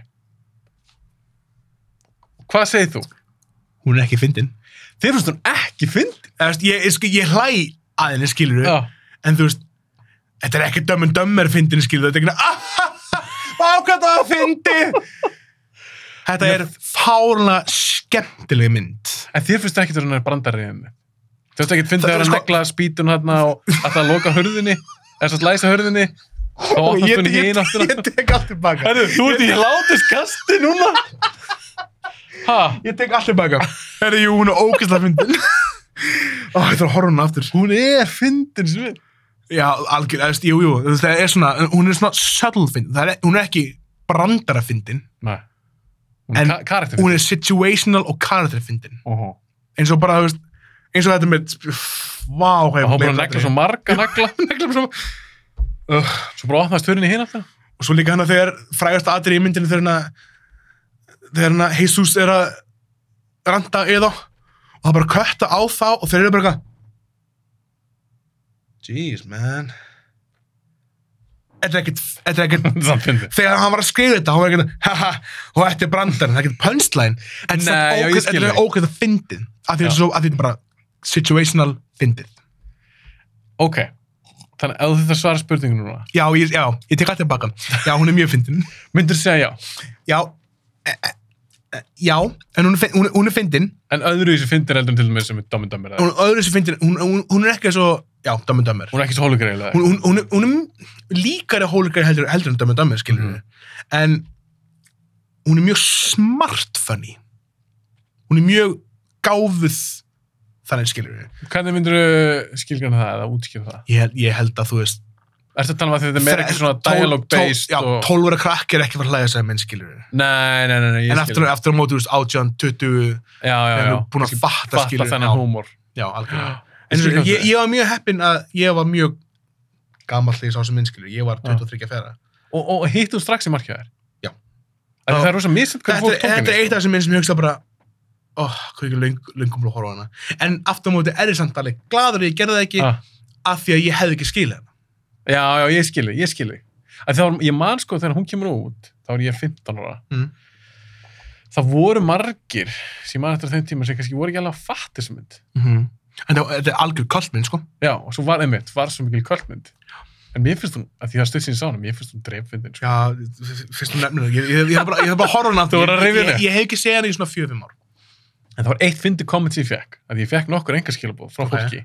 Speaker 1: Hvað segir þú?
Speaker 2: Hún er ekki fyndin.
Speaker 1: Þið finnst hún ekki fyndin?
Speaker 2: Eða, þú veist, ég, ég, sko, ég hlæ að henni, skilur við.
Speaker 1: Já.
Speaker 2: En þú veist, þetta er ekki dömmen dömmer fyndin, skilur við. Þetta er ekki, ah, ah, ah, vá, hvað það var fyndið. Þetta er fárlega skemmtileg mynd.
Speaker 1: En þér finnst ekki þegar hún er brandariðinni? Þið finnst ekki fyndið
Speaker 2: Það-
Speaker 1: að vera sko...
Speaker 2: sko-
Speaker 1: negla spýtun hérna og að það loka hurðinni? Eða svo að læsa hurðinni? Þá opnast
Speaker 2: ég,
Speaker 1: hún í
Speaker 2: ég,
Speaker 1: einu áttina?
Speaker 2: ég tek allt tilbaka
Speaker 1: Herru, þú ert í látist kasti núna? Ha?
Speaker 2: Ég tek allt tilbaka Herru, jú, hún er ógæslega fyndin Ó, ég þarf að horfa hún aftur
Speaker 1: Hún er fyndin sem við.
Speaker 2: Já, algjör, eðst, jú, jú, þú veist, það er svona Hún er svona subtle fyndin Það er, Hún er ekki brandara fyndin
Speaker 1: Nei. Hún
Speaker 2: En
Speaker 1: er ka karakter
Speaker 2: Hún er situational og karakter fyndin
Speaker 1: Óhó.
Speaker 2: Eins og bara, þú veist Eins og þetta með Vá, hvað
Speaker 1: Og hún bara negla svo marga negla.
Speaker 2: [LAUGHS] negla svo uh,
Speaker 1: Svo bara opnaðist hörinn í hinn aftur.
Speaker 2: Og svo líka hana þegar frægast aðri í myndinu Þegar hana Þegar hana Jesus er að Randa eða Og það bara kötta á þá Og þeir eru bara eitthvað Jeez, man Þetta er ekkert Þetta
Speaker 1: [LAUGHS]
Speaker 2: er ekkert
Speaker 1: Það er fyndið.
Speaker 2: Þegar hann var að skrifa þetta, hann var ekkert, haha, og þetta er brandarinn, það er ekkert punchline. En
Speaker 1: Nei,
Speaker 2: samt
Speaker 1: já, ég
Speaker 2: ógeð-
Speaker 1: skil
Speaker 2: þetta er
Speaker 1: þig.
Speaker 2: ókvæmt að fyndið. Af
Speaker 1: Já.
Speaker 2: því þetta er svo- af því þetta er bara situational fyndið.
Speaker 1: Ok. Þannig að ef þú þurft að svara spurningunum núna.
Speaker 2: Já, ég, já, ég tek alltaf baka. Já, hún er mjög fyndin.
Speaker 1: Myndur segja já.
Speaker 2: Já, e, e, e, já, en hún er, fyn- hún er, hún er fyndin.
Speaker 1: En öðru í þessu fyndir heldur en til og með sem er dammið dammir.
Speaker 2: Hún er öðru sem fyndin, hún, hún, hún er ekki svo já, Dumb and Dumber
Speaker 1: Hún er ekki svo hólugreiðilega.
Speaker 2: hún, hún, hún, hún er líkari hólikari heldur, heldur en Dumb and Dumber skilur
Speaker 1: Mhm.
Speaker 2: en hún er mjög smart funny hún er mjög gáfuð þannig skilur við
Speaker 1: Hvernig myndur þú skilgjana það eða útskjöf það?
Speaker 2: ég, hel- ég held að þú veist
Speaker 1: Ertu að tala um að þetta er meira ekki svona
Speaker 2: tól-
Speaker 1: dialogue-based
Speaker 2: tól- já,
Speaker 1: og...
Speaker 2: 12 ára krakk er ekki fara að hlæja sem minn skilur við
Speaker 1: Nei, nei, nei, nei, ég
Speaker 2: en aftur, aftur á móti, þú veist, 18, 20
Speaker 1: Já, já,
Speaker 2: er
Speaker 1: já.
Speaker 2: búin að fatta,
Speaker 1: Fatta
Speaker 2: skilur við.
Speaker 1: þennan húmor.
Speaker 2: já, já, algjörlega
Speaker 1: Ég
Speaker 2: en
Speaker 1: skil hvað
Speaker 2: ég,
Speaker 1: þú
Speaker 2: ég,
Speaker 1: segir.
Speaker 2: ég var mjög heppinn að ég var mjög gamall þegar ég sá sem minn skilur við. ég var 23 að færa
Speaker 1: Og, og hittum strax í markið þær.
Speaker 2: Já.
Speaker 1: Það, það er rosa misjönd hvernig
Speaker 2: þetta,
Speaker 1: fólk
Speaker 2: er-
Speaker 1: tók
Speaker 2: þetta er
Speaker 1: henni.
Speaker 2: eitt af þessum minn sem ég hugsa bara oh, hvað ekki löng, löngum að horfa á hana en aftur á móti er ég samt alveg gladur að ég gerði það ekki
Speaker 1: Ah.
Speaker 2: af því að ég hefði ekki skilið hana
Speaker 1: Já, já, ég skilji, ég skilji. Þá, ég man sko þegar hún kemur út, þá er ég 15 ára.
Speaker 2: Mm.
Speaker 1: Það voru margir sem ég man eftir á þeim tíma sem kannski voru ekki alveg að fatta þessu mynd.
Speaker 2: en það- þetta er algjör kallminn sko
Speaker 1: Já, og svo var einmitt, var svo mikil kvöldmynd. En mér finnst hún, að því það stuðsinn sá hún, mér finnst hún dreifvindin. Sko.
Speaker 2: já, fyrst þú nefnir það ég, ég, ég, hef bara- ég hef bara að horfa á hana
Speaker 1: Þú voru að rifja
Speaker 2: ég,
Speaker 1: hana.
Speaker 2: ég, ég hef ekki segið hana í svona 4-5 ár
Speaker 1: En það var eitt fyndi komment sem ég fekk, að ég fekk nokkur engarskilabóð frá
Speaker 2: Ok.
Speaker 1: fólki.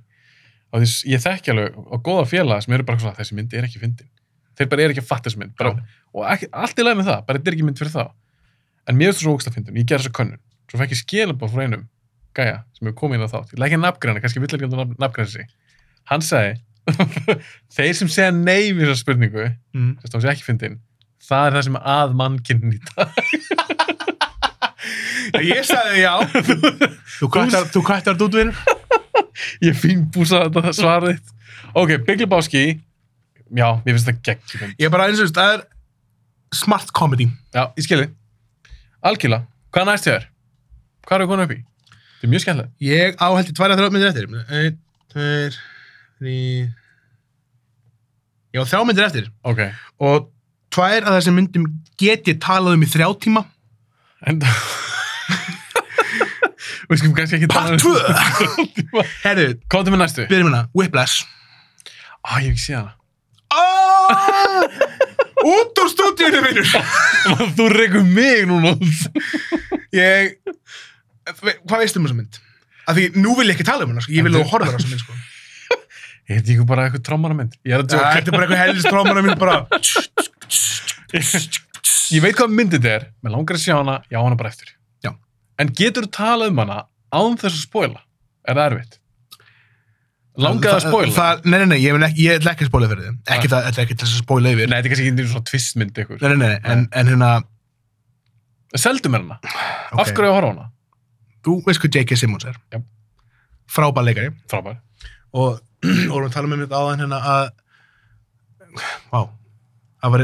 Speaker 1: Og þess, ég þekki alveg á góða félaga sem eru bara svona, þessi mynd er ekki fyndin. Þeir bara eru ekki að fatta þessu mynd. Bara, og ekki, allt í lagi með það, bara þetta er ekki mynd fyrir þá en mér finnst það svo ógst að fyndum, ég gerði þessu könnun svo fekk ég skilabóð frá einum gæja sem hefur komið inn á þátt, ég lækja nafngræna kannski vill ekki að nafngræna sig hann sagði, [LAUGHS] þeir sem segja nei við þessa spurningu,
Speaker 2: mm.
Speaker 1: þess að hún sé ekki fyndin það er það sem er að mannkinn í dag
Speaker 2: ég sagði
Speaker 1: [LAUGHS]
Speaker 2: já þú kvættar þú kvættar út við
Speaker 1: ég fín búsa þetta svar þitt ok, Big Lebowski já, mér finnst það gegn mynd.
Speaker 2: ég er bara eins og þú veist, það er smart comedy
Speaker 1: já, ég skilði, algjörlega hvað næst þér? hvað eru konar upp í? þetta er mjög skemmtilegt
Speaker 2: Ég áhaldi tvær að þrjá myndir eftir. Einn, tveir, þrý... Ég á þrjá myndir eftir.
Speaker 1: ok,
Speaker 2: Og tvær að þessum myndum get ég talað um í þrjá tíma.
Speaker 1: en við skulum kannski ekki tala
Speaker 2: Part
Speaker 1: um-
Speaker 2: 2! Herðu,
Speaker 1: Komdu með næstu.
Speaker 2: byrjum hérna. Whiplash.
Speaker 1: Á, ég hef ekki séð hana.
Speaker 2: Oh! [LAUGHS] Út úr stúdíunum, vinnur!
Speaker 1: Þú rekum mig núna.
Speaker 2: Ég... Ve- Hvað veistu um þessa mynd? Af því nú vil ég ekki tala um hana, sko. Ég vil
Speaker 1: En
Speaker 2: þú horfa á þessa mynd, sko.
Speaker 1: Ég heiti ekki bara eitthvað trommara mynd. Ég er að
Speaker 2: Ja,
Speaker 1: djóka.
Speaker 2: Þetta er bara eitthvað helst trómana mynd, bara...
Speaker 1: Ég veit hvað mynd þetta er. Mér langar að sjá hana. Já, hana bara eftir.
Speaker 2: Já.
Speaker 1: En getur þú talað um hana án þess að spoila? Er það erfitt? Langar það að
Speaker 2: Þa-
Speaker 1: spoila? Ah.
Speaker 2: það- Nei, nei, nei, ég, mun ekki, ég ætla ekki að spóla fyrir þið. Ekki, það, þetta er ekki þess að spóla yfir.
Speaker 1: Nei, þetta er kannski ekki svona tvistmynd ykkur.
Speaker 2: Nei, nei, nei, en, en hérna,
Speaker 1: Seldu mér hana.
Speaker 2: Ok.
Speaker 1: Af hverju á að horfa á hana?
Speaker 2: þú veist hvað J.K. Simmons er.
Speaker 1: Já.
Speaker 2: Frábær leikari.
Speaker 1: Frábær.
Speaker 2: Og [CLEARS THROAT] og vorum að tala með mér áðan hérna að, vá, að var,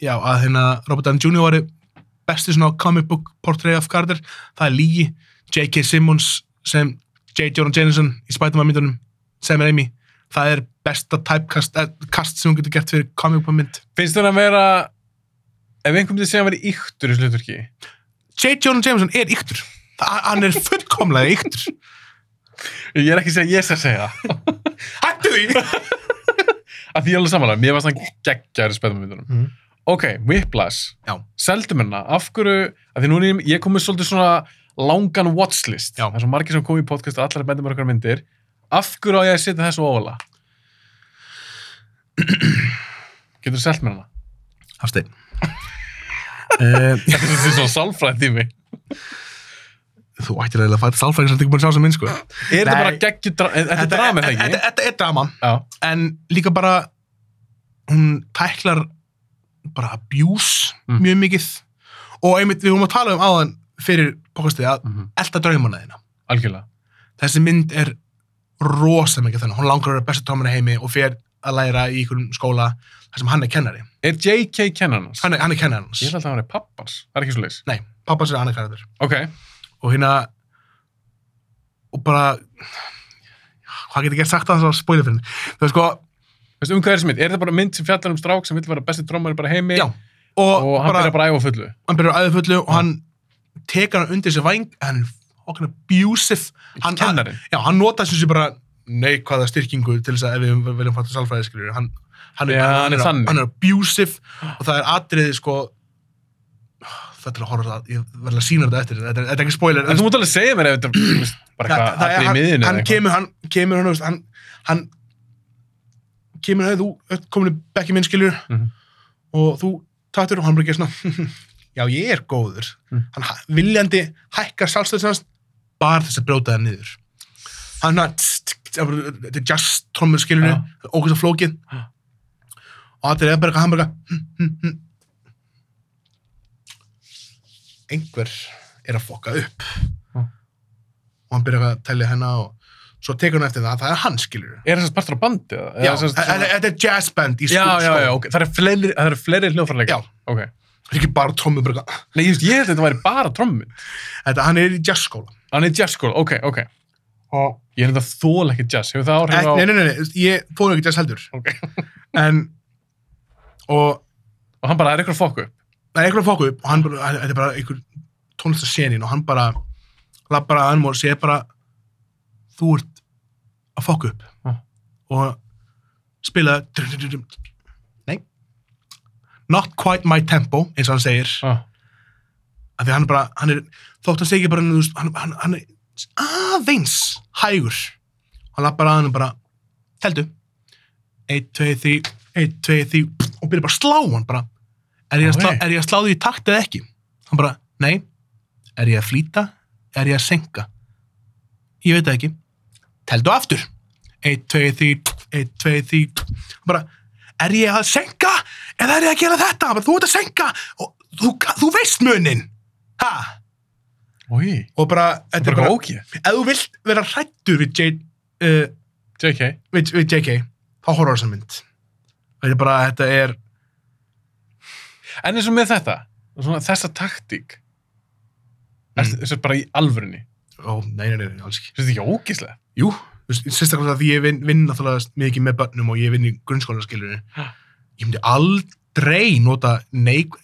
Speaker 2: já, að hérna Robert Downey Jr. var besti svona comic book portrait of Carter. Það er lígi J.K. Simmons sem J. Jordan Jameson í Spider-Man myndunum, sem er Amy. Það er besta typecast eh, cast sem hún getur gert fyrir comic book mynd.
Speaker 1: Finnst þú hana vera... Ef einhvern veginn segja að vera yktur í slutturki?
Speaker 2: J. Jonah Jameson er yktur Þa- hann er fullkomlega yktur
Speaker 1: Ég er ekki að segja, ég er að segja það. [LAUGHS]
Speaker 2: hættu því
Speaker 1: að því ég er alveg samanlega, mér varst hann geggjæri spæðmyndunum.
Speaker 2: Mhm.
Speaker 1: Ok, Whiplash,
Speaker 2: Já.
Speaker 1: seldum hérna, af hverju, að því núna er- ég komið svolítið svona langan watchlist,
Speaker 2: Já.
Speaker 1: það er svo margir sem komið í podcast og allar bendum okkar myndir, af hverju á ég að setja þessu óvala? Getur þú selt mér hana?
Speaker 2: Hafstein [LAUGHS] uh, Eh,
Speaker 1: Þetta er svolítið svona sálfræðið í mig.
Speaker 2: þú ættir eiginlega að fæta sálfræðin sem þetta ekki búin að sjá sem minn sko
Speaker 1: Er þetta
Speaker 2: Nei.
Speaker 1: bara geggjur, er þetta dramið það
Speaker 2: þetta-
Speaker 1: ekki?
Speaker 2: þetta er drama
Speaker 1: Já,
Speaker 2: en líka bara hún tæklar bara abuse
Speaker 1: Mm.
Speaker 2: mjög mikið og einmitt við vorum að tala um áðan fyrir pokastið að
Speaker 1: Mhm.
Speaker 2: elda draumana þína
Speaker 1: algjörlega.
Speaker 2: þessi mynd er rosa mikið þannig hún langar að vera besta tómana heimi og fer að læra í einhverjum skóla þar sem hann er kennari
Speaker 1: Er J.K. kennan hans?
Speaker 2: hann er, hann er kennari hans
Speaker 1: Ég held að hann er pappans, það er ekki svo leis.
Speaker 2: Nei, pappa sér annað karakter
Speaker 1: Ok,
Speaker 2: og hérna og bara hvað getur ég gert sagt að það spóla fyrir henni það er sko,
Speaker 1: veistu um hvað er þessi mynd? Er þetta bara mynd sem fjallar um strák sem vill vera besti drómar bara heimi?
Speaker 2: já og,
Speaker 1: og hann
Speaker 2: bara,
Speaker 1: byrjar bara að æfa á fullu
Speaker 2: hann byrjar aðeins fullu og hann tekar hann undir sér væng hann er okkur abusive hann, hann,
Speaker 1: kennarinn,
Speaker 2: já, hann nota þessu bara neikvæða styrkingu til þess að ef við viljum fatta sálfræði skiljur hann, hann,
Speaker 1: Já, hann er þannig.
Speaker 2: hann er abusive og það er atriði sko þetta er að horfa á það, ég verður að sína þetta eftir þetta er, þetta er ekki spoiler
Speaker 1: en þú mútt alveg segja mér ef þetta þú veist, bara
Speaker 2: Þa-
Speaker 1: eitthvað
Speaker 2: það er-
Speaker 1: allir í
Speaker 2: hann-
Speaker 1: miðinu
Speaker 2: hann kemur, hann kemur hann, þú veist, hann, hann kemur að þú ert komin í bekki minn skilur
Speaker 1: Mhm.
Speaker 2: og þú tattur og hann bara gerir svona "Hm, já ég er góður
Speaker 1: Mhm.
Speaker 2: hann ha- viljandi hækkar sjálfstöðs hans bara þess að brjóta það niður hann svona tss, tss, tss, bara, þetta er jazz trommur skilur
Speaker 1: Já.
Speaker 2: ókvæmst að flókið
Speaker 1: Já.
Speaker 2: og þetta er bara eitthvað, hann bara eitthvað, hm, hm, hm. einhver er að fokka upp
Speaker 1: Já.
Speaker 2: og hann byrjar eitthvað að tellja hennar og svo tekur hann eftir það að það er hann skilur
Speaker 1: Er þess að partur á bandi? eða?
Speaker 2: Já,
Speaker 1: Eða sem sagt
Speaker 2: þetta
Speaker 1: svona-
Speaker 2: þetta er jazzband í skó.
Speaker 1: já, já, já, ok. Það eru fleiri, það eru fleiri hljóðfræðleika?
Speaker 2: Já.
Speaker 1: Ok.
Speaker 2: Það er ekki bara trommur, bara eitthvað.
Speaker 1: Nei, just, ég held að þetta væri bara trommin.
Speaker 2: Þetta, hann er í jazzskóla.
Speaker 1: Hann er jazzskóla, ok, ok.
Speaker 2: Og...
Speaker 1: Ég held að þóla ekki jazz, hefur það áhrif á...
Speaker 2: Nei, nei, nei, nei, ég fór ekki jazz heldur.
Speaker 1: Ok. [LAUGHS]
Speaker 2: En, og
Speaker 1: Og hann bara, er eitthvað fokku?
Speaker 2: það er eitthvað að fóku upp og hann bara, þetta er bara einhver tónlistasenin og hann bara lappar að hann og segir bara, þú ert að fóku upp.
Speaker 1: Ah.
Speaker 2: Og spila, drum, drum, drum, drum. nei, not quite my tempo, eins og hann segir.
Speaker 1: Ah.
Speaker 2: af því hann er bara, hann er, þótt hann segja bara, þú veist, hann, hann, hann er aðeins hægur hann lappar að hann og bara, teldu 1, 2, 3, 1, 2, 3 og byrja bara að slá hann bara er ég, að slá,
Speaker 1: Ói.
Speaker 2: er ég að slá því í takt eða ekki hann bara, nei, er ég að flýta er ég að senka ég veit það ekki, teldu aftur 1, 2, 3, 1, 2, 3 hann bara, er ég að senka eða er ég að gera þetta Hann bara, þú ert að senka og þú, þú veist munin ha?
Speaker 1: Úi,
Speaker 2: og bara,
Speaker 1: það
Speaker 2: þetta
Speaker 1: er
Speaker 2: er bara,
Speaker 1: bara ok.
Speaker 2: ef þú vilt vera hrættur við, J, uh,
Speaker 1: JK.
Speaker 2: við, við JK þá horfður þessa mynd þetta er bara, þetta er
Speaker 1: En eins og með þetta, svona, þessa taktík, mm.
Speaker 2: Mm.
Speaker 1: þess að bara í alvörinni,
Speaker 2: ó, nei, nei, nei, nei, alls ekki
Speaker 1: finnst þetta ekki ógíslega?
Speaker 2: jú, þú veist, sérstaklega því ég vinn, vinn náttúrulega mikið með börnum og ég vinn í grunnskólaskilunni
Speaker 1: Ha.
Speaker 2: ég myndi aldrei nota neik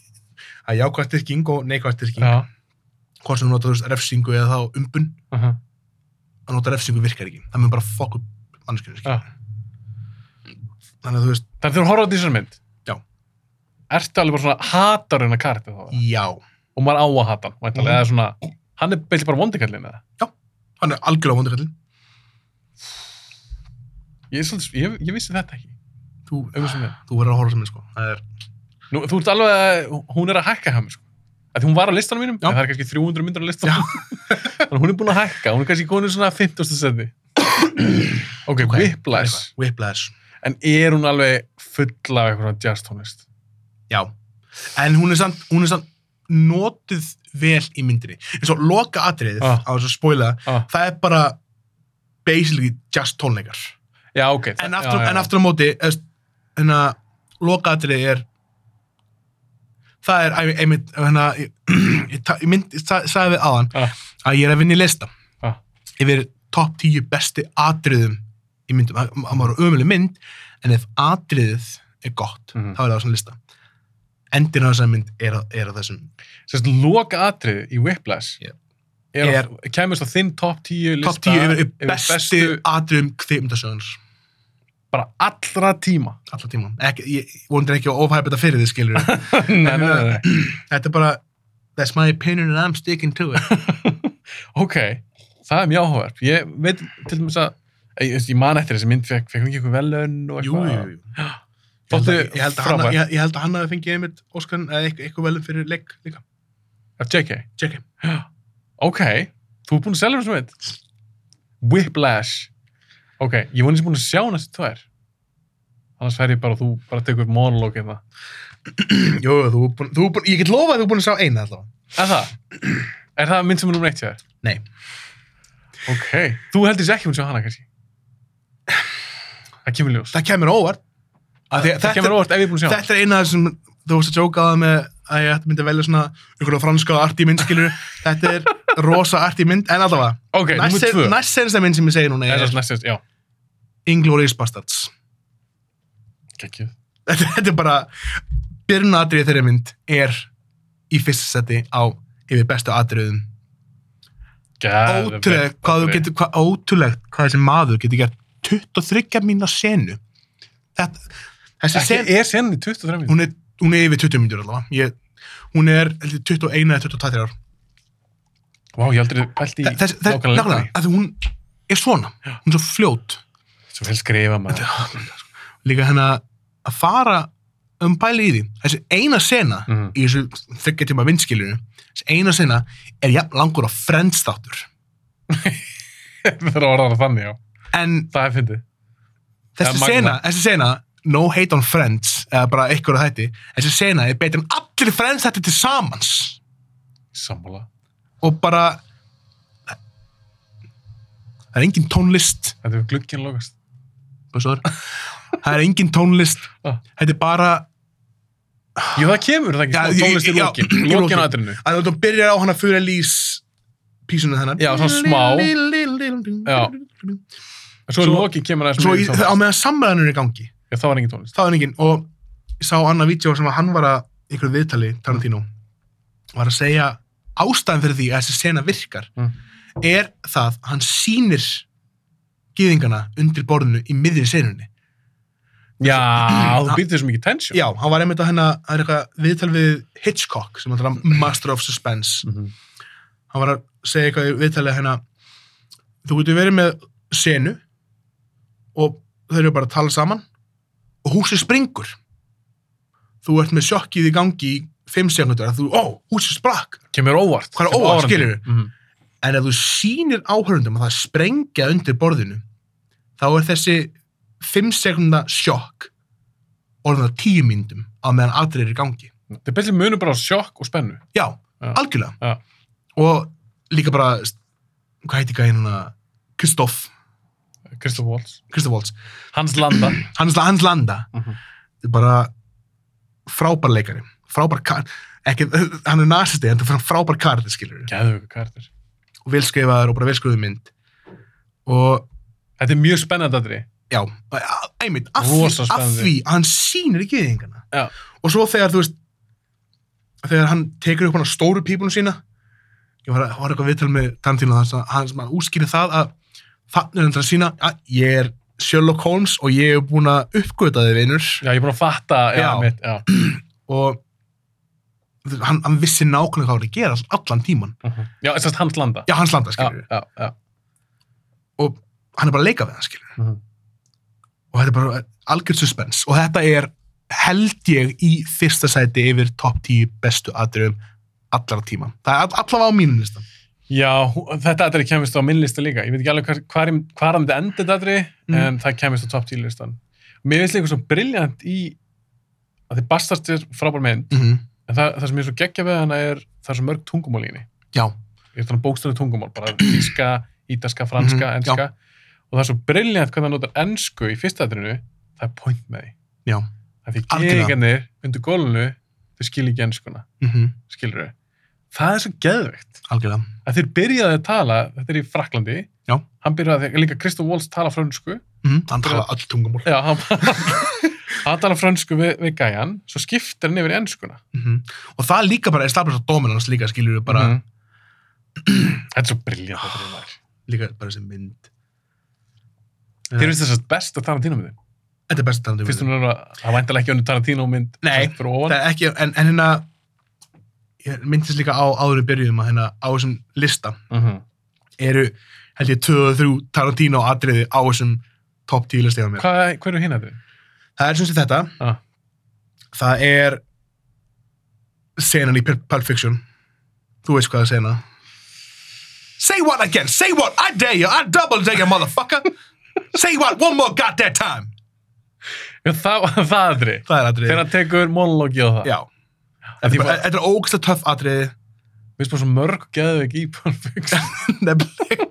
Speaker 2: að jákvæð styrking og neikvæð styrking hvort sem þú nota, þú veist, refsingu eða þá umbun
Speaker 1: Uh -huh.
Speaker 2: að nota refsingu virkar ekki það mun bara fokk upp mannskjörnir
Speaker 1: Já.
Speaker 2: þannig að þú veist,
Speaker 1: Þannig þegar þú horfður á þessar mynd,
Speaker 2: Já.
Speaker 1: ertu alveg bara svona hatar hennar kartið þá?
Speaker 2: já
Speaker 1: Og maður á að hata hann, væntanlega,
Speaker 2: Mhm.
Speaker 1: eða svona, hann er beilir bara vondikallin eða?
Speaker 2: hann er algjörlega vondurkallin
Speaker 1: Ég, er svolítið, ég, ég vissi þetta ekki,
Speaker 2: þú,
Speaker 1: um þessum mynd.
Speaker 2: þú verður að horfa sem minn sko það er,
Speaker 1: Nú, þú ert alveg, að- hún er að hækka hann, sko. Að því hún var á listanum mínum,
Speaker 2: Já.
Speaker 1: en það er kannski 300 myndir á listanum. [LAUGHS] Þannig að hún er búin að hækka, hún er kannski komin í svona 50. sendi.
Speaker 2: [COUGHS]
Speaker 1: ok,
Speaker 2: Ok.
Speaker 1: Whiplash.
Speaker 2: Whiplash
Speaker 1: En er hún alveg full af eitthvað jazz tónlist?
Speaker 2: já, en hún er samt, hún er samt notuð vel í myndinni eins og loka atriðið
Speaker 1: Ah.
Speaker 2: á þess að spoila
Speaker 1: Ah.
Speaker 2: það er bara basically just tónleikar
Speaker 1: Já, ok.
Speaker 2: en
Speaker 1: það-
Speaker 2: aftur,
Speaker 1: já, já.
Speaker 2: en aftur á móti hérna, loka atriðið er það er æ- einmitt hérna, [CLEARS THROAT] ég, ég, ta- ég, mynd, ég sa- sagði við aðan
Speaker 1: Ah.
Speaker 2: að ég er að vinna í lista
Speaker 1: Ah.
Speaker 2: yfir top 10 bestu atriðum í myndum, það það má vera ömuleg mynd en ef atriðið er gott
Speaker 1: Mhm.
Speaker 2: þá er það á þessum lista endir á þessum mynd er, á- er á þessum
Speaker 1: Sérst, loka atrið í Whiplash
Speaker 2: Já.
Speaker 1: er, er, kemurst á þinn top 10 lista
Speaker 2: top 10 yfir, yfir bestu, atriðum kvikmyndasögunar
Speaker 1: bara allra tíma.
Speaker 2: [LAUGHS] allar tíma, ekki, ég vonandi ekki að ofhæpa þetta fyrir þið skilur [LAUGHS]
Speaker 1: nei, nei, nei, nei.
Speaker 2: þetta er bara that's my opinion and I'm sticking to it
Speaker 1: Ok, það er mjög áhverf. Ég veit til dæmis að, eh, ég, ég, ég man eftir þessi mynd, fekk, fekk hún ekki eitthvað velun og
Speaker 2: jú, jú,
Speaker 1: eitthvað.
Speaker 2: jú. Ég held,
Speaker 1: Þóttu
Speaker 2: að, ég, held að hann,
Speaker 1: frábær.
Speaker 2: ég, ég held að hann hafi fengið einmitt Óskan eða eitthvað, eitthvað velum fyrir leik líka.
Speaker 1: Af JK.
Speaker 2: JK.
Speaker 1: Ok, þú er búin að selja þessu mynd. Whiplash. Ok, ég voni sem búin að sjá næstu tvær. Annars fer ég bara og þú bara tekur monolog eða.
Speaker 2: [CLEARS THROAT] Jú, þú er búin, þú er búin, ég get lofað að þú er búin að sjá eina allavega.
Speaker 1: Er það? Er það mynd sem er nummer eitt hjá þér?
Speaker 2: Nei.
Speaker 1: Ok, þú heldur þessi ekki hún sjá hana kannski? Það kemur ljós.
Speaker 2: Það kemur óvart. Af því að
Speaker 1: það kemur
Speaker 2: Þetta,
Speaker 1: óvart ef ég er búin að sjá hana.
Speaker 2: þetta er eina af þessum, þú varst að jókaða með að ég ætti myndi að velja svona einhverja franska arti
Speaker 1: [LAUGHS]
Speaker 2: mynd, skilur. þetta er rosa arti mynd, en allavega.
Speaker 1: Ok, nummer tvö.
Speaker 2: Næst- Næst sensta mynd sem ég segi núna
Speaker 1: Það er
Speaker 2: er
Speaker 1: svo næst, já.
Speaker 2: Inglourious Bastards. [LAUGHS]
Speaker 1: Gekkið.
Speaker 2: Þetta, þetta er bara, byrjunadrið þeirri mynd er í fyrsta seti á yfir bestu atriðum ótrúlegt hvað þú getur hvað, ótrúlegt hvað þessi maður getur gert 23 mínu senu þetta, þessi sen
Speaker 1: Ekki er senan í 23 minn.
Speaker 2: hún er, hún er yfir 20 mínútur allavega ég, hún er held ég, 21 eða 22 ár
Speaker 1: Vá, ég heldur þið pælt í
Speaker 2: Þa- þess, þess,
Speaker 1: nákvæmlega
Speaker 2: nákvæmlega,
Speaker 1: lengri.
Speaker 2: að því hún er svona hún er svo fljót
Speaker 1: [LAUGHS] Svo vel skrifa maður.
Speaker 2: líka hennar að fara um pæli í því þessi eina sena
Speaker 1: Mhm.
Speaker 2: í þessu þryggja tíma vindskilinu þessi eina sena er jafn langur á Friends þáttur
Speaker 1: það er orðan þannig, já.
Speaker 2: en
Speaker 1: Það er fyndið. Það
Speaker 2: þessi
Speaker 1: er magnað.
Speaker 2: sena, þessi sena no hate on friends, eða bara einhverju hætti þessi sena er betur en allir friends þetta til samans
Speaker 1: Sammála.
Speaker 2: og bara það er engin tónlist
Speaker 1: Þetta er glugginn lokast.
Speaker 2: hvað svo er? það er engin tónlist
Speaker 1: Ah.
Speaker 2: þetta er bara
Speaker 1: Jú, það kemur, það
Speaker 2: Já,
Speaker 1: ekki smá
Speaker 2: ég-
Speaker 1: tónlist í
Speaker 2: já,
Speaker 1: lokin.
Speaker 2: í
Speaker 1: Lokin á
Speaker 2: lokin.
Speaker 1: atrinu.
Speaker 2: að þú byrjar á hann að fyrir lýs písuna þennan
Speaker 1: Já, svona smá. Já.
Speaker 2: já.
Speaker 1: En svo í
Speaker 2: Svo-
Speaker 1: lokin kemur aðeins
Speaker 2: svo
Speaker 1: meiri
Speaker 2: í, á meðan samræðanur er í gangi
Speaker 1: Já, það var engin tónlist.
Speaker 2: það var enginn og ég sá annað vídeo sem að hann var að einhverju viðtali, Tarantino var að segja ástæðan fyrir því að þessi sena virkar
Speaker 1: Mm.
Speaker 2: er það að hann sýnir gýðingana undir borðinu í miðri senunni
Speaker 1: Já,
Speaker 2: Ah.
Speaker 1: þú býtir þessu mikið tensjón.
Speaker 2: já, hann var einmitt að hennar það er eitthvað viðtal við Hitchcock sem hann talar um Master of Suspense
Speaker 1: Mhm.
Speaker 2: hann var að segja eitthvað í viðtalið hérna þú getur verið með senu og þeir eru bara að tala saman og húsið springur þú ert með sjokkið í gangi í 5 sekundur að þú, ó, húsið sprakk
Speaker 1: Kemur óvart.
Speaker 2: Hvað er
Speaker 1: kemur
Speaker 2: óvart,
Speaker 1: árandi.
Speaker 2: skilurðu?
Speaker 1: Mhm.
Speaker 2: en ef þú sýnir áhörundum að það sprengja undir borðinu þá er þessi 5 sekunda sjokk orðin að 10 myndum á meðan aðrir er í gangi
Speaker 1: Þetta er betli munur bara á sjokk og spennu.
Speaker 2: já,
Speaker 1: Já.
Speaker 2: algjörlega
Speaker 1: Já.
Speaker 2: og líka bara hvað heiti gæði núna Kristoff
Speaker 1: Kristoff Waltz.
Speaker 2: Kristof Waltz,
Speaker 1: Hans Landa. [CLEARS THROAT]
Speaker 2: hans, hans landa
Speaker 1: Mhm.
Speaker 2: er bara frábær leikari, frábær kar ekki, hann er nazisti, en það er frábær kar það skilur,
Speaker 1: Gæðu ykkur kartir.
Speaker 2: og velskrifaður og bara velskrifuð mynd og
Speaker 1: Þetta er mjög spennandi aðri.
Speaker 2: já, að- einmitt, af
Speaker 1: Rosa
Speaker 2: því, af
Speaker 1: spennandi.
Speaker 2: því að hann sýnir ekki þingana
Speaker 1: Já.
Speaker 2: og svo þegar þú veist þegar hann tekur upp hann stóru pípunum sína ég var, var eitthvað viðtal með Tarantino þar sem hann, sem hann úskýri það að þannig er hann að sína að ég er Sherlock Holmes og ég er búin að uppgöta þið vinur
Speaker 1: Já, ég er búin að fatta. Já.
Speaker 2: Já.
Speaker 1: Mitt, já.
Speaker 2: og þú veist, hann, hann vissi nákvæmlega hvað hann var að gera allan tíman.
Speaker 1: Já, þess að hans landa.
Speaker 2: Já, hans landa,
Speaker 1: Mhm. já,
Speaker 2: skilur
Speaker 1: já, já.
Speaker 2: Og hann er bara að leika við hann, skilur
Speaker 1: Mhm.
Speaker 2: Og þetta er bara algjörð suspens. Og þetta er, held ég, í fyrsta sæti yfir topp 10 bestu atriðum allara tíma. Það er all- allavega á mínum listan.
Speaker 1: Já, hú- þetta aðri kemist á minn lista líka. Ég veit ekki alveg hvar- hvar ég- hvar það myndi enda þetta aðri,
Speaker 2: Mm.
Speaker 1: en það kemist á top 10 listan. Mér finnst líka svo briljant í að þið bastast er frábær mynd,
Speaker 2: Mm
Speaker 1: en það, það sem ég er svo geggja við hana er það er svo mörg tungumál í henni.
Speaker 2: Já,
Speaker 1: Ég er þannig bókstæðu tungumál,
Speaker 2: [CLEARS THROAT]
Speaker 1: bara tíska, ítaska, franska,
Speaker 2: Mhm,
Speaker 1: enska. Og það er svo briljant hvernig það notar ensku í fyrsta aðrinu, það er point með því.
Speaker 2: já.
Speaker 1: Það er því
Speaker 2: Algjörlega.
Speaker 1: geganir undir gólunu, þau skilja ekki enskuna,
Speaker 2: Mm
Speaker 1: skilur þau. Það er svo geðveikt
Speaker 2: Algjörlega.
Speaker 1: að þeir byrjaði að tala, þetta er í Fraklandi,
Speaker 2: Já.
Speaker 1: hann byrjaði að, líka Kristof Waltz tala frönsku,
Speaker 2: Mm Hann tala öll tungumál.
Speaker 1: já, hann, [LAUGHS] hann tala frönsku við, við gæjan, svo skiptir hann yfir í enskuna.
Speaker 2: Mm Og það líka bara er stafnast á dóminans líka, skilur bara,
Speaker 1: Mhm. Þetta er svo briljant að það er.
Speaker 2: líka bara þessi mynd.
Speaker 1: Þér finnst þess að besta Tarantino myndin.
Speaker 2: Þetta er besta um Tarantino.
Speaker 1: Fyrst hún er að, það væntalega ekki önnu Tarantino mynd
Speaker 2: Nei,
Speaker 1: sett fyrir ofan.
Speaker 2: það er ekki, en, en hérna ég myndist líka á áður við byrjuðum að hérna á þessum lista
Speaker 1: Mm
Speaker 2: eru held ég 2-3 Tarantino atriði á þessum top 10 listi hjá mér.
Speaker 1: Hvað, hver eru hinn að þið?
Speaker 2: Það er sem sé þetta
Speaker 1: Ah.
Speaker 2: það er senan í Pul- Pulp Fiction þú veist hvað það er sena Say what again, say what, I dare you, I double dare you
Speaker 1: [LAUGHS]
Speaker 2: motherfucker Say what one more goddamn time
Speaker 1: Já, það, [LAUGHS] það aðri.
Speaker 2: Það er atriði
Speaker 1: Þegar hann tekur monologi á það.
Speaker 2: Já,
Speaker 1: Að því
Speaker 2: þetta
Speaker 1: bara-
Speaker 2: er- þetta er ógsta töff atriði
Speaker 1: Við spáum svo mörg geðveik í Pulp Fiction.
Speaker 2: [LAUGHS] Nefnilega.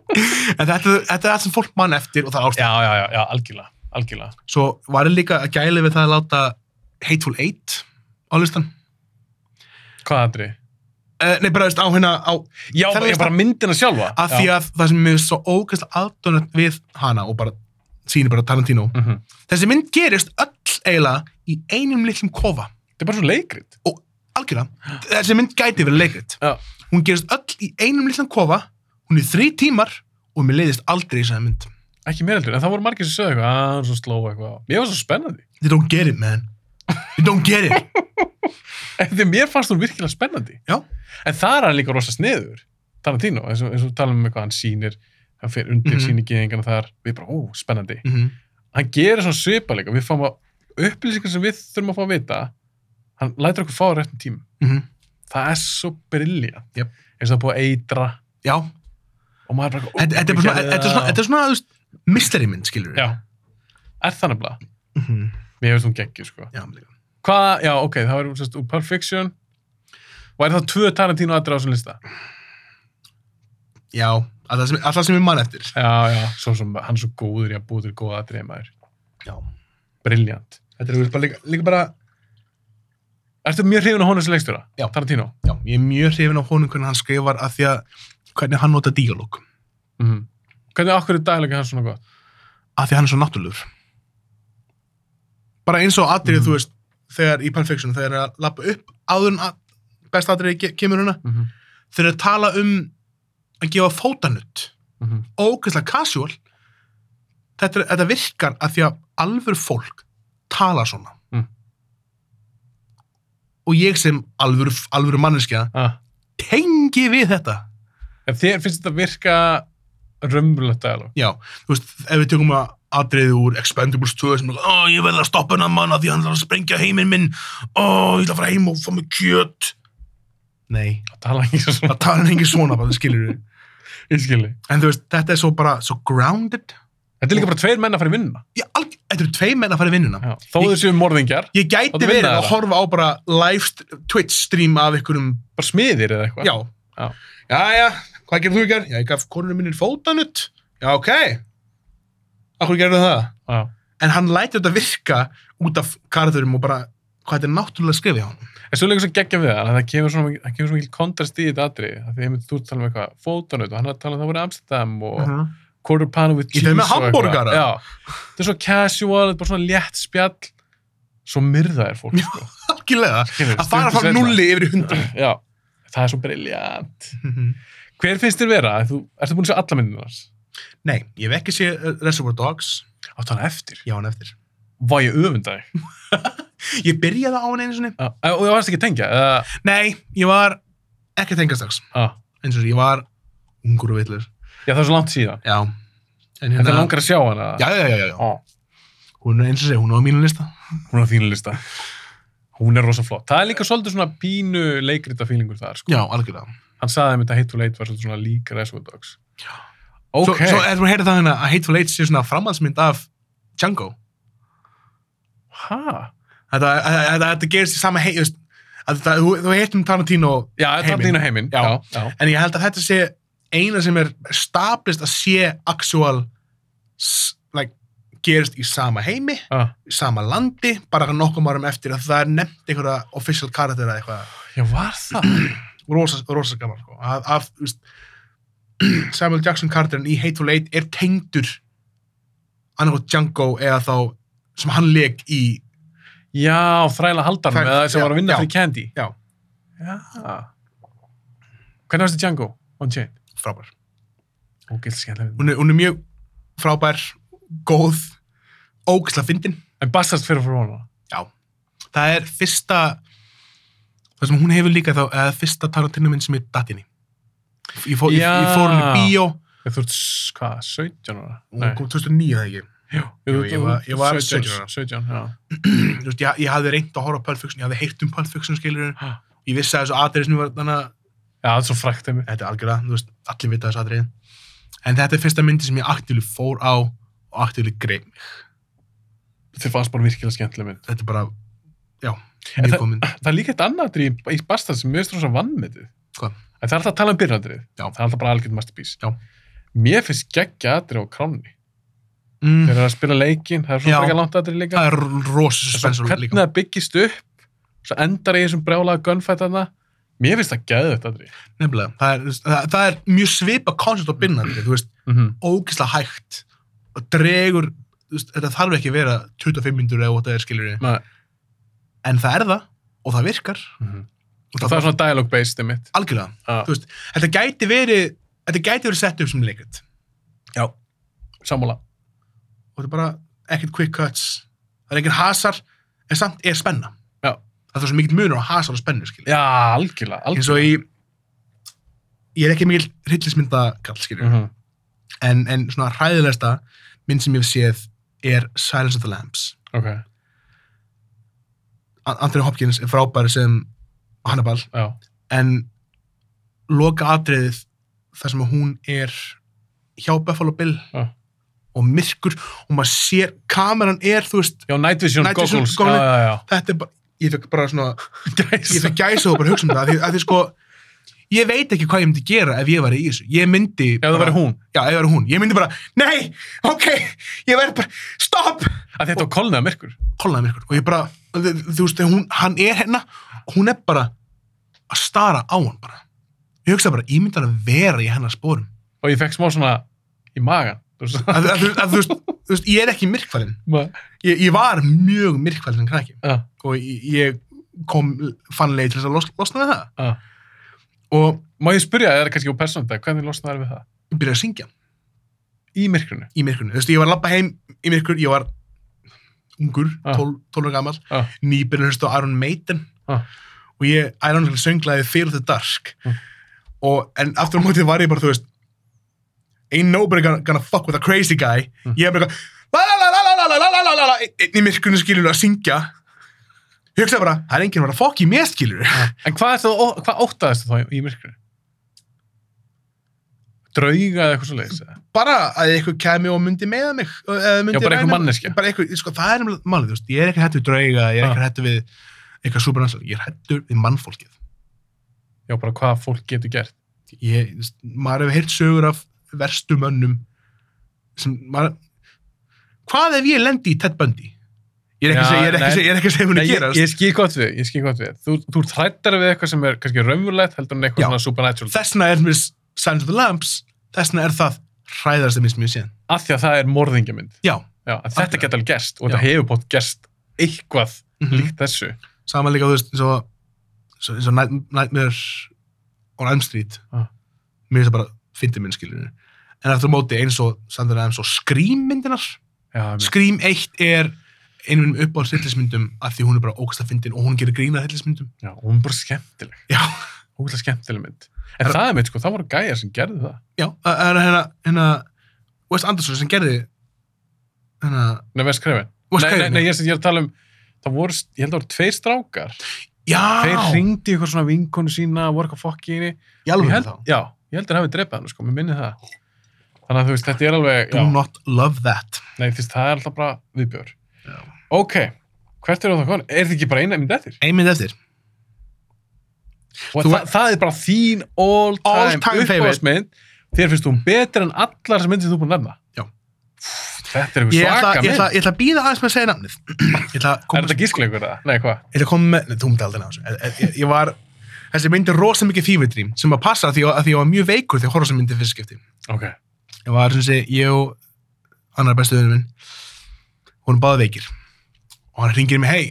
Speaker 2: en þetta, þetta er allt sem fólk mann eftir og það er ástæð.
Speaker 1: já, já, já, já, algjörlega, algjörlega.
Speaker 2: Svo var ég líka að gæli við það að láta Hateful Eight á listan.
Speaker 1: Hvað aðri?
Speaker 2: Uh, nei, bara veist, á hérna, á,
Speaker 1: Já,
Speaker 2: Þannig
Speaker 1: bara,
Speaker 2: að-
Speaker 1: bara myndina sjálfa.
Speaker 2: að því að það sem mér er svo ógæslega aðdónat við hana og bara sýnir bara Tarantino.
Speaker 1: Mm -hmm.
Speaker 2: Þessi mynd gerist öll eiginlega í einum litlum kofa.
Speaker 1: Þetta er bara svo leikrit.
Speaker 2: Algjörlega. Þessi mynd gæti verið leikrit.
Speaker 1: Já.
Speaker 2: Hún gerist öll í einum litlum kofa, hún er þrý tímar og mér leiðist aldrei í þessari mynd.
Speaker 1: Ekki mér heldur, en það voru margir sem sögðu eitthvað, að svo sló eitthvað. á." Mér var svo spennandi. [LAUGHS]
Speaker 2: They don't get it, man. They don't get it.
Speaker 1: En því mér fannst hún virkilega spennandi.
Speaker 2: Já.
Speaker 1: En það er hann líka rosa sniður, Tarantino, eins og, eins og við talum um eitthvað hann sýnir, hann fer undir mm
Speaker 2: Mhm.
Speaker 1: -hmm. sýningiðingana þar, við bara, ó, spennandi.
Speaker 2: mm
Speaker 1: Hann gerir svona svipa líka, við fáum að upplýsingar sem við þurfum að fá að vita hann lætur okkur fá á réttum tím
Speaker 2: mm
Speaker 1: það er svo brilljant
Speaker 2: Jöp.
Speaker 1: eins og það er búið að eitra
Speaker 2: já,
Speaker 1: og maður bara
Speaker 2: þetta þetta er bara svona, þetta er svona, þetta er svona, þú veist, mystery mynd, skilur við.
Speaker 1: já, er það nefnilega
Speaker 2: Mm -hmm.
Speaker 1: mér hefur þú geggjur sko
Speaker 2: Já, líka.
Speaker 1: hvaða, já ok, það var sérst úr Pulp Fiction og er það tvö Tarantino aðra á þessum lista
Speaker 2: já alltaf sem, alltaf sem ég man eftir.
Speaker 1: já, já, svo sem hann er svo góður í að búið til góða aðrið maður,
Speaker 2: Já.
Speaker 1: brilljant
Speaker 2: Þetta er, þú veist, bara líka, líka bara,
Speaker 1: ertu mjög hrifun á honum sem leikstjóra,
Speaker 2: Já.
Speaker 1: Tarantino
Speaker 2: já, ég er mjög hrifin á honum hvernig hann skrifar að því að, hvernig hann nota díalóg.
Speaker 1: mm. hvernig okkur er daglega hans svona gott
Speaker 2: Að því að hann er svo náttúrulegur. Bara eins og atrið,
Speaker 1: Mhm.
Speaker 2: þú veist, þegar í Pulp Fiction, þegar að lappa upp áður en að best atrið ke kemur hana,
Speaker 1: mm -hmm.
Speaker 2: þegar að tala um að gefa fótanutt.
Speaker 1: Mm -hmm.
Speaker 2: ógeðslega casual þetta, er- þetta virkar að því að alvöru fólk tala svona
Speaker 1: Mm.
Speaker 2: og ég sem alvöru, alvöru manneskja
Speaker 1: ah.
Speaker 2: tengi við þetta
Speaker 1: En þér finnst þetta virka raunverulegt dialog?
Speaker 2: já, þú veist, ef við tökum að atriðið úr Expendables 2 sem er, ó, ég verði að stoppa hennar mann að því að hann þarf að sprengja heiminn minn ó, ég ætla að fara heim og fá mig kjöt nei,
Speaker 1: Það tala ekki
Speaker 2: [LAUGHS]
Speaker 1: svona,
Speaker 2: það tala hann engin svona bara, skilur við,
Speaker 1: ég skilji.
Speaker 2: en þú veist, þetta er svo bara, svo grounded
Speaker 1: Þetta er líka bara tveir menn að fara í vinnuna.
Speaker 2: ég, alg, þetta eru tvei menn að fara í vinnuna
Speaker 1: Já. Þó þau séu morðingjar,
Speaker 2: Ég
Speaker 1: Láttu
Speaker 2: gæti
Speaker 1: vinna
Speaker 2: verið að
Speaker 1: þeirra.
Speaker 2: horfa á bara live st- Twitch stream af einhverjum,
Speaker 1: bara smiðir eða eitthvað.
Speaker 2: já.
Speaker 1: Já.
Speaker 2: Já, hvað gerðu þú í gerð? Já, ég gaf konunum mínir fótanutt. Já, ok. Akkur gerðu það?
Speaker 1: Já.
Speaker 2: En hann læti þetta virka út af karðurum og bara, hvað þetta er náttúrulega skrifið á hann.
Speaker 1: En svo er líka svo geggjað við það, að það kemur svona, það kemur svona mikil kontrast í þetta atriði. Af Því að þú ert að tala um eitthvað fótanut og hann er að tala um það voru í Amsterdam og quarter pan with
Speaker 2: Í
Speaker 1: cheese
Speaker 2: þeim Mhm. með
Speaker 1: og eitthvað.
Speaker 2: hamborgara.
Speaker 1: Já. Þetta er svo casual, þetta er bara svona létt spjall. Svo myrða er fólk, sko.
Speaker 2: Algjörlega.
Speaker 1: Skilurðu,
Speaker 2: Að fara
Speaker 1: stuttu
Speaker 2: frá
Speaker 1: seinna.
Speaker 2: nulli yfir í hundra.
Speaker 1: Já. Það er svo briljant. Hver finnst þér vera? Þú, ertu búin að sjá alla myndinu hans?
Speaker 2: [LAUGHS] Nei, ég hef ekki séð uh, Reservoir Dogs.
Speaker 1: Áttu hann eftir?
Speaker 2: Já, hann eftir.
Speaker 1: Vá, ég öfunda þig.
Speaker 2: Ég byrjaði á hann einu sinni.
Speaker 1: Já, og það varst ekki að tengja Eh, eða,
Speaker 2: Nei, ég var ekki að tengja strax.
Speaker 1: á,
Speaker 2: Eins og ég var ungur og villur.
Speaker 1: eh. já, það er svo langt síðan
Speaker 2: Já. En hérna-
Speaker 1: en það langar að sjá hana
Speaker 2: Já, já, já, já, já.
Speaker 1: Á,
Speaker 2: Hún er eins og segja, hún er á mínu lista.
Speaker 1: hún er á þínu lista hún er rosa flott það er líka svolítið svona pínu leikrita fílingur þar sko.
Speaker 2: Já, algjörlega.
Speaker 1: hann sagði einmitt að Hate to Late var svolítið svona líka Reservoir Dogs
Speaker 2: Svo,
Speaker 1: ok,
Speaker 2: svo erum við að heyra það hérna að Hateful Eight sé svona framhaldsmynd af Django.
Speaker 1: hæ?
Speaker 2: Þetta, þetta, þetta, þetta gerist í sama hei, veist, að þetta, þú, þú heitum Tarantino,
Speaker 1: já, það er
Speaker 2: Heiminn.
Speaker 1: þínu heiminn
Speaker 2: Já.
Speaker 1: já, já.
Speaker 2: en ég held að þetta sé eina sem er stablist að sé actual, s- like, gerist í sama heimi,
Speaker 1: Ah,
Speaker 2: í sama landi, bara nokkum árum eftir að það er nefnt einhverja official karakter eða eitthvað.
Speaker 1: já, var það
Speaker 2: rosa, rosa gaman sko. að, að þú veist, [CLEARS THROAT] Samuel Jackson Carterin í Hateful Eight er tengdur annarkot Django eða þá sem hann leik í
Speaker 1: já, þræla haldarnum
Speaker 2: Þræla-
Speaker 1: eða sem var að vinna
Speaker 2: já.
Speaker 1: fyrir Candy
Speaker 2: Já.
Speaker 1: já hvernig varst þið Django? Unchained
Speaker 2: frábær
Speaker 1: ok, þetta er skemmtilega
Speaker 2: hún er, hún er mjög frábær, góð ógisla fyndin
Speaker 1: en Bastard fyrir fyrir hana
Speaker 2: það er fyrsta það sem hún hefur líka þá eða fyrsta tarantinu minn sem er datinni ég, fó, ég, ég fór hún í
Speaker 1: Já.
Speaker 2: bíó
Speaker 1: þú ert, s- hvað, 17 ára?
Speaker 2: hún kom 2009 eða ekki [CLEARS THROAT] Jú, ég var- ég var 17 ára.
Speaker 1: 17, já.
Speaker 2: Þú veist, ég, ég hafði reynd að horfa á Pulp Fiction, ég hafði heyrt um Pulp Fiction skilur
Speaker 1: Ha.
Speaker 2: ég vissi að þessu aðeins sem var þannig að
Speaker 1: Já, það er svo frækt einmitt.
Speaker 2: þetta er algjörlega, þú veist, allir vita þessu atriði en þetta er fyrsta myndi sem ég aktíli fór á og aktíli greip mig.
Speaker 1: Þið fannst bara virkilega skemmtileg mynd.
Speaker 2: þetta er bara, já,
Speaker 1: En
Speaker 2: mjög góð mynd
Speaker 1: Það er líka eitt annað atrið í Bastard sem mér finnst rosa vannmetið.
Speaker 2: Hvað?
Speaker 1: En það er alltaf að tala um byrjandrið.
Speaker 2: Já.
Speaker 1: Það er alltaf bara algjörn masterpiece.
Speaker 2: Já.
Speaker 1: Mér finnst geggja atrið á kránni. Þeir
Speaker 2: mm,
Speaker 1: eru að spila leikinn, það er svona
Speaker 2: Já.
Speaker 1: frekar langt atrið líka.
Speaker 2: það er rosa
Speaker 1: Svo
Speaker 2: suspensur
Speaker 1: hvernig
Speaker 2: líka
Speaker 1: það byggist upp, svo endar í þessum brjálaga gunfætana. Mér finnst það geðvægt atrið.
Speaker 2: nefnilega, það er, þú veist, það, það er mjög svipa koncept á binnandi, þú veist,
Speaker 1: Mm -hmm.
Speaker 2: ógislega hægt og dregur, þú veist, þetta þarf ekki að vera 25 myndur eða what það er skilur en það er það og það virkar og
Speaker 1: Það er svona dialogue based einmitt.
Speaker 2: algjörlega
Speaker 1: Já.
Speaker 2: Þú veist, þetta gæti verið, þetta gæti verið sett upp sem leikrit já
Speaker 1: Sammála.
Speaker 2: og þetta er bara ekkert quick cuts það er ekkert hasar en samt er spenna
Speaker 1: Já.
Speaker 2: það er svo mikið munur á hasar og spennu skilja
Speaker 1: Já, algjörlega,
Speaker 2: eins
Speaker 1: algjörlega.
Speaker 2: og í ég er ekki mikil hryllismyndakall skilja
Speaker 1: Mhm.
Speaker 2: en, en svona hræðilegsta mynd sem ég hef séð er Silence of the Lambs
Speaker 1: Ok.
Speaker 2: An- Anthony Hopkins er frábæri sem Hannibal
Speaker 1: já,
Speaker 2: en loka atriðið þar sem að hún er hjá Buffalo Bill
Speaker 1: Já.
Speaker 2: og myrkur og maður sér, kameran er þú veist,
Speaker 1: já, Night Vision,
Speaker 2: Night Vision
Speaker 1: goggles,
Speaker 2: goggles.
Speaker 1: já, já,
Speaker 2: [LAUGHS]
Speaker 1: já,
Speaker 2: þetta er bara ég fekk bara svona, ég
Speaker 1: gæs
Speaker 2: fekk gæsa og bara hugsa um það, af því, að því sko ég veit ekki hvað ég myndi gera ef ég var í þessu ég myndi,
Speaker 1: ef það
Speaker 2: bara,
Speaker 1: væri hún,
Speaker 2: já, ef það væri hún, ég myndi bara, nei ok, ég verð bara, stopp
Speaker 1: að þetta var kolnaða myrkur
Speaker 2: kollaði myrkur og ég bara, þú þú veist, hún, hann er hérna og hún er bara að stara á hann bara ég hugsa bara, ég myndi að vera í hennar spórum
Speaker 1: og ég fekk smá svona í magan þú veist, [LAUGHS]
Speaker 2: að, að, að, þú, veist, þú veist, ég er ekki myrkfælinn
Speaker 1: ma-
Speaker 2: ég, ég var mjög myrkfælinn krakki
Speaker 1: já,
Speaker 2: og ég, ég kom fann leið til þess að los, losna við það
Speaker 1: já.
Speaker 2: og
Speaker 1: Má ég spyrja, er það kannski úr persónda, hvernig losnaði við það?
Speaker 2: ég byrjaði að syngja
Speaker 1: Í myrkrinu?
Speaker 2: í myrkurnu, þú veist, ég var að labba heim í myrkur ég var ungur,
Speaker 1: Ah.
Speaker 2: 12 12 ára gamall,
Speaker 1: Ah.
Speaker 2: nýbyrjun hlustu á Iron Maiden
Speaker 1: Ah.
Speaker 2: og ég ironically sönglaði Fear of the Dark
Speaker 1: Mm.
Speaker 2: og, en aftur á mótið var ég bara, þú veist ain't nobody gonna, gonna fuck with a crazy guy
Speaker 1: Mm.
Speaker 2: ég er bara eitthvað la la la la la la la la la la la einn í myrkunni skilur að syngja ég hugsaði bara, það er enginn að vera að fokk í mér skilur
Speaker 1: En hvað, er það, hvað óttaðist þú þá í myrkrinu? Drauga eða eitthvað svo leiðis?
Speaker 2: bara að eitthvað kemi og myndi meða mig eða myndi
Speaker 1: Já, bara
Speaker 2: ræna
Speaker 1: einhver
Speaker 2: mig.
Speaker 1: manneskja.
Speaker 2: bara eitthvað, sko, það er nefnilega málið, þú veist, ég er ekki hættur við drauga ég er
Speaker 1: Ah.
Speaker 2: ekki hættur við eitthvað supernatural ég er hættur við mannfólkið
Speaker 1: Já, bara hvað fólk getur gert.
Speaker 2: ég, þú veist, maður hefur heyrt sögur af verstu mönnum sem maður hvað ef ég lendi í Ted Bundy ég er
Speaker 1: Já,
Speaker 2: ekki að segja- ég er ekki
Speaker 1: nei.
Speaker 2: að segja- ég er ekki að segja hún
Speaker 1: Nei,
Speaker 2: að
Speaker 1: ég,
Speaker 2: gera
Speaker 1: ég skil gott við, ég skil gott við. Þú, þú ert hrættar við eitthvað sem er kannski raunverulegt, heldur en eitthvað
Speaker 2: Já.
Speaker 1: svona supernatural.
Speaker 2: þessna er mér Signs of the Lamps þessna er það hræðast sem ég sem ég séð
Speaker 1: Af því að það er morðingjamynd.
Speaker 2: já,
Speaker 1: Já, en þetta
Speaker 2: Akkurat.
Speaker 1: getur alveg gerst og
Speaker 2: Já.
Speaker 1: þetta hefur bótt gerst eitthvað
Speaker 2: Mhm.
Speaker 1: líkt þessu.
Speaker 2: sama líka, þú veist, eins og, eins og- eins og Night- Nightmare on Elm Street
Speaker 1: Ah.
Speaker 2: mér finnst það bara fyndi minn skilurinn en aftur á móti eins og Sandra Adams og Scream myndinar
Speaker 1: Já, einmitt.
Speaker 2: Scream 1 er einum upp á hryllismyndum af því hún er bara ógsta fyndin og hún gerir grína hryllismyndum
Speaker 1: Já, og hún er bara skemmtileg.
Speaker 2: Já.
Speaker 1: Ógæslega skemmtileg mynd. En
Speaker 2: Er-
Speaker 1: það er mynd, sko, það voru gæjar sem gerði það.
Speaker 2: já, það er hérna, hérna Wes Anderson sem gerði hérna,
Speaker 1: Nei, verð skrefin.
Speaker 2: Wes
Speaker 1: Nei, nei,
Speaker 2: Craven
Speaker 1: nei, ég, ég er að tala um, það voru, ég held að það voru tveir strákar. Þeir
Speaker 2: já,
Speaker 1: ringdi ykkur svona vinkonu sína, voru eitthvað fokk í henni.
Speaker 2: ég alveg
Speaker 1: Ég held,
Speaker 2: held þá
Speaker 1: já, ég held að hafi drepað hann, sko, mér minni það. Þannig að þú veist, þetta er alveg,
Speaker 2: Do
Speaker 1: já,
Speaker 2: not love that
Speaker 1: nei, þú veist, það er alltaf bara viðbjör.
Speaker 2: Já.
Speaker 1: Ok, hvert eru það komin? Er þetta ekki bara eina mynd eftir?
Speaker 2: einmynd eftir
Speaker 1: Og
Speaker 2: Þú-
Speaker 1: það, það er bara þín all time,
Speaker 2: All time favorite.
Speaker 1: uppáhaldsmynd. Þér finnst hún betur en allar sem myndir þú búin að nefna.
Speaker 2: Já.
Speaker 1: Þetta er
Speaker 2: ég
Speaker 1: eitthvað
Speaker 2: ætla,
Speaker 1: svaka
Speaker 2: ég,
Speaker 1: mynd.
Speaker 2: ætla, ég ætla að býða aðeins með að segja nafnið ég ætla að
Speaker 1: Er
Speaker 2: koma
Speaker 1: þetta gískleikur eða? Nei, hvað?
Speaker 2: Ég ætla að koma með, nei, þú myndi aldrei ná þessu. Ég- Ég, ég- ég var, þessi mynd er rosa mikið fífudrým sem að passa að því að því ég var mjög veikur þegar ég horfði á þessa mynd í fyrsta skipti.
Speaker 1: Ok.
Speaker 2: Ég var, sem sé, ég og annar bestu vinnur minn, hún er báða veikir. Og hann hringir í mig, hei,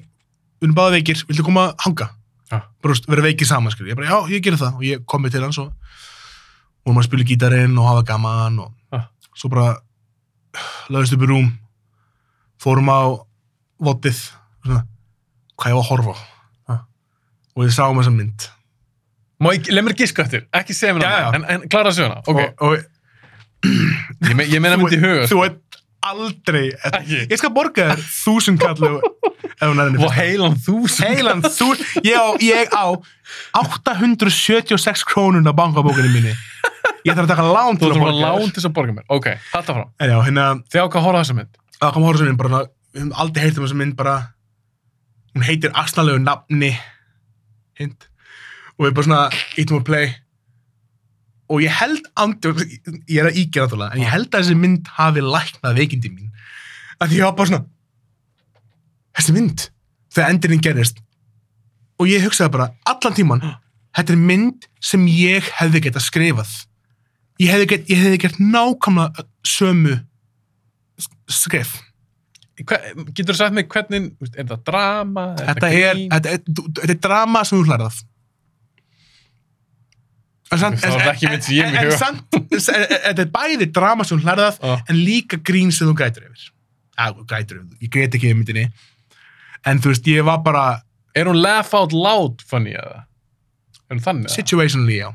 Speaker 2: hún er báða veikir, viltu koma að hanga?
Speaker 1: Já.
Speaker 2: Bara, þú veist, vera veikir saman, skriði. Ég bara, já, ég gerði það. Og ég komi til hans og hún var að spila gítarinn og hafa gaman og
Speaker 1: Já.
Speaker 2: svo bara lögðist upp í rúm, fórum á vottið, svona, hvað ég var að horfa á og við sáum þessa mynd
Speaker 1: Má ég, leið mér gíska eftir, ekki segja mér
Speaker 2: Já,
Speaker 1: hana,
Speaker 2: já.
Speaker 1: en, en klara söguna. Ok,
Speaker 2: og,
Speaker 1: ég, me, ég meina
Speaker 2: og
Speaker 1: myndi í huga. sko.
Speaker 2: þú ert aldrei
Speaker 1: Ekki.
Speaker 2: ég skal borga þér þúsund kallu ef hún er henni
Speaker 1: Og heilan þúsund.
Speaker 2: heilan þú, ég á, ég á 876 krónun á bankabókinni minni ég þarf að taka lán
Speaker 1: Þú
Speaker 2: til að
Speaker 1: þurfum að
Speaker 2: borga
Speaker 1: lán
Speaker 2: þér
Speaker 1: til þess að borga mér. Ok, þetta frá.
Speaker 2: en já, hérna,
Speaker 1: Þegar okkar horfa á þessa mynd.
Speaker 2: það kom að horfa sem mynd bara, svona, við höfum aldrei heyrt um þessa mynd bara, hún heitir astanlegu nafni hint og við bara svona, ítum að play og ég held andi, ég er að ígjara þúlega en ég held að þessi mynd hafi læknað veikindi mín að því ég var bara svona þessi mynd, þegar endurinn gerist og ég hugsaði bara allan tíman, þetta er mynd sem ég hefði gett að skrifað ég hefði gett, ég hefði gett nákvæmlega sömu skrif
Speaker 1: Hva, getur þú sagt mig hvernig, þú veist, er þetta drama?
Speaker 2: þetta er,
Speaker 1: grín?
Speaker 2: þetta, er, þú- þetta er drama sem þú hlærið af En samt-
Speaker 1: Það var
Speaker 2: en-
Speaker 1: ekki mynd sem ég
Speaker 2: en-
Speaker 1: mér
Speaker 2: en
Speaker 1: huga.
Speaker 2: samt- en- en- þetta er bæði drama sem þú hlærið af
Speaker 1: Já.
Speaker 2: en líka grín sem þú grætur yfir ja, grætur yfir, ég grét ekki yfir myndinni en þú veist, ég var bara
Speaker 1: Er hún laugh out loud funny eða? Er hún þannig eða?
Speaker 2: situationally, já,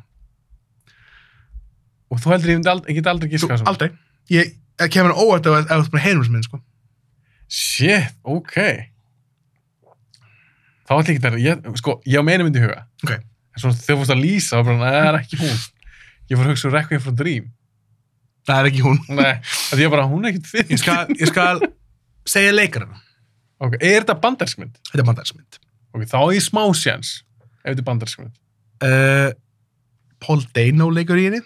Speaker 1: Og þú heldur ég myndi ald- ég get aldrei
Speaker 2: þú,
Speaker 1: gíska þessa mynd.
Speaker 2: aldrei ég, ég kemur óvært ef ef um þú ert bara heyrum sem minn, sko
Speaker 1: Shit, ok. þá ætla ég ekki að, ég, sko, ég á meina myndi í huga.
Speaker 2: Ok.
Speaker 1: En svona þegar þú fórst að lýsa, þá bara, "Nei, það er ekki hún. Ég fór að hugsa um Requiem for a Dream.
Speaker 2: það er ekki hún.
Speaker 1: Nei, af því ég bara, hún er ekkit fyrir.
Speaker 2: Ég skal, ég skal segja leikarana.
Speaker 1: Ok, er þetta bandarskmynd?
Speaker 2: Þetta er bandarsmynd.
Speaker 1: Ok, þá er ég smá sjans, ef þetta er bandarskmynd.
Speaker 2: Uh, Paul Dano leikur í henni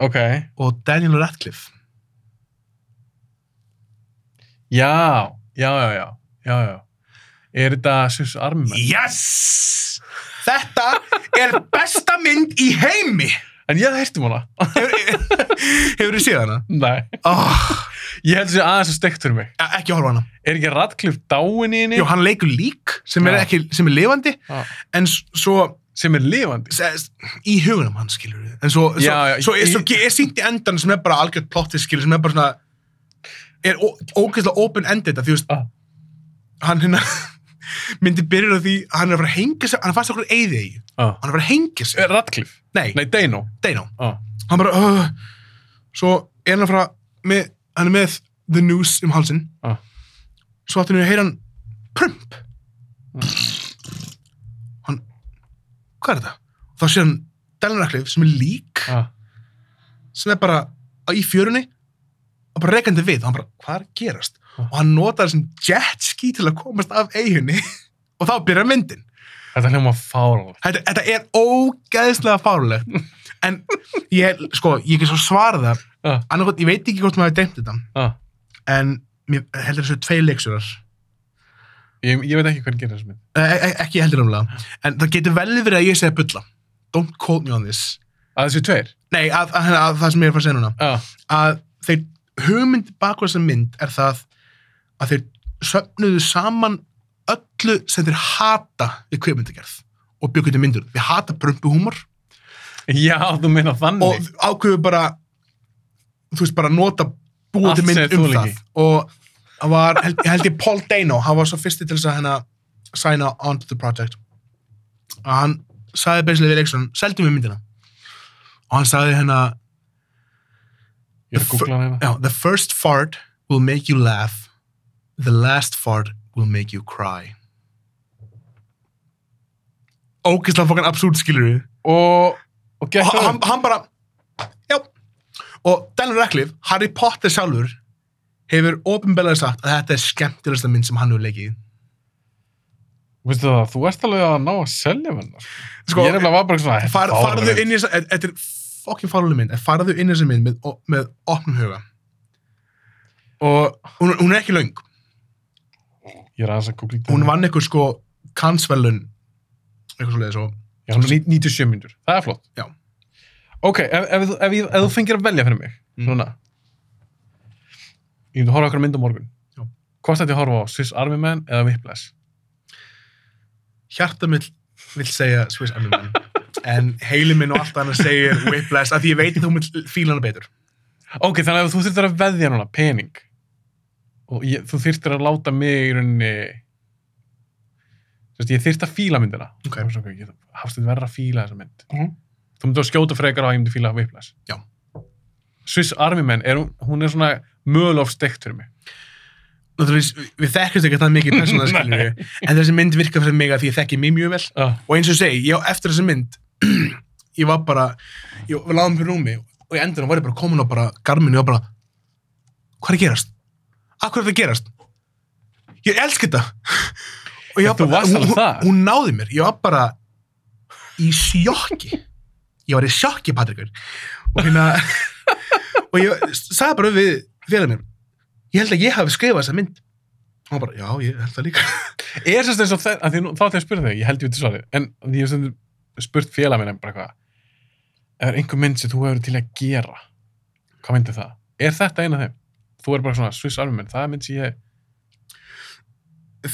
Speaker 1: Ok,
Speaker 2: og Daniel Radcliffe.
Speaker 1: já, já, já, já, já, já. Er þetta Swiss Army Man?
Speaker 2: Yes! Þetta er besta mynd í heimi.
Speaker 1: En ég hefði um hana. [LAUGHS]
Speaker 2: Hefur þið séð hana?
Speaker 1: Nei,
Speaker 2: Oh,
Speaker 1: ég held þessi aðeins að steikt fyrir mig.
Speaker 2: ekki horfa á hana.
Speaker 1: Er ekki Radcliffe dáin í henni?
Speaker 2: Jú, hann leikur lík sem er,
Speaker 1: Já.
Speaker 2: ekki, sem er lifandi
Speaker 1: Já.
Speaker 2: en s- svo
Speaker 1: Sem er lifandi.
Speaker 2: s- í hugunum hann skilur við en svo,
Speaker 1: Já, já,
Speaker 2: svo, svo,
Speaker 1: í-
Speaker 2: svo, svo er sínt í endan sem er bara algjörð plottið skilur sem er bara svona er ó- ógeðslega open-ended að því þú veist
Speaker 1: Ah.
Speaker 2: hann hérna [LAUGHS] myndi byrja á því að hann er að fara að hengja sig hann fannst okkur eyði í
Speaker 1: Ah.
Speaker 2: hann er að fara að hengja sig
Speaker 1: Radcliffe?
Speaker 2: nei, nei.
Speaker 1: Nei, Dano.
Speaker 2: Dano
Speaker 1: Ah.
Speaker 2: hann bara uh, svo er hann að fara með, hann er með the news um halsinn
Speaker 1: Ah.
Speaker 2: svo átti hann að heyra hann prump
Speaker 1: Mm.
Speaker 2: hann hvað er þetta? þá sé hann Dalinaklif sem er lík
Speaker 1: Ah.
Speaker 2: sem er bara á- í fjörunni og bara rekandi við og hann bara hvað er að gerast?
Speaker 1: Ah.
Speaker 2: og hann notar þessum jet ski til að komast af eiginni [LAUGHS] og þá byrjar myndin
Speaker 1: Þetta hljóma fáránlegt.
Speaker 2: þetta, þetta er ógeðslega fárulegt en ég, sko, ég ekki svo svara það
Speaker 1: Ah.
Speaker 2: annarkot, ég veit ekki hvort maður hefði dæmt þetta
Speaker 1: Ah.
Speaker 2: en mér heldur þessu tvei leiksurar
Speaker 1: Ég, ég veit ekki hvernig gerir þessu mynd.
Speaker 2: e ekki heldur umlega en það getur vel verið að ég segja bulla don't quote me on this
Speaker 1: Að þessu tveir?
Speaker 2: nei, að, að, að það sem ég er að fara að segja núna
Speaker 1: Ah.
Speaker 2: að þeir hugmynd baku þessa mynd er það að þeir söfnuðu saman öllu sem þeir hata við kveikmyndagerð og byggjum til myndur við hata prumpuhúmor
Speaker 1: Já, þú meina
Speaker 2: og
Speaker 1: þannig.
Speaker 2: ákveðu bara þú veist bara nota búið
Speaker 1: Allt
Speaker 2: til mynd
Speaker 1: sem
Speaker 2: um
Speaker 1: þú
Speaker 2: það
Speaker 1: líki.
Speaker 2: og hann var, held, ég held ég Paul Dano hann var svo fyrsti til þess að hérna signa on to the project og hann sagði basically við leikstjóran seldum við myndina og hann sagði hérna
Speaker 1: Ég er að googla hann hérna.
Speaker 2: já, the first fart will make you laugh the last fart will make you cry ógeðslega fokkan absúrt skilur við
Speaker 1: Og, og
Speaker 2: og
Speaker 1: gekk
Speaker 2: hann,
Speaker 1: það
Speaker 2: hann-
Speaker 1: upp.
Speaker 2: hann bara já og Daniel Radcliffe, Harry Potter sjálfur hefur ofinbelað sagt að þetta er skemmtilegsta mynd sem hann hefur leikið í.
Speaker 1: Veistu það, þú ert alveg að ná að selja hennar.
Speaker 2: sko,
Speaker 1: ég er nefnilega var bara svona
Speaker 2: far,
Speaker 1: fáránleg
Speaker 2: farðu
Speaker 1: mynd.
Speaker 2: inn í þessa e- þetta er fokkin fáluleg mynd en farðu inn í þessa mynd með, með opnum huga og hún, hún er ekki löng
Speaker 1: Ég er aðeins að googla þetta.
Speaker 2: hún vann eitthvað sko kansvelun eitthvað svo leiðis og
Speaker 1: Já, hún er ní- 97 mínútur. Það er flott.
Speaker 2: Já.
Speaker 1: Ok, ef, ef, þú- ef, ég- ef þú fengir að velja fyrir mig,
Speaker 2: Mm.
Speaker 1: núna, ég myndi að horfa okkur mynd á morgun.
Speaker 2: Já.
Speaker 1: Hvort ætti ég að horfa á Swiss Army Man eða Whiplash?
Speaker 2: hjarta mitt vil segja Swiss Army Man en heili minn og allt annað segir Whiplash af því ég veit að þú mynd fíla hana betur
Speaker 1: Ok, þannig að ef þú þurftir að veðja núna pening og ég, þú þurftir að láta mig í rauninni, þú veist, ég þurfti að fíla myndina.
Speaker 2: Ok.
Speaker 1: Og svo, ok, ég hafst þetta verra að fíla þessa mynd.
Speaker 2: Mhm.
Speaker 1: Þú myndi að skjóta frekar á að ég myndi fíla Whiplash.
Speaker 2: Já.
Speaker 1: Swiss Army Man, er, hún- hún er svona mögulega steikt fyrir mig.
Speaker 2: Náttúrulega, við- við þekkjumst ekki það mikið persónulega skilur við, en þessi mynd virkar fyrir mig að því ég þekki mig mjög vel
Speaker 1: Uh.
Speaker 2: og eins og ég segi, ég á eftir þessi mynd [CLEARS THROAT] ég var bara ég, við láðum fyrir rúmi og í endur var ég bara komin á bara garminu og bara hvað er að gerast? Akkur er það að gerast? Ég elska þetta [LAUGHS]
Speaker 1: Já,
Speaker 2: og ég var
Speaker 1: þú
Speaker 2: bara,
Speaker 1: varst alveg
Speaker 2: hún,
Speaker 1: þar.
Speaker 2: hún náði mér ég var bara í sjokki ég var í sjokki Patrikur og hérna [LAUGHS] og ég sagði bara við félag mér ég held að ég hafi skrifað þessa mynd og hann bara, já, ég held það líka
Speaker 1: er semst eins og það, að því nú, þá ætla ég að spyrja þig, ég held ég veit svarið, en því ég hef stundum spurt félag minn bara hvað, ef er einhver mynd sem þú hefur til að gera, hvað myndir það? Er þetta eina þeim? Þú er bara svona Swiss Army Man, það er mynd sem ég,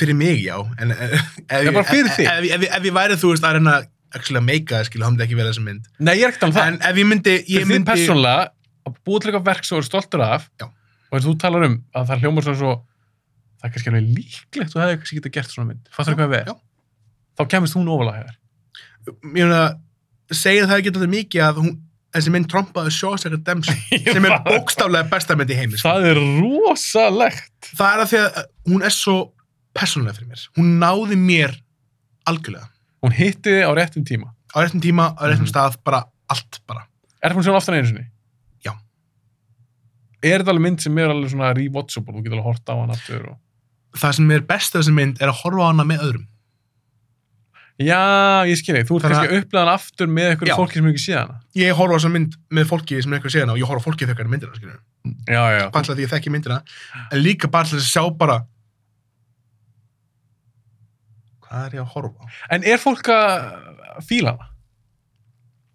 Speaker 2: fyrir mig já en, en, ef,
Speaker 1: Já, bara fyrir
Speaker 2: ef,
Speaker 1: þig.
Speaker 2: ef, ef, ef ég væri þú veist að reyna actually að meika það skilu, hann myndi ekki vera þessi mynd
Speaker 1: nei ég er ekkert alveg það,
Speaker 2: en ef ég myndi, ég
Speaker 1: fyrir þið
Speaker 2: myndi
Speaker 1: persónlega, að búa til eitthvað verk sem þú eru stoltur af,
Speaker 2: Já.
Speaker 1: og eins og þú talar um að það hljómar svona svo, það er kannski alveg líklegt, þú hefði kannski getað gert svona mynd, fattur hvað við,
Speaker 2: Já.
Speaker 1: er? þá kemist hún ofalega hefur.
Speaker 2: ég myndi að segja það ekki alltaf mikið að hún, þessi mynd trompaði
Speaker 1: [LAUGHS]
Speaker 2: Shaw's Redemption sem er bókstaflega besta mynd í heimi sko.
Speaker 1: Það er rosalegt.
Speaker 2: það er að því að hún er svo persónulega fyrir mér. Hún náði mér algjörlega.
Speaker 1: Hún hitti þið á réttum tíma.
Speaker 2: Á réttum tíma, á réttum
Speaker 1: Mhm.
Speaker 2: stað, bara allt bara.
Speaker 1: Er það búin að sjá hann oftar en einu sinni?
Speaker 2: Já.
Speaker 1: Er þetta alveg mynd sem er alveg svona rewatchable, þú getur alveg hort á hann aftur og...
Speaker 2: Það sem er best af þessi mynd er að horfa á hana með öðrum.
Speaker 1: Já, ég skilji, þú ert
Speaker 2: Þannig að-
Speaker 1: kannski að upplega hann aftur með
Speaker 2: Já.
Speaker 1: einhverju fólki sem hefur ekki séð hana.
Speaker 2: Ég horfa á þessa mynd með fólki sem er eitthvað séðan og ég horfa á fólki þekkar myndina, skiljum.
Speaker 1: Já, já, já.
Speaker 2: Bara til að því ég þekki myndina, en líka bara til að sjá bara hvað er ég að horfa á?
Speaker 1: En er fólk að fíla hana?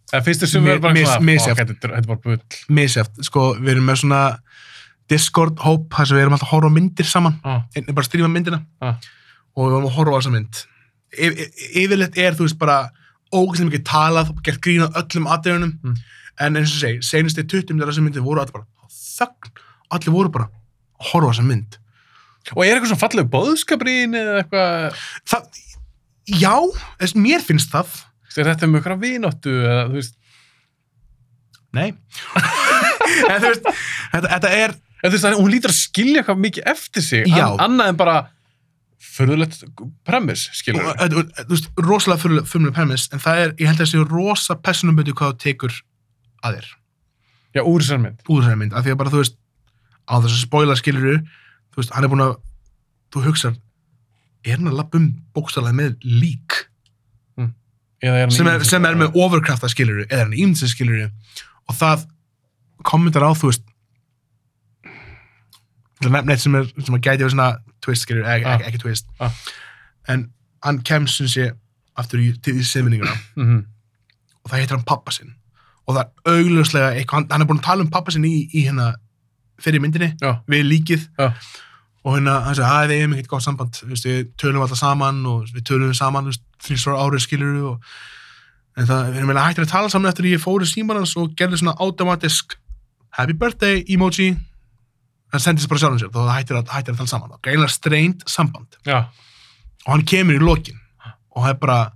Speaker 1: Eða finnst þér sem
Speaker 2: Mi-
Speaker 1: verður bara
Speaker 2: mis-
Speaker 1: svona,
Speaker 2: misjafnt.
Speaker 1: "Fuck, þetta er- þetta er bara bull.
Speaker 2: Misjæft, sko, við erum með svona Discord-hóp þar sem við erum alltaf að horfa á myndir saman
Speaker 1: Ah,
Speaker 2: einnig bara að stríma myndina
Speaker 1: Ah.
Speaker 2: og við varum að horfa á þessa mynd y yfirleitt er þú veist bara ógæslega mikið talað og gert grín á öllum aðdegunum
Speaker 1: Mm.
Speaker 2: en eins og segi, senast í 20 minnir þessa myndi voru allir bara á þögn, allir voru bara að horfa á þessa mynd
Speaker 1: Og er eitthvað svona falleg bóðskaprín eða eitthvað,
Speaker 2: það, já, þess, mér finnst það
Speaker 1: er þetta um einhverja vináttu eða þú veist,
Speaker 2: nei en þú veist, þetta, þetta er
Speaker 1: eða, þú veist að hún lítur að skilja eitthvað mikið eftir sig,
Speaker 2: Já.
Speaker 1: an, annað en bara förðulegt premiss, skilur
Speaker 2: og- og- og- þú veist, rosalega fumlega premis en það er, ég held að það sé rosa personumbyttu hvað þú tekur að þér
Speaker 1: Já, úr þessar mynd.
Speaker 2: úr þessari mynd, af því að bara, þú veist á þess að spoila skiluru þú veist, hann er búin að, þú hugsar er hann að lappa um bókstallega með lík,
Speaker 1: Eða hann
Speaker 2: sem
Speaker 1: í-
Speaker 2: er, sem er með overkrafta skiluru, eða er hann ímyndsins skiluru og það kommentar á, þú veist það nefn eitt sem er, sem að gæti á svona twist skiluru, ek,
Speaker 1: Ah.
Speaker 2: ek, ekki twist
Speaker 1: Ah.
Speaker 2: en hann kemst sem sé aftur í, til í siðminninguna
Speaker 1: Mhm.
Speaker 2: og það heitir hann pappa sinn og það er augljóslega eitthvað, hann, hann er búin að tala um pappa sinn í, í hérna fyrir myndinni
Speaker 1: Já.
Speaker 2: við líkið
Speaker 1: Já.
Speaker 2: og hérna hann sagði að við eigum ekkert gott samband þú veist, við tölum alltaf saman og við tölum saman þrjusvara árið skilur við og en það, við erum eiginlega hægt að tala saman eftir að ég fóru síman hans og gerði svona automatisk happy birthday emoji hann sendi sér bara sjálfum sér þó það hættir að, hættir að tala saman það er eiginlega streynd samband
Speaker 1: Já,
Speaker 2: og hann kemur í lokin og hann er bara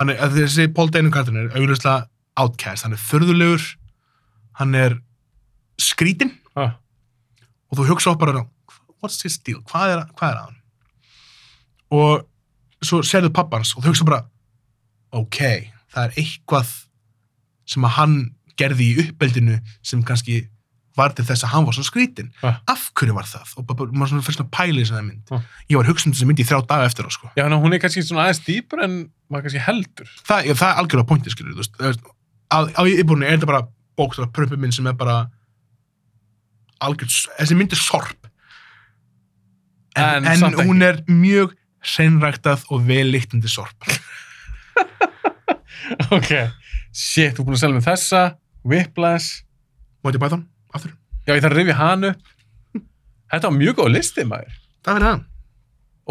Speaker 2: hann er, að þessi Paul Dano kartin er augljóslega outcast, hann er förðulegur hann er skrítin
Speaker 1: já.
Speaker 2: og þú hugsa á bara what's his deal, hvað er, hvað er að hann og svo serðu pappans og þú hugsa bara ok, það er eitthvað sem að hann gerði í uppeldinu sem kannski var til þess að hann var svo skrítin
Speaker 1: Ah.
Speaker 2: af hverju var það og bara- bara- maður svona fyrst að pæli þess að það mynd
Speaker 1: Ah.
Speaker 2: ég var að hugsa um þessi mynd í þrjá daga eftir á sko
Speaker 1: Já, ná, hún er kannski svona aðeins dýpur en maður kannski heldur.
Speaker 2: það, ég, það er algjörlega pointið, skilur þú veist, þú veist, á, á íbúinu er þetta bara bókstara prömpu minn sem er bara algjörð, þessi mynd er sorp
Speaker 1: En
Speaker 2: en, en,
Speaker 1: samt ekki.
Speaker 2: hún er mjög seinræktað og velíktandi sorp
Speaker 1: ok. Shit, þú er búin að selja með þessa, Whiplash.
Speaker 2: Monty Python, aftur,
Speaker 1: Já, ég þarf að rifja hann upp. Þetta var mjög góð listi, maður.
Speaker 2: það verður það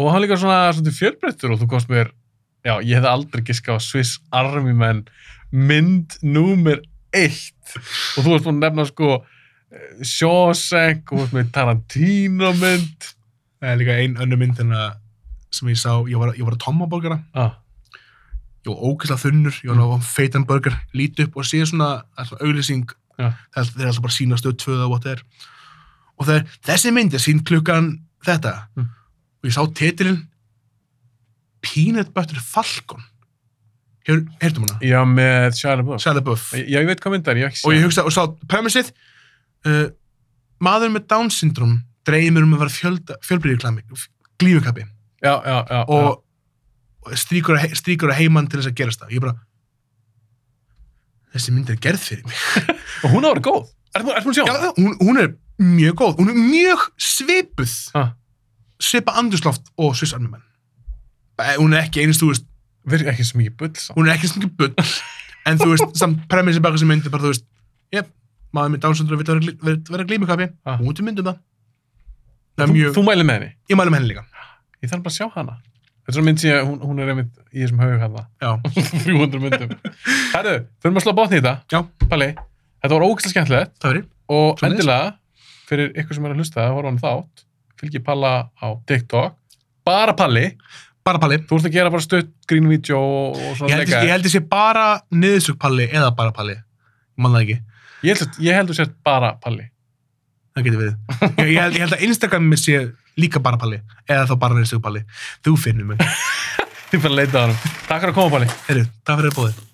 Speaker 1: Og hann líka svona, svona fjölbreyttur og þú komst mér, já, ég hefði aldrei giskað á Swiss Army menn mynd númer eitt. Og þú varst búin að nefna sko eh, Shawshank, og þú varst með Tarantino mynd.
Speaker 2: það er líka ein önnur mynd en að sem ég sá, ég var, ég var að tomma borgara
Speaker 1: Ah,
Speaker 2: ég var ógeðslega þunnur,
Speaker 1: Mm.
Speaker 2: ég var að feitan burger, lít upp og sé svona, það er svona auglýsing,
Speaker 1: Já.
Speaker 2: það er- þeir er alltaf bara sína stöð tvöða og what það er. Og það er, þessi mynd er sín klukkan þetta.
Speaker 1: Mm.
Speaker 2: Og ég sá titilinn Peanut Butter Falcon. Hefur, heyrtum hana?
Speaker 1: já, með Shia LaBeouf.
Speaker 2: Shia LaBeouf.
Speaker 1: Já, ég veit hvað mynd það er, ég hef ekki
Speaker 2: Og ég
Speaker 1: séð.
Speaker 2: hugsa, og sá premissið, uh, maður með Down syndrom dreymir um að vera fjölda, fjölbreyðiklami, glífukappi
Speaker 1: Já, já, já. já.
Speaker 2: og, og stríkur, að he- stríkur að heimann til þess að gerast það. Ég bara, þessi mynd er gerð fyrir mig.
Speaker 1: Og hún hafa verið góð. Er það búin að sjá
Speaker 2: Já,
Speaker 1: hana?
Speaker 2: hún, hún er mjög góð. Hún er mjög svipuð.
Speaker 1: Ha.
Speaker 2: Svipa andusloft og svissarmimenn. Hún er ekki einst, þú veist,
Speaker 1: Virk ekki sem ég bull samt.
Speaker 2: hún er ekki sem ekki
Speaker 1: [LAUGHS]
Speaker 2: bull. en þú veist, samt premissi baka sem mynd er bara, þú veist, jep, maður með dánsöndur vil vera, vera, vera glímukappi.
Speaker 1: Ha.
Speaker 2: Hún er mynd um það. Það er
Speaker 1: Þú,
Speaker 2: mjög,
Speaker 1: þú mæli með henni.
Speaker 2: ég mælu með henni líka.
Speaker 1: Ég þarf bara að sjá hana. Þetta er svona mynd sem ég, hún, hún er einmitt í þessum haug [LAUGHS] hérna.
Speaker 2: Já,
Speaker 1: 300 myndum. Herru, þurfum að slá botni í þetta.
Speaker 2: Já.
Speaker 1: Palli, þetta var ógæslega skemmtilegt
Speaker 2: það verið.
Speaker 1: og
Speaker 2: Svoleiðis.
Speaker 1: endilega, fyrir ykkur sem er að hlusta að horfa á hann þátt, fylgi Palla á TikTok. Bara Palli.
Speaker 2: Bara palli.
Speaker 1: Þú ert að gera bara stutt grínvídeó og, og
Speaker 2: Ég
Speaker 1: svona
Speaker 2: held, ég
Speaker 1: leika.
Speaker 2: held þessi bara niðursugpalli eða bara palli. Ég man það ekki.
Speaker 1: Ég held, ég held þú sért bara Palli.
Speaker 2: það getur verið. Ég, ég, held, ég held að Instagram mér sé líka bara palli, eða þá bara neins palli. Þú finnur mig.
Speaker 1: Þið fyrir að leita á hann. Takk fyrir að koma, Palli.
Speaker 2: Heyrðu, takk fyrir bóðið.